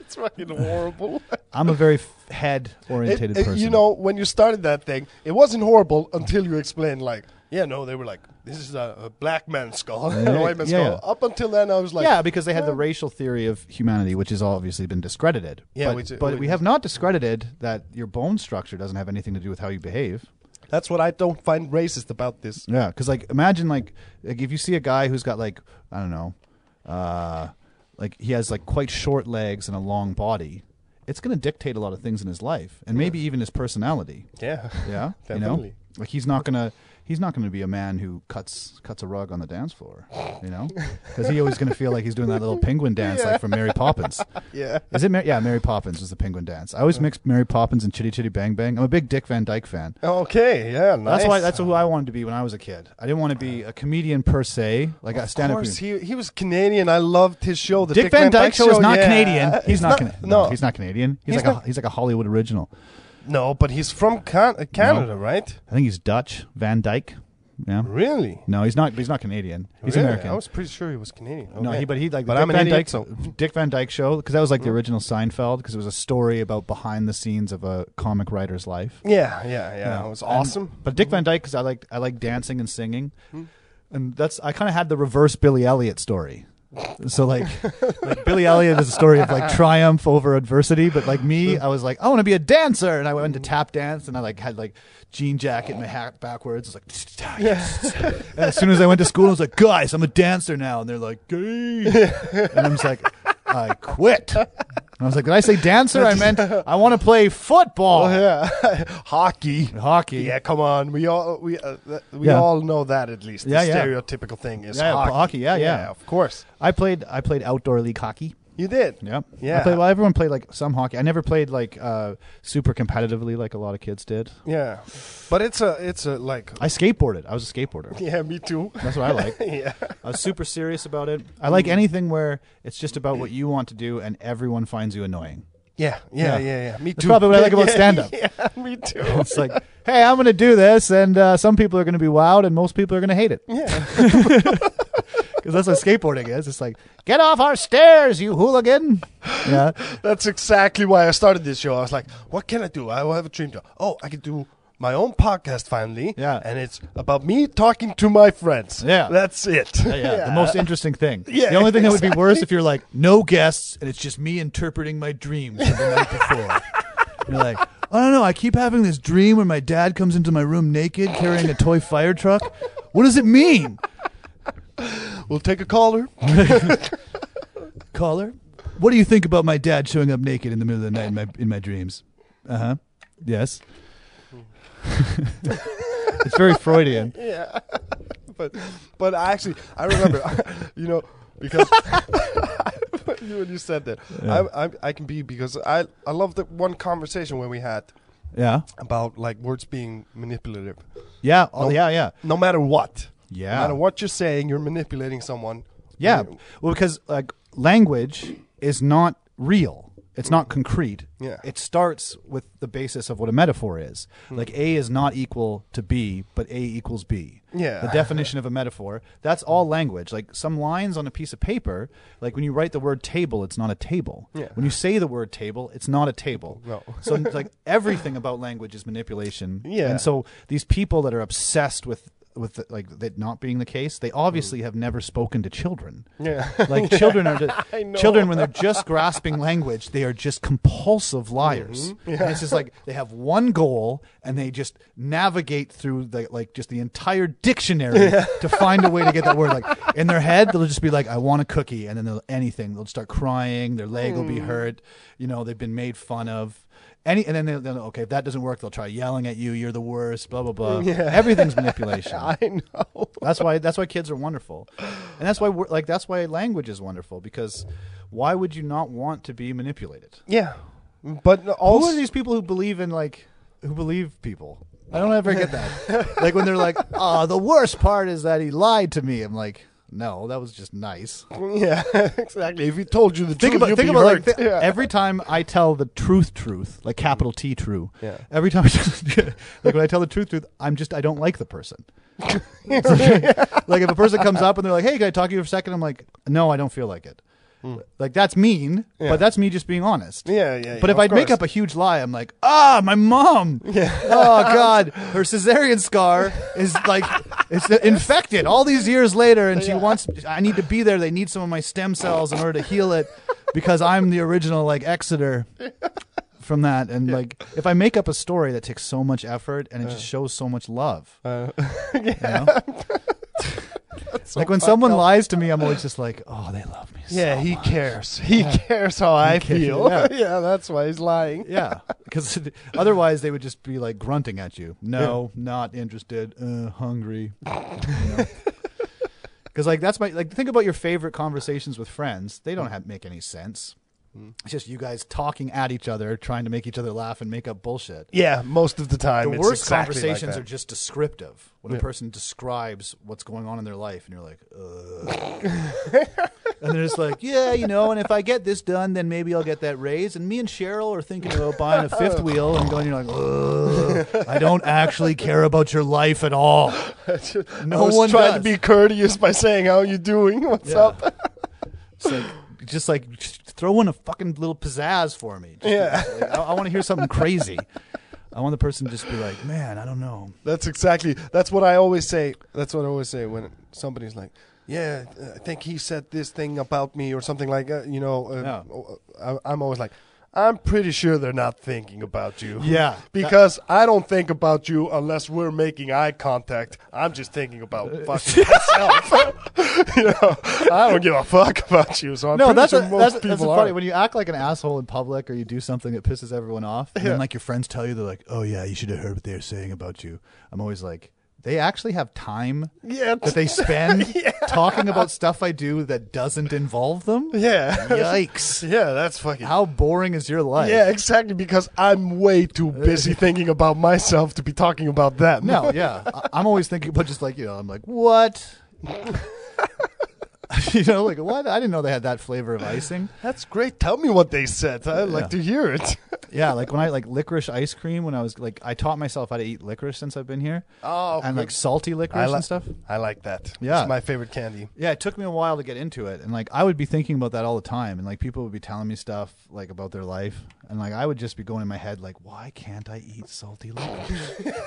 Speaker 1: It's fucking horrible.
Speaker 2: I'm a very head
Speaker 1: It-
Speaker 2: oriented
Speaker 1: it-
Speaker 2: person.
Speaker 1: You know, when you started that thing, it wasn't horrible until you explained, like, yeah, no, they were like, this is a, a black man's skull, and a white man's
Speaker 2: yeah,
Speaker 1: skull.
Speaker 2: yeah.
Speaker 1: Up until then, I was like,
Speaker 2: yeah, because they had the racial theory of humanity, which has obviously been discredited.
Speaker 1: Yeah,
Speaker 2: but,
Speaker 1: which-
Speaker 2: but
Speaker 1: which-
Speaker 2: we have not discredited that your bone structure doesn't have anything to do with how you behave.
Speaker 1: that's what I don't find racist about this.
Speaker 2: Yeah, because like imagine like like if you see a guy who's got like I don't know, uh, like he has like quite short legs and a long body, it's gonna dictate a lot of things in his life and maybe even his personality.
Speaker 1: Yeah.
Speaker 2: Yeah, You know?
Speaker 1: Definitely.
Speaker 2: Like he's not gonna he's not gonna be a man who cuts cuts a rug on the dance floor. You know, because he always gonna feel like he's doing that little penguin dance like from Mary Poppins.
Speaker 1: Yeah.
Speaker 2: Is it? Mar- yeah, Mary Poppins was the penguin dance. I always mix Mary Poppins and Chitty Chitty Bang Bang. I'm a big Dick Van Dyke fan.
Speaker 1: Okay, yeah, nice.
Speaker 2: That's why. That's who I wanted to be when I was a kid. I didn't want to be a comedian per se, like a
Speaker 1: of
Speaker 2: stand-up.
Speaker 1: course,
Speaker 2: comedian.
Speaker 1: he, he was Canadian. I loved his show. The
Speaker 2: Dick, Van Dyke show is not
Speaker 1: yeah.
Speaker 2: Canadian. He's
Speaker 1: It's
Speaker 2: not. Cana- no,
Speaker 1: no,
Speaker 2: he's not Canadian. He's,
Speaker 1: He's
Speaker 2: like
Speaker 1: not-
Speaker 2: a he's like a Hollywood original.
Speaker 1: No, but he's from Can- uh, Canada, right?
Speaker 2: I think he's Dutch. Van Dyke. Yeah.
Speaker 1: Really?
Speaker 2: No, he's not. He's not Canadian. He's
Speaker 1: Oh, Really?
Speaker 2: American.
Speaker 1: I was pretty sure he was Canadian.
Speaker 2: No,
Speaker 1: Okay.
Speaker 2: he, but he like
Speaker 1: But
Speaker 2: Dick
Speaker 1: I'm an
Speaker 2: Van
Speaker 1: idiot,
Speaker 2: Dyke,
Speaker 1: so- Mm.
Speaker 2: Dick Van Dyke show because that was like the original Seinfeld because it was a story about behind the scenes of a comic writer's life.
Speaker 1: yeah, yeah, yeah. It was
Speaker 2: And-
Speaker 1: awesome. Mm-hmm. Hmm.
Speaker 2: but Dick Van Dyke because I like I like dancing and singing, and that's I kind of had the reverse Billy Elliot story. So like, like Billy Elliot is a story of like triumph over adversity, but like me, I was like, I want to be a dancer, and I went to tap dance, and I like had like jean jacket and my hat backwards. It was like, and as soon as I went to school, I was like, guys, I'm a dancer now, and they're like, gay, and I'm just like, I quit. And I was like, did I say dancer? I meant I want to play football,
Speaker 1: Oh, yeah, hockey.
Speaker 2: hockey.
Speaker 1: Yeah, come on. We all we uh, th- we
Speaker 2: Yeah.
Speaker 1: all know that at least.
Speaker 2: Yeah,
Speaker 1: the
Speaker 2: yeah.
Speaker 1: stereotypical thing is
Speaker 2: Yeah,
Speaker 1: hockey.
Speaker 2: hockey, yeah, yeah.
Speaker 1: of course.
Speaker 2: I played I played outdoor league hockey.
Speaker 1: You did.
Speaker 2: Yeah.
Speaker 1: Yeah.
Speaker 2: I played, well, everyone played like some hockey. I never played like uh, super competitively like a lot of kids did.
Speaker 1: Yeah. But it's a it's a like
Speaker 2: I skateboarded. I was a skateboarder.
Speaker 1: yeah, me too.
Speaker 2: That's what I like.
Speaker 1: yeah.
Speaker 2: I was super serious about it. I like anything where it's just about what you want to do and everyone finds you annoying.
Speaker 1: Yeah, yeah, yeah,
Speaker 2: Yeah.
Speaker 1: yeah. Me
Speaker 2: That's
Speaker 1: too.
Speaker 2: probably what I like about
Speaker 1: Yeah,
Speaker 2: stand-up.
Speaker 1: Yeah, me too.
Speaker 2: It's like, hey, I'm going to do this, and uh, some people are going to be wowed, and most people are going to hate it.
Speaker 1: Yeah.
Speaker 2: Because that's what skateboarding is. It's like, get off our stairs, you hooligan. Yeah.
Speaker 1: That's exactly why I started this show. I was like, what can I do? I will have a dream job. Oh, I can do my own podcast finally.
Speaker 2: Yeah.
Speaker 1: And it's about me talking to my friends.
Speaker 2: Yeah.
Speaker 1: That's it.
Speaker 2: Yeah, yeah, the most interesting thing.
Speaker 1: Yeah,
Speaker 2: the only thing that would be worse if you're like no guests and it's just me interpreting my dreams of the night before. And you're like, I don't know. I keep having this dream where my dad comes into my room naked carrying a toy fire truck. What does it mean,
Speaker 1: We'll take a caller.
Speaker 2: caller? What do you think about my dad showing up naked in the middle of the night in my in my dreams? Uh huh. Yes. it's very Freudian.
Speaker 1: yeah. but but I actually I remember you know because you when you said that I, I I can be because I I love that one conversation where we had
Speaker 2: Yeah.
Speaker 1: about like words being manipulative.
Speaker 2: Yeah. Oh, yeah. Yeah.
Speaker 1: No matter what.
Speaker 2: Yeah.
Speaker 1: No matter what you're saying, you're manipulating someone.
Speaker 2: Yeah. Well, because like language is not real. It's not concrete.
Speaker 1: Yeah. Hmm.
Speaker 2: It starts with the basis of what a metaphor is. Like A is not equal to B, but A equals B.
Speaker 1: Yeah.
Speaker 2: The definition of a metaphor. That's all language. Like some lines on a piece of paper, like when you write the word table, it's not a table.
Speaker 1: Yeah.
Speaker 2: When you say the word table, it's not a table.
Speaker 1: No.
Speaker 2: so it's like everything about language is manipulation.
Speaker 1: Yeah.
Speaker 2: And so so these people that are obsessed with with like that not being the case, they obviously have never spoken to children.
Speaker 1: Yeah.
Speaker 2: Like children are
Speaker 1: I know.
Speaker 2: children when they're just grasping language, they are just
Speaker 1: Mm-hmm.
Speaker 2: compulsive liars. And it's just like they have one goal and they just navigate through the, like just the entire dictionary to find a way to get that word. Like in their head, they'll just be like, "I want a cookie," and then they'll anything. They'll start crying. Their leg will be
Speaker 1: Mm.
Speaker 2: hurt. You know, they've been made fun of. Any and then they'll, they'll okay if that doesn't work they'll try yelling at you you're the worst blah blah blah everything's manipulation
Speaker 1: I know.
Speaker 2: that's why that's why kids are wonderful, and that's why we're, like that's why language is wonderful because why would you not want to be manipulated?
Speaker 1: Yeah. But
Speaker 2: Who
Speaker 1: also
Speaker 2: are these people who believe in like who believe people? I don't ever get that. like when they're like, "Oh, the worst part is that he lied to me." I'm like, "No, that was just nice."
Speaker 1: Yeah, exactly. If he told you the
Speaker 2: Think
Speaker 1: truth,
Speaker 2: about
Speaker 1: you'd
Speaker 2: think
Speaker 1: be
Speaker 2: about like
Speaker 1: hurt.
Speaker 2: thi-
Speaker 1: Yeah.
Speaker 2: every time I tell the truth, truth like capital T true.
Speaker 1: Yeah.
Speaker 2: Every time, like when I tell the truth, truth, I'm just I don't like the person. like if a person comes up and they're like, "Hey, can I talk to you for a second? I'm like, "No, I don't feel like it." Like that's mean, but that's me just being honest.
Speaker 1: Hmm. Yeah, yeah,
Speaker 2: But
Speaker 1: yeah,
Speaker 2: if
Speaker 1: of
Speaker 2: I'd make
Speaker 1: course.
Speaker 2: up a huge lie, I'm like, "Ah, my mom. Oh God, her cesarean scar is like it's infected. All these years later, and she wants. I need to be there. They need some of my stem cells in order to heal it, because I'm the original like Exeter." From that, and like, if I make up a story that takes so much effort and it just shows so much love, you know? like when someone lies to me, I'm always just like, oh, they love me. so
Speaker 1: Yeah, he cares. He cares how I
Speaker 2: cares,
Speaker 1: feel.
Speaker 2: yeah.
Speaker 1: yeah, that's why he's lying.
Speaker 2: Yeah, because otherwise they would just be like grunting at you. No, not interested. Uh, hungry. Because like that's my like think about your favorite conversations with friends. They don't have make any sense. It's just you guys talking at each other, trying to make each other laugh and make up bullshit.
Speaker 1: Yeah, most of the time.
Speaker 2: The
Speaker 1: it's
Speaker 2: worst
Speaker 1: exactly like
Speaker 2: conversations
Speaker 1: that.
Speaker 2: are just descriptive. When a person describes what's going on in their life, and you're like, Ugh. and they're just like, yeah, you know, and if I get this done, then maybe I'll get that raise. And me and Cheryl are thinking about buying a fifth wheel and going, you're like, Ugh, I don't actually care about your life at all. No
Speaker 1: I was
Speaker 2: one
Speaker 1: trying
Speaker 2: does.
Speaker 1: to be courteous by saying how you doing, what's
Speaker 2: Yeah.
Speaker 1: up.
Speaker 2: It's like, just like just throw in a fucking little pizzazz for me. Just-
Speaker 1: Yeah.
Speaker 2: like, I, I want to hear something crazy. I want the person to just be like, man, I don't know.
Speaker 1: That's exactly. That's what I always say. That's what I always say when somebody's like, "Yeah, uh, I think he said this thing about me" or something like that. You know, uh, I, I'm always like, "I'm pretty sure they're not thinking about you."
Speaker 2: Yeah.
Speaker 1: because I don't think about you unless we're making eye contact. I'm just thinking about
Speaker 2: Uh,
Speaker 1: fucking myself. you know, I don't give a fuck about you. So I'm
Speaker 2: No,
Speaker 1: pretty
Speaker 2: that's
Speaker 1: sure
Speaker 2: a,
Speaker 1: most
Speaker 2: that's,
Speaker 1: people
Speaker 2: that's a
Speaker 1: are.
Speaker 2: funny. When you act like an asshole in public or you do something that pisses everyone off, and then like your friends tell you, they're like, "Oh yeah, you should have heard what they were saying about you." I'm always like, they actually have time
Speaker 1: Yeah,
Speaker 2: that they spend talking about stuff I do that doesn't involve them.
Speaker 1: yeah,
Speaker 2: Yikes!
Speaker 1: yeah. That's fucking
Speaker 2: How boring is your life?
Speaker 1: Yeah, exactly. Because I'm way too busy thinking about myself to be talking about them.
Speaker 2: No, yeah. I, I'm always thinking about just like, you know, I'm like, what? you know, like, what? I didn't know they had that flavor of icing.
Speaker 1: that's great. Tell me what they said. I'd like to hear it.
Speaker 2: Yeah, like when I like licorice ice cream when I was like, I taught myself how to eat licorice since I've been here.
Speaker 1: Oh,
Speaker 2: And
Speaker 1: good.
Speaker 2: like salty licorice
Speaker 1: li-
Speaker 2: and stuff.
Speaker 1: I like that.
Speaker 2: Yeah.
Speaker 1: it's my favorite candy.
Speaker 2: Yeah, it took me a while to get into it. And like, I would be thinking about that all the time. And like, people would be telling me stuff like about their life. And like, I would just be going in my head, like, why can't I eat salty licorice?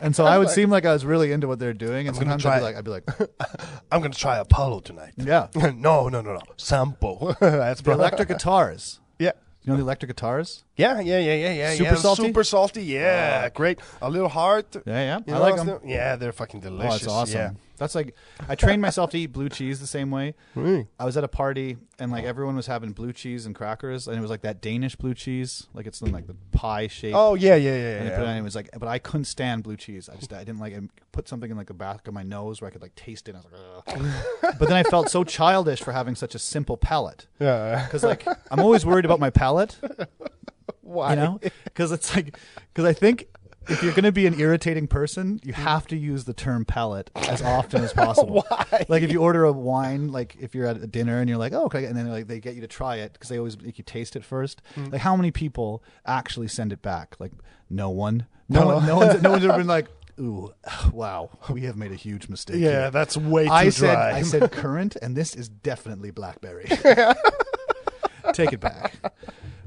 Speaker 2: And so I would seem like I was really into what they're doing, and
Speaker 1: gonna
Speaker 2: sometimes I'd
Speaker 1: try
Speaker 2: be like,
Speaker 1: it.
Speaker 2: I'd be like,
Speaker 1: I'm gonna try Apollo tonight.
Speaker 2: Yeah.
Speaker 1: no, no, no, no. Sampo. that's
Speaker 2: the electric guitars.
Speaker 1: Yeah.
Speaker 2: You know the electric guitars?
Speaker 1: Yeah, yeah, yeah, yeah, yeah.
Speaker 2: Super
Speaker 1: yeah.
Speaker 2: salty? Oh.
Speaker 1: Super salty. Yeah, great. A little hard.
Speaker 2: Yeah, yeah.
Speaker 1: You
Speaker 2: I
Speaker 1: know
Speaker 2: like
Speaker 1: what I'm
Speaker 2: 'em.
Speaker 1: saying? Yeah, they're fucking
Speaker 2: Oh,
Speaker 1: delicious.
Speaker 2: it's awesome.
Speaker 1: Yeah.
Speaker 2: That's like I trained myself to eat blue cheese the same way.
Speaker 1: Mm.
Speaker 2: I was at a party and like everyone was having blue cheese and crackers, and it was like that Danish blue cheese, like it's in like the pie shape.
Speaker 1: Oh yeah, yeah, yeah,
Speaker 2: And they
Speaker 1: yeah.
Speaker 2: put it on, it was like, but I couldn't stand blue cheese. I just, I didn't like. it. put something in like the back of my nose where I could like taste it. And I was like, Ugh. but then I felt so childish for having such a simple palate.
Speaker 1: yeah.
Speaker 2: Because like I'm always worried about my palate,
Speaker 1: Why?
Speaker 2: you know? Because it's like, because I think if you're going to be an irritating person,
Speaker 1: Hmm.
Speaker 2: you have to use the term palate as often as possible. Why? Like if you order a wine, like if you're at a dinner and you're like, oh, okay, and then like they get you to try it because they always make you taste it first.
Speaker 1: Mm.
Speaker 2: Like how many people actually send it back? Like no one. No, one. No one's. No one's ever been like. Ooh, wow! We have made a huge mistake.
Speaker 1: Yeah,
Speaker 2: here."
Speaker 1: that's way too
Speaker 2: I said,
Speaker 1: dry.
Speaker 2: I said current, and this is definitely blackberry. Take it back.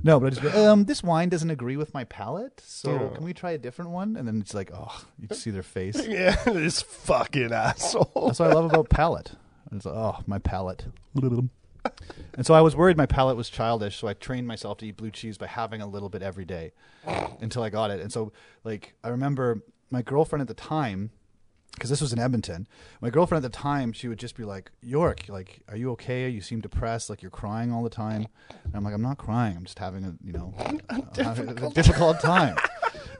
Speaker 2: No, but I just be, um, this wine doesn't agree with my palate, so can we try a different one? And then it's like, oh, you just see their face.
Speaker 1: yeah, this fucking asshole.
Speaker 2: That's what I love about palate. And it's like, oh, my palate. And so I was worried my palate was childish, so I trained myself to eat blue cheese by having a little bit every day until I got it. And so, like, I remember my girlfriend at the time, because this was in Edmonton, my girlfriend at the time, she would just be like, York, like, are you okay? You seem depressed. Like, you're crying all the time. And I'm like, I'm not crying. I'm just having a, you know, I'm having a difficult time.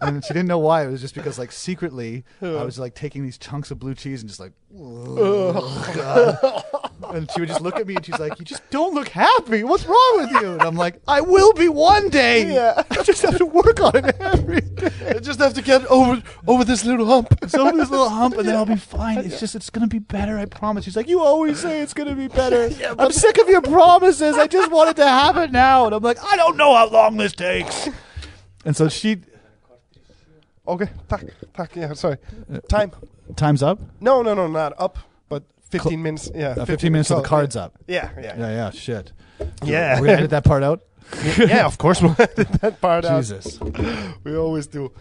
Speaker 2: And she didn't know why. It was just because, like, secretly, I was like taking these chunks of blue cheese and just like, and she would just look at me and she's like, "You just don't look happy. What's wrong with you?" And I'm like, "I will be one day.
Speaker 1: Yeah.
Speaker 2: I just have to work on it every day.
Speaker 1: I just have to get over over this little hump.
Speaker 2: It's over this little hump, and then I'll be fine. It's just it's gonna be better. I promise." She's like, "You always say it's gonna be better. I'm sick of your promises. I just want it to happen now." And I'm like, "I don't know how long this takes." And so she
Speaker 1: Okay, tack, tack. Yeah, sorry. Time.
Speaker 2: times up.
Speaker 1: No, no, no, not up, but 15 minutes. Yeah,
Speaker 2: Uh, 15 minutes till the
Speaker 1: so-
Speaker 2: cards up.
Speaker 1: Yeah, yeah,
Speaker 2: Yeah, yeah, shit.
Speaker 1: yeah,
Speaker 2: We're gonna edit that part out.
Speaker 1: yeah. of course, we'll edit that part out.
Speaker 2: Jesus.
Speaker 1: We always do.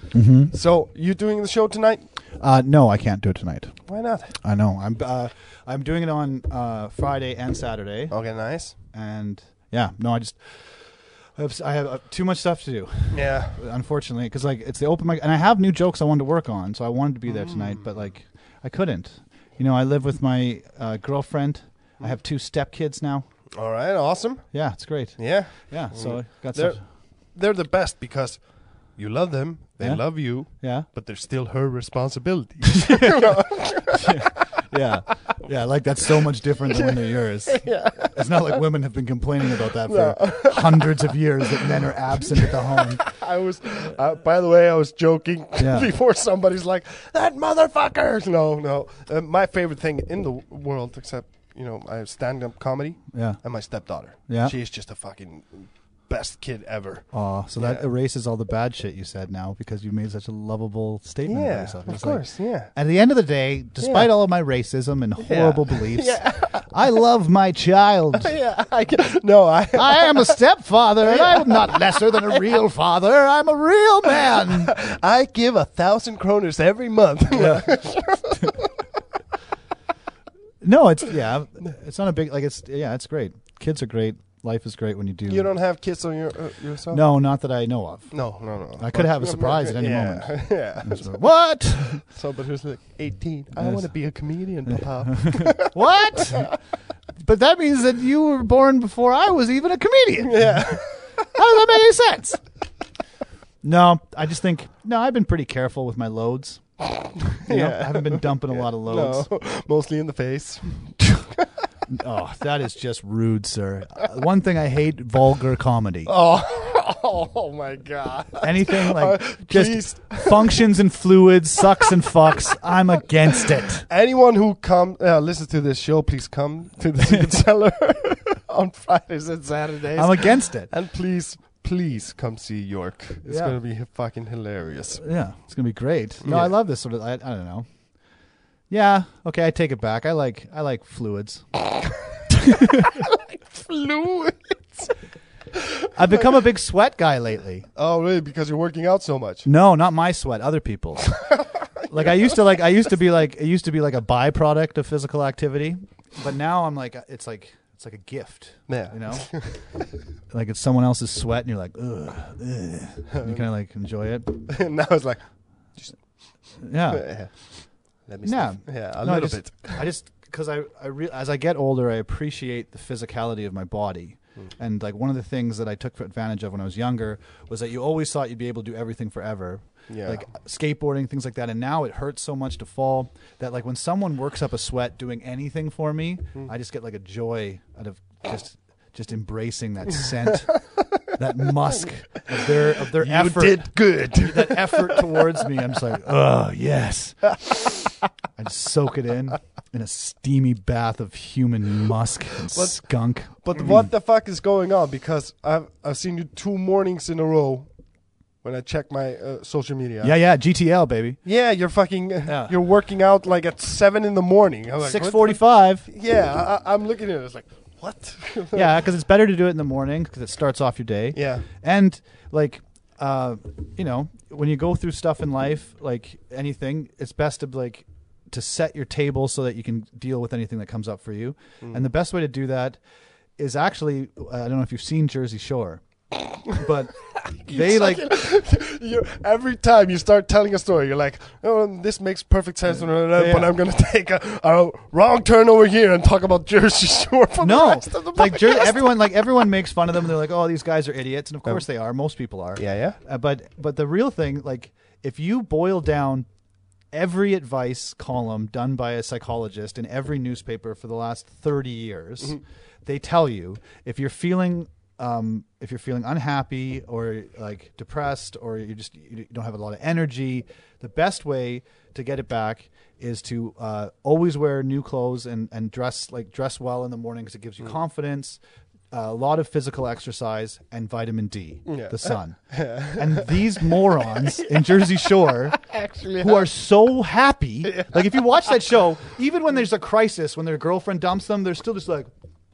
Speaker 1: So, you doing the show tonight?
Speaker 2: Uh, no, I can't do it tonight.
Speaker 1: Why not?
Speaker 2: I know. I'm uh, I'm doing it on uh, Friday and Saturday,
Speaker 1: Okay, nice.
Speaker 2: and yeah, no, I just I have, I have uh, too much stuff to do,
Speaker 1: Yeah,
Speaker 2: unfortunately, because like it's the open mic, and I have new jokes I wanted to work on, so I wanted to be there tonight,
Speaker 1: Mm.
Speaker 2: but like I couldn't. You know, I live with my uh, girlfriend. I have two stepkids now.
Speaker 1: all right, awesome.
Speaker 2: Yeah, it's great.
Speaker 1: Yeah, Mm.
Speaker 2: Yeah, so I got
Speaker 1: they're
Speaker 2: stuff.
Speaker 1: they're the best because you love them, they
Speaker 2: Yeah.
Speaker 1: love you,
Speaker 2: Yeah,
Speaker 1: but they're still her responsibility.
Speaker 2: yeah, yeah. Like that's so much different than when they're yours.
Speaker 1: yeah,
Speaker 2: It's not like women have been complaining about that for hundreds of years that men are absent at the home.
Speaker 1: I was. Uh, by the way, I was joking
Speaker 2: Yeah.
Speaker 1: before somebody's like that motherfuckers. No, no. Uh, my favorite thing in the world, except you know, I have stand up comedy.
Speaker 2: Yeah.
Speaker 1: And my stepdaughter.
Speaker 2: Yeah. Oh.
Speaker 1: She is just a fucking best kid ever.
Speaker 2: Aw, so that
Speaker 1: Yeah.
Speaker 2: erases all the bad shit you said now because you made such a lovable statement about
Speaker 1: yeah.
Speaker 2: yourself.
Speaker 1: Of
Speaker 2: It's like,
Speaker 1: course. yeah.
Speaker 2: At the end of the day, despite
Speaker 1: Yeah.
Speaker 2: all of my racism and horrible beliefs,
Speaker 1: Yeah.
Speaker 2: I love my child.
Speaker 1: Yeah. I can, no, I.
Speaker 2: I am a stepfather, and I'm not lesser than a real father. I'm a real man.
Speaker 1: I give a thousand kroners every month.
Speaker 2: No, it's yeah, it's not a big like it's yeah, it's great. Kids are great. Life is great when you do.
Speaker 1: you don't have kids on your uh, yourself.
Speaker 2: no, not that I know of.
Speaker 1: No, no, no.
Speaker 2: I could have a surprise at any
Speaker 1: yeah,
Speaker 2: moment. Mm.
Speaker 1: Yeah.
Speaker 2: So, what?
Speaker 1: Somebody who's like 18. I want to be a comedian, Papa.
Speaker 2: What? But that means that you were born before I was even a comedian.
Speaker 1: yeah.
Speaker 2: How does that make any sense? No, I just think no. I've been pretty careful with my loads. You know, I haven't been dumping a lot of loads.
Speaker 1: No, mostly in the face.
Speaker 2: Oh, that is just rude, sir. Uh, one thing I hate: vulgar comedy.
Speaker 1: Oh, oh my God.
Speaker 2: Anything like
Speaker 1: Uh, please.
Speaker 2: just functions and fluids, sucks and fucks. I'm against it.
Speaker 1: Anyone who come uh, listens to this show, please come to the Secret Cellar on Fridays and Saturdays,
Speaker 2: I'm against it.
Speaker 1: and please, please come see York. It's
Speaker 2: Yeah.
Speaker 1: gonna be h- fucking hilarious.
Speaker 2: Yeah, it's gonna be great. No,
Speaker 1: Yeah.
Speaker 2: I love this sort of. I, I don't know. Yeah, okay, I take it back. I like I like fluids.
Speaker 1: Fluid.
Speaker 2: I've become a big sweat guy lately.
Speaker 1: Oh, really? Because you're working out so much.
Speaker 2: No, not my sweat, other people's. like I used to like I used to be like it used to be like a byproduct of physical activity, but now I'm like it's like it's like a gift.
Speaker 1: Yeah.
Speaker 2: You know? like it's someone else's sweat and you're like, ugh, ugh. And you kind of like enjoy it.
Speaker 1: And now it's like,
Speaker 2: Yeah.
Speaker 1: eh, let me.
Speaker 2: No.
Speaker 1: sniff. Yeah, a
Speaker 2: No, I
Speaker 1: little
Speaker 2: just,
Speaker 1: bit.
Speaker 2: I just because I, I re- as I get older, I appreciate the physicality of my body. And like one of the things that I took advantage of when I was younger was that you always thought you'd be able to do everything forever.
Speaker 1: Yeah.
Speaker 2: Like skateboarding, things like that. And now it hurts so much to fall that like when someone works up a sweat doing anything for me,
Speaker 1: Hmm.
Speaker 2: I just get like a joy out of just just embracing that scent, that musk of their of their
Speaker 1: You
Speaker 2: effort
Speaker 1: did good.
Speaker 2: that effort towards me. I'm just like, oh yes. I just soak it in in a steamy bath of human musk and skunk. Mm.
Speaker 1: But what the fuck is going on? Because I've I've seen you two mornings in a row when I check my uh, social media.
Speaker 2: Yeah, yeah, GTL baby.
Speaker 1: Yeah, you're fucking.
Speaker 2: Yeah.
Speaker 1: You're working out like at seven in the morning. I'm like,
Speaker 2: Six
Speaker 1: what
Speaker 2: forty-five.
Speaker 1: the- Yeah, I, I'm looking at it. It's like, what?
Speaker 2: Yeah, because it's better to do it in the morning because it starts off your day.
Speaker 1: yeah.
Speaker 2: and like uh you know when you go through stuff in life like anything it's best to like to set your table so that you can deal with anything that comes up for you
Speaker 1: Hmm.
Speaker 2: and the best way to do that is actually i don't know if you've seen jersey shore but they like
Speaker 1: you every time you start telling a story, you're like, oh, this makes perfect sense, but
Speaker 2: Yeah.
Speaker 1: I'm gonna take a, a wrong turn over here and talk about Jersey Shore for the
Speaker 2: no
Speaker 1: rest of the
Speaker 2: like
Speaker 1: podcast.
Speaker 2: Jer- everyone like everyone makes fun of them they're like oh these guys are idiots and of course they are most people are
Speaker 1: Yeah, yeah.
Speaker 2: Uh, but but the real thing, like if you boil down every advice column done by a psychologist in every newspaper for the last thirty years, they tell you if you're feeling um, if you're feeling unhappy or like depressed or you just you don't have a lot of energy, the best way to get it back is to uh, always wear new clothes and and dress like dress well in the morning because it gives you confidence. a lot of physical exercise and vitamin D,
Speaker 1: Yeah.
Speaker 2: the sun. and these morons in Jersey Shore
Speaker 1: Actually,
Speaker 2: who are so happy. Like, if you watch that show, even when there's a crisis, when their girlfriend dumps them, they're still just like,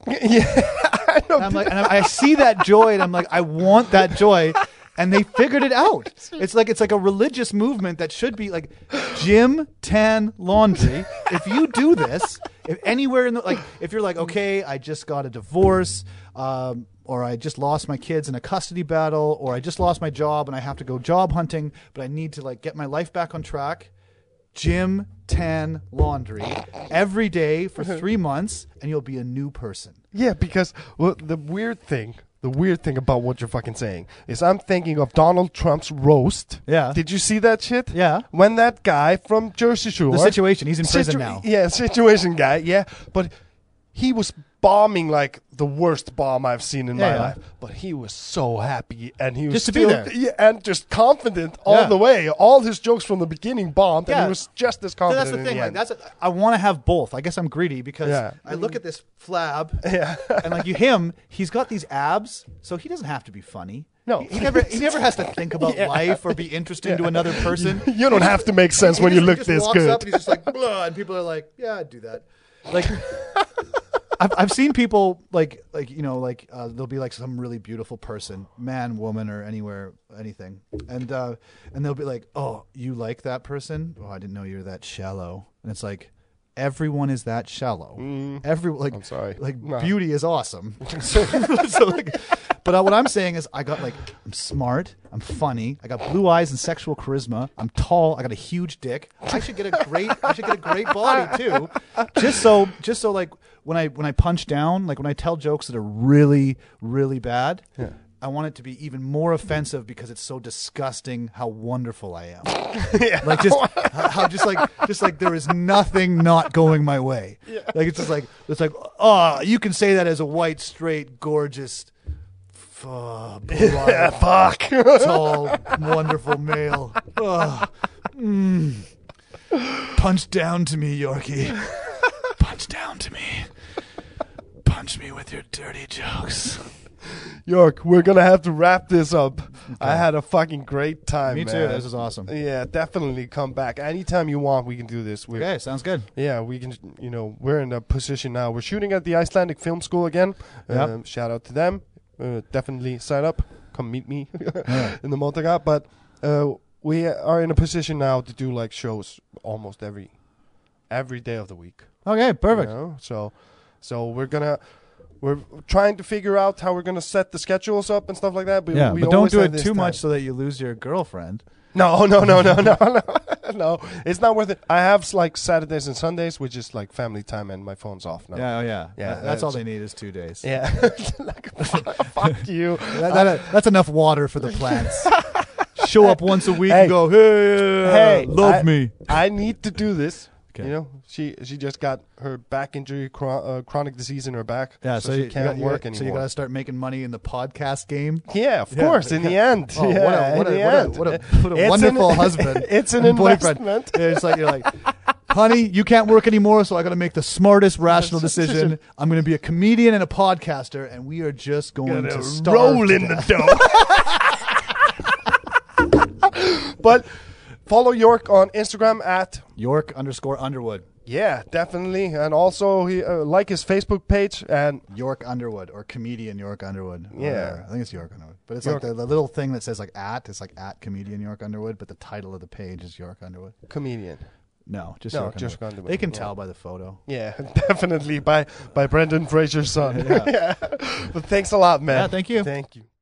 Speaker 1: yeah, I know.
Speaker 2: and I'm like, and I I see that joy, and I'm like, I want that joy. And they figured it out. It's like it's like a religious movement that should be like gym, tan, laundry. If you do this, if anywhere in the like, if you're like, okay, I just got a divorce, um, or I just lost my kids in a custody battle, or I just lost my job and I have to go job hunting, but I need to like get my life back on track gym, tan, laundry every day for three months, and you'll be a new person.
Speaker 1: Yeah, because well, the weird thing, the weird thing about what you're fucking saying is I'm thinking of Donald Trump's roast.
Speaker 2: Yeah.
Speaker 1: Did you see that shit?
Speaker 2: Yeah.
Speaker 1: When that guy from Jersey Shore.
Speaker 2: The situation. He's in prison
Speaker 1: Situ-
Speaker 2: now.
Speaker 1: Yeah, situation guy. Yeah. But he was bombing like the worst bomb I've seen in my
Speaker 2: Yeah.
Speaker 1: life. But he was so happy and he was
Speaker 2: Just to be
Speaker 1: still,
Speaker 2: there.
Speaker 1: Yeah, and just confident all
Speaker 2: Yeah.
Speaker 1: the way. All his jokes from the beginning bombed, and
Speaker 2: Yeah.
Speaker 1: he was just as
Speaker 2: So
Speaker 1: confident.
Speaker 2: that's the
Speaker 1: in
Speaker 2: thing. like,
Speaker 1: end.
Speaker 2: that's a, I want to have both. I guess I'm greedy because
Speaker 1: Yeah.
Speaker 2: I look at this flab, and like you, him, he's got these abs, so he doesn't have to be funny.
Speaker 1: No.
Speaker 2: he, he never he never has to think about life or be interesting to another person.
Speaker 1: you don't have to make sense
Speaker 2: He
Speaker 1: when
Speaker 2: just-
Speaker 1: you
Speaker 2: he
Speaker 1: look
Speaker 2: just
Speaker 1: this
Speaker 2: walks
Speaker 1: good.
Speaker 2: Up and he's just like, blah, and people are like, yeah, I'd do that. Like, I've, I've seen people like like you know like uh, there'll be like some really beautiful person, man, woman, or anywhere, anything, and uh, and they'll be like, oh, you like that person? Oh, I didn't know you were that shallow. And it's like. Everyone is that shallow. Every like,
Speaker 1: sorry.
Speaker 2: like
Speaker 1: No.
Speaker 2: beauty is awesome. So, like, but uh, what I'm saying is, I got like, I'm smart, I'm funny, I got blue eyes and sexual charisma, I'm tall, I got a huge dick. I should get a great, I should get a great body too. Just so, just so like when I when I punch down, like when I tell jokes that are really really bad, I want it to be even more offensive because it's so disgusting how wonderful I am like just how how just like just like there is nothing not going my way. Like it's just like it's like oh you can say that as a white straight gorgeous, f- uh, blonde,
Speaker 1: Fuck.
Speaker 2: tall wonderful male. Ugh. Mm. Punch down to me, Yorkie. Punch down to me. Punch me with your dirty jokes.
Speaker 1: York, we're gonna have to wrap this up. I had a fucking great time.
Speaker 2: Me too.
Speaker 1: man.
Speaker 2: This is awesome.
Speaker 1: Yeah, definitely come back anytime you want. We can do this. We're,
Speaker 2: Okay, sounds good.
Speaker 1: Yeah, we can. You know, we're in a position now. We're shooting at the Icelandic Film School again.
Speaker 2: Yeah.
Speaker 1: Um, shout out to them. Uh, definitely sign up. Come meet me in the Montaga. But uh, we are in a position now to do like shows almost every every day of the week.
Speaker 2: Okay,
Speaker 1: you
Speaker 2: perfect.
Speaker 1: know? So, so we're gonna. We're trying to figure out how we're gonna set the schedules up and stuff like that. But
Speaker 2: Yeah,
Speaker 1: we
Speaker 2: but don't
Speaker 1: always
Speaker 2: do
Speaker 1: have
Speaker 2: it
Speaker 1: this
Speaker 2: too
Speaker 1: time.
Speaker 2: much so that you lose your girlfriend.
Speaker 1: No, no, no, no, no, no, no. It's not worth it. I have like Saturdays and Sundays, which is like family time, and my phone's off now.
Speaker 2: Yeah, oh, yeah,
Speaker 1: Yeah,
Speaker 2: That- that's all
Speaker 1: that's-
Speaker 2: they need is two days.
Speaker 1: Yeah. like, fuck, fuck you.
Speaker 2: That, that- that's enough water for the plants. Show up once a week
Speaker 1: Hey.
Speaker 2: and go, hey, uh,
Speaker 1: Hey,
Speaker 2: love
Speaker 1: I-
Speaker 2: me.
Speaker 1: I need to do this.
Speaker 2: Okay.
Speaker 1: You know, she she just got her back injury, chron- uh, chronic disease in her back.
Speaker 2: Yeah, so,
Speaker 1: so, she
Speaker 2: you
Speaker 1: can't
Speaker 2: got- you
Speaker 1: work
Speaker 2: got-
Speaker 1: anymore.
Speaker 2: So you got to start making money in the podcast game.
Speaker 1: yeah, of
Speaker 2: Yeah.
Speaker 1: course. In the end,
Speaker 2: Oh, what a-
Speaker 1: yeah,
Speaker 2: what
Speaker 1: in
Speaker 2: a-
Speaker 1: the
Speaker 2: what a-
Speaker 1: end.
Speaker 2: what a- what a
Speaker 1: It's an-
Speaker 2: wonderful husband
Speaker 1: It's an
Speaker 2: and boyfriend.
Speaker 1: investment.
Speaker 2: Yeah, It's like you're like, honey, you can't work anymore, so I got to make the smartest rational decision. I'm going to be a comedian and a podcaster, and we are just going to starve
Speaker 1: roll
Speaker 2: to
Speaker 1: in
Speaker 2: death.
Speaker 1: the dough. but follow York on Instagram at
Speaker 2: York underscore Underwood.
Speaker 1: yeah, definitely, and also he, uh, like his Facebook page and
Speaker 2: York Underwood or comedian York Underwood. or
Speaker 1: Yeah.
Speaker 2: whatever. I think it's York Underwood. But it's
Speaker 1: York-
Speaker 2: like the, the little thing that says like at. It's like at comedian York Underwood, but the title of the page is York Underwood.
Speaker 1: comedian.
Speaker 2: No, just
Speaker 1: No,
Speaker 2: York
Speaker 1: just
Speaker 2: Underwood.
Speaker 1: Underwood,
Speaker 2: They can
Speaker 1: yeah.
Speaker 2: tell by the photo.
Speaker 1: Yeah, definitely by by Brendan Fraser's son. Yeah. But thanks a lot, man.
Speaker 2: Yeah, thank you.
Speaker 1: Thank you.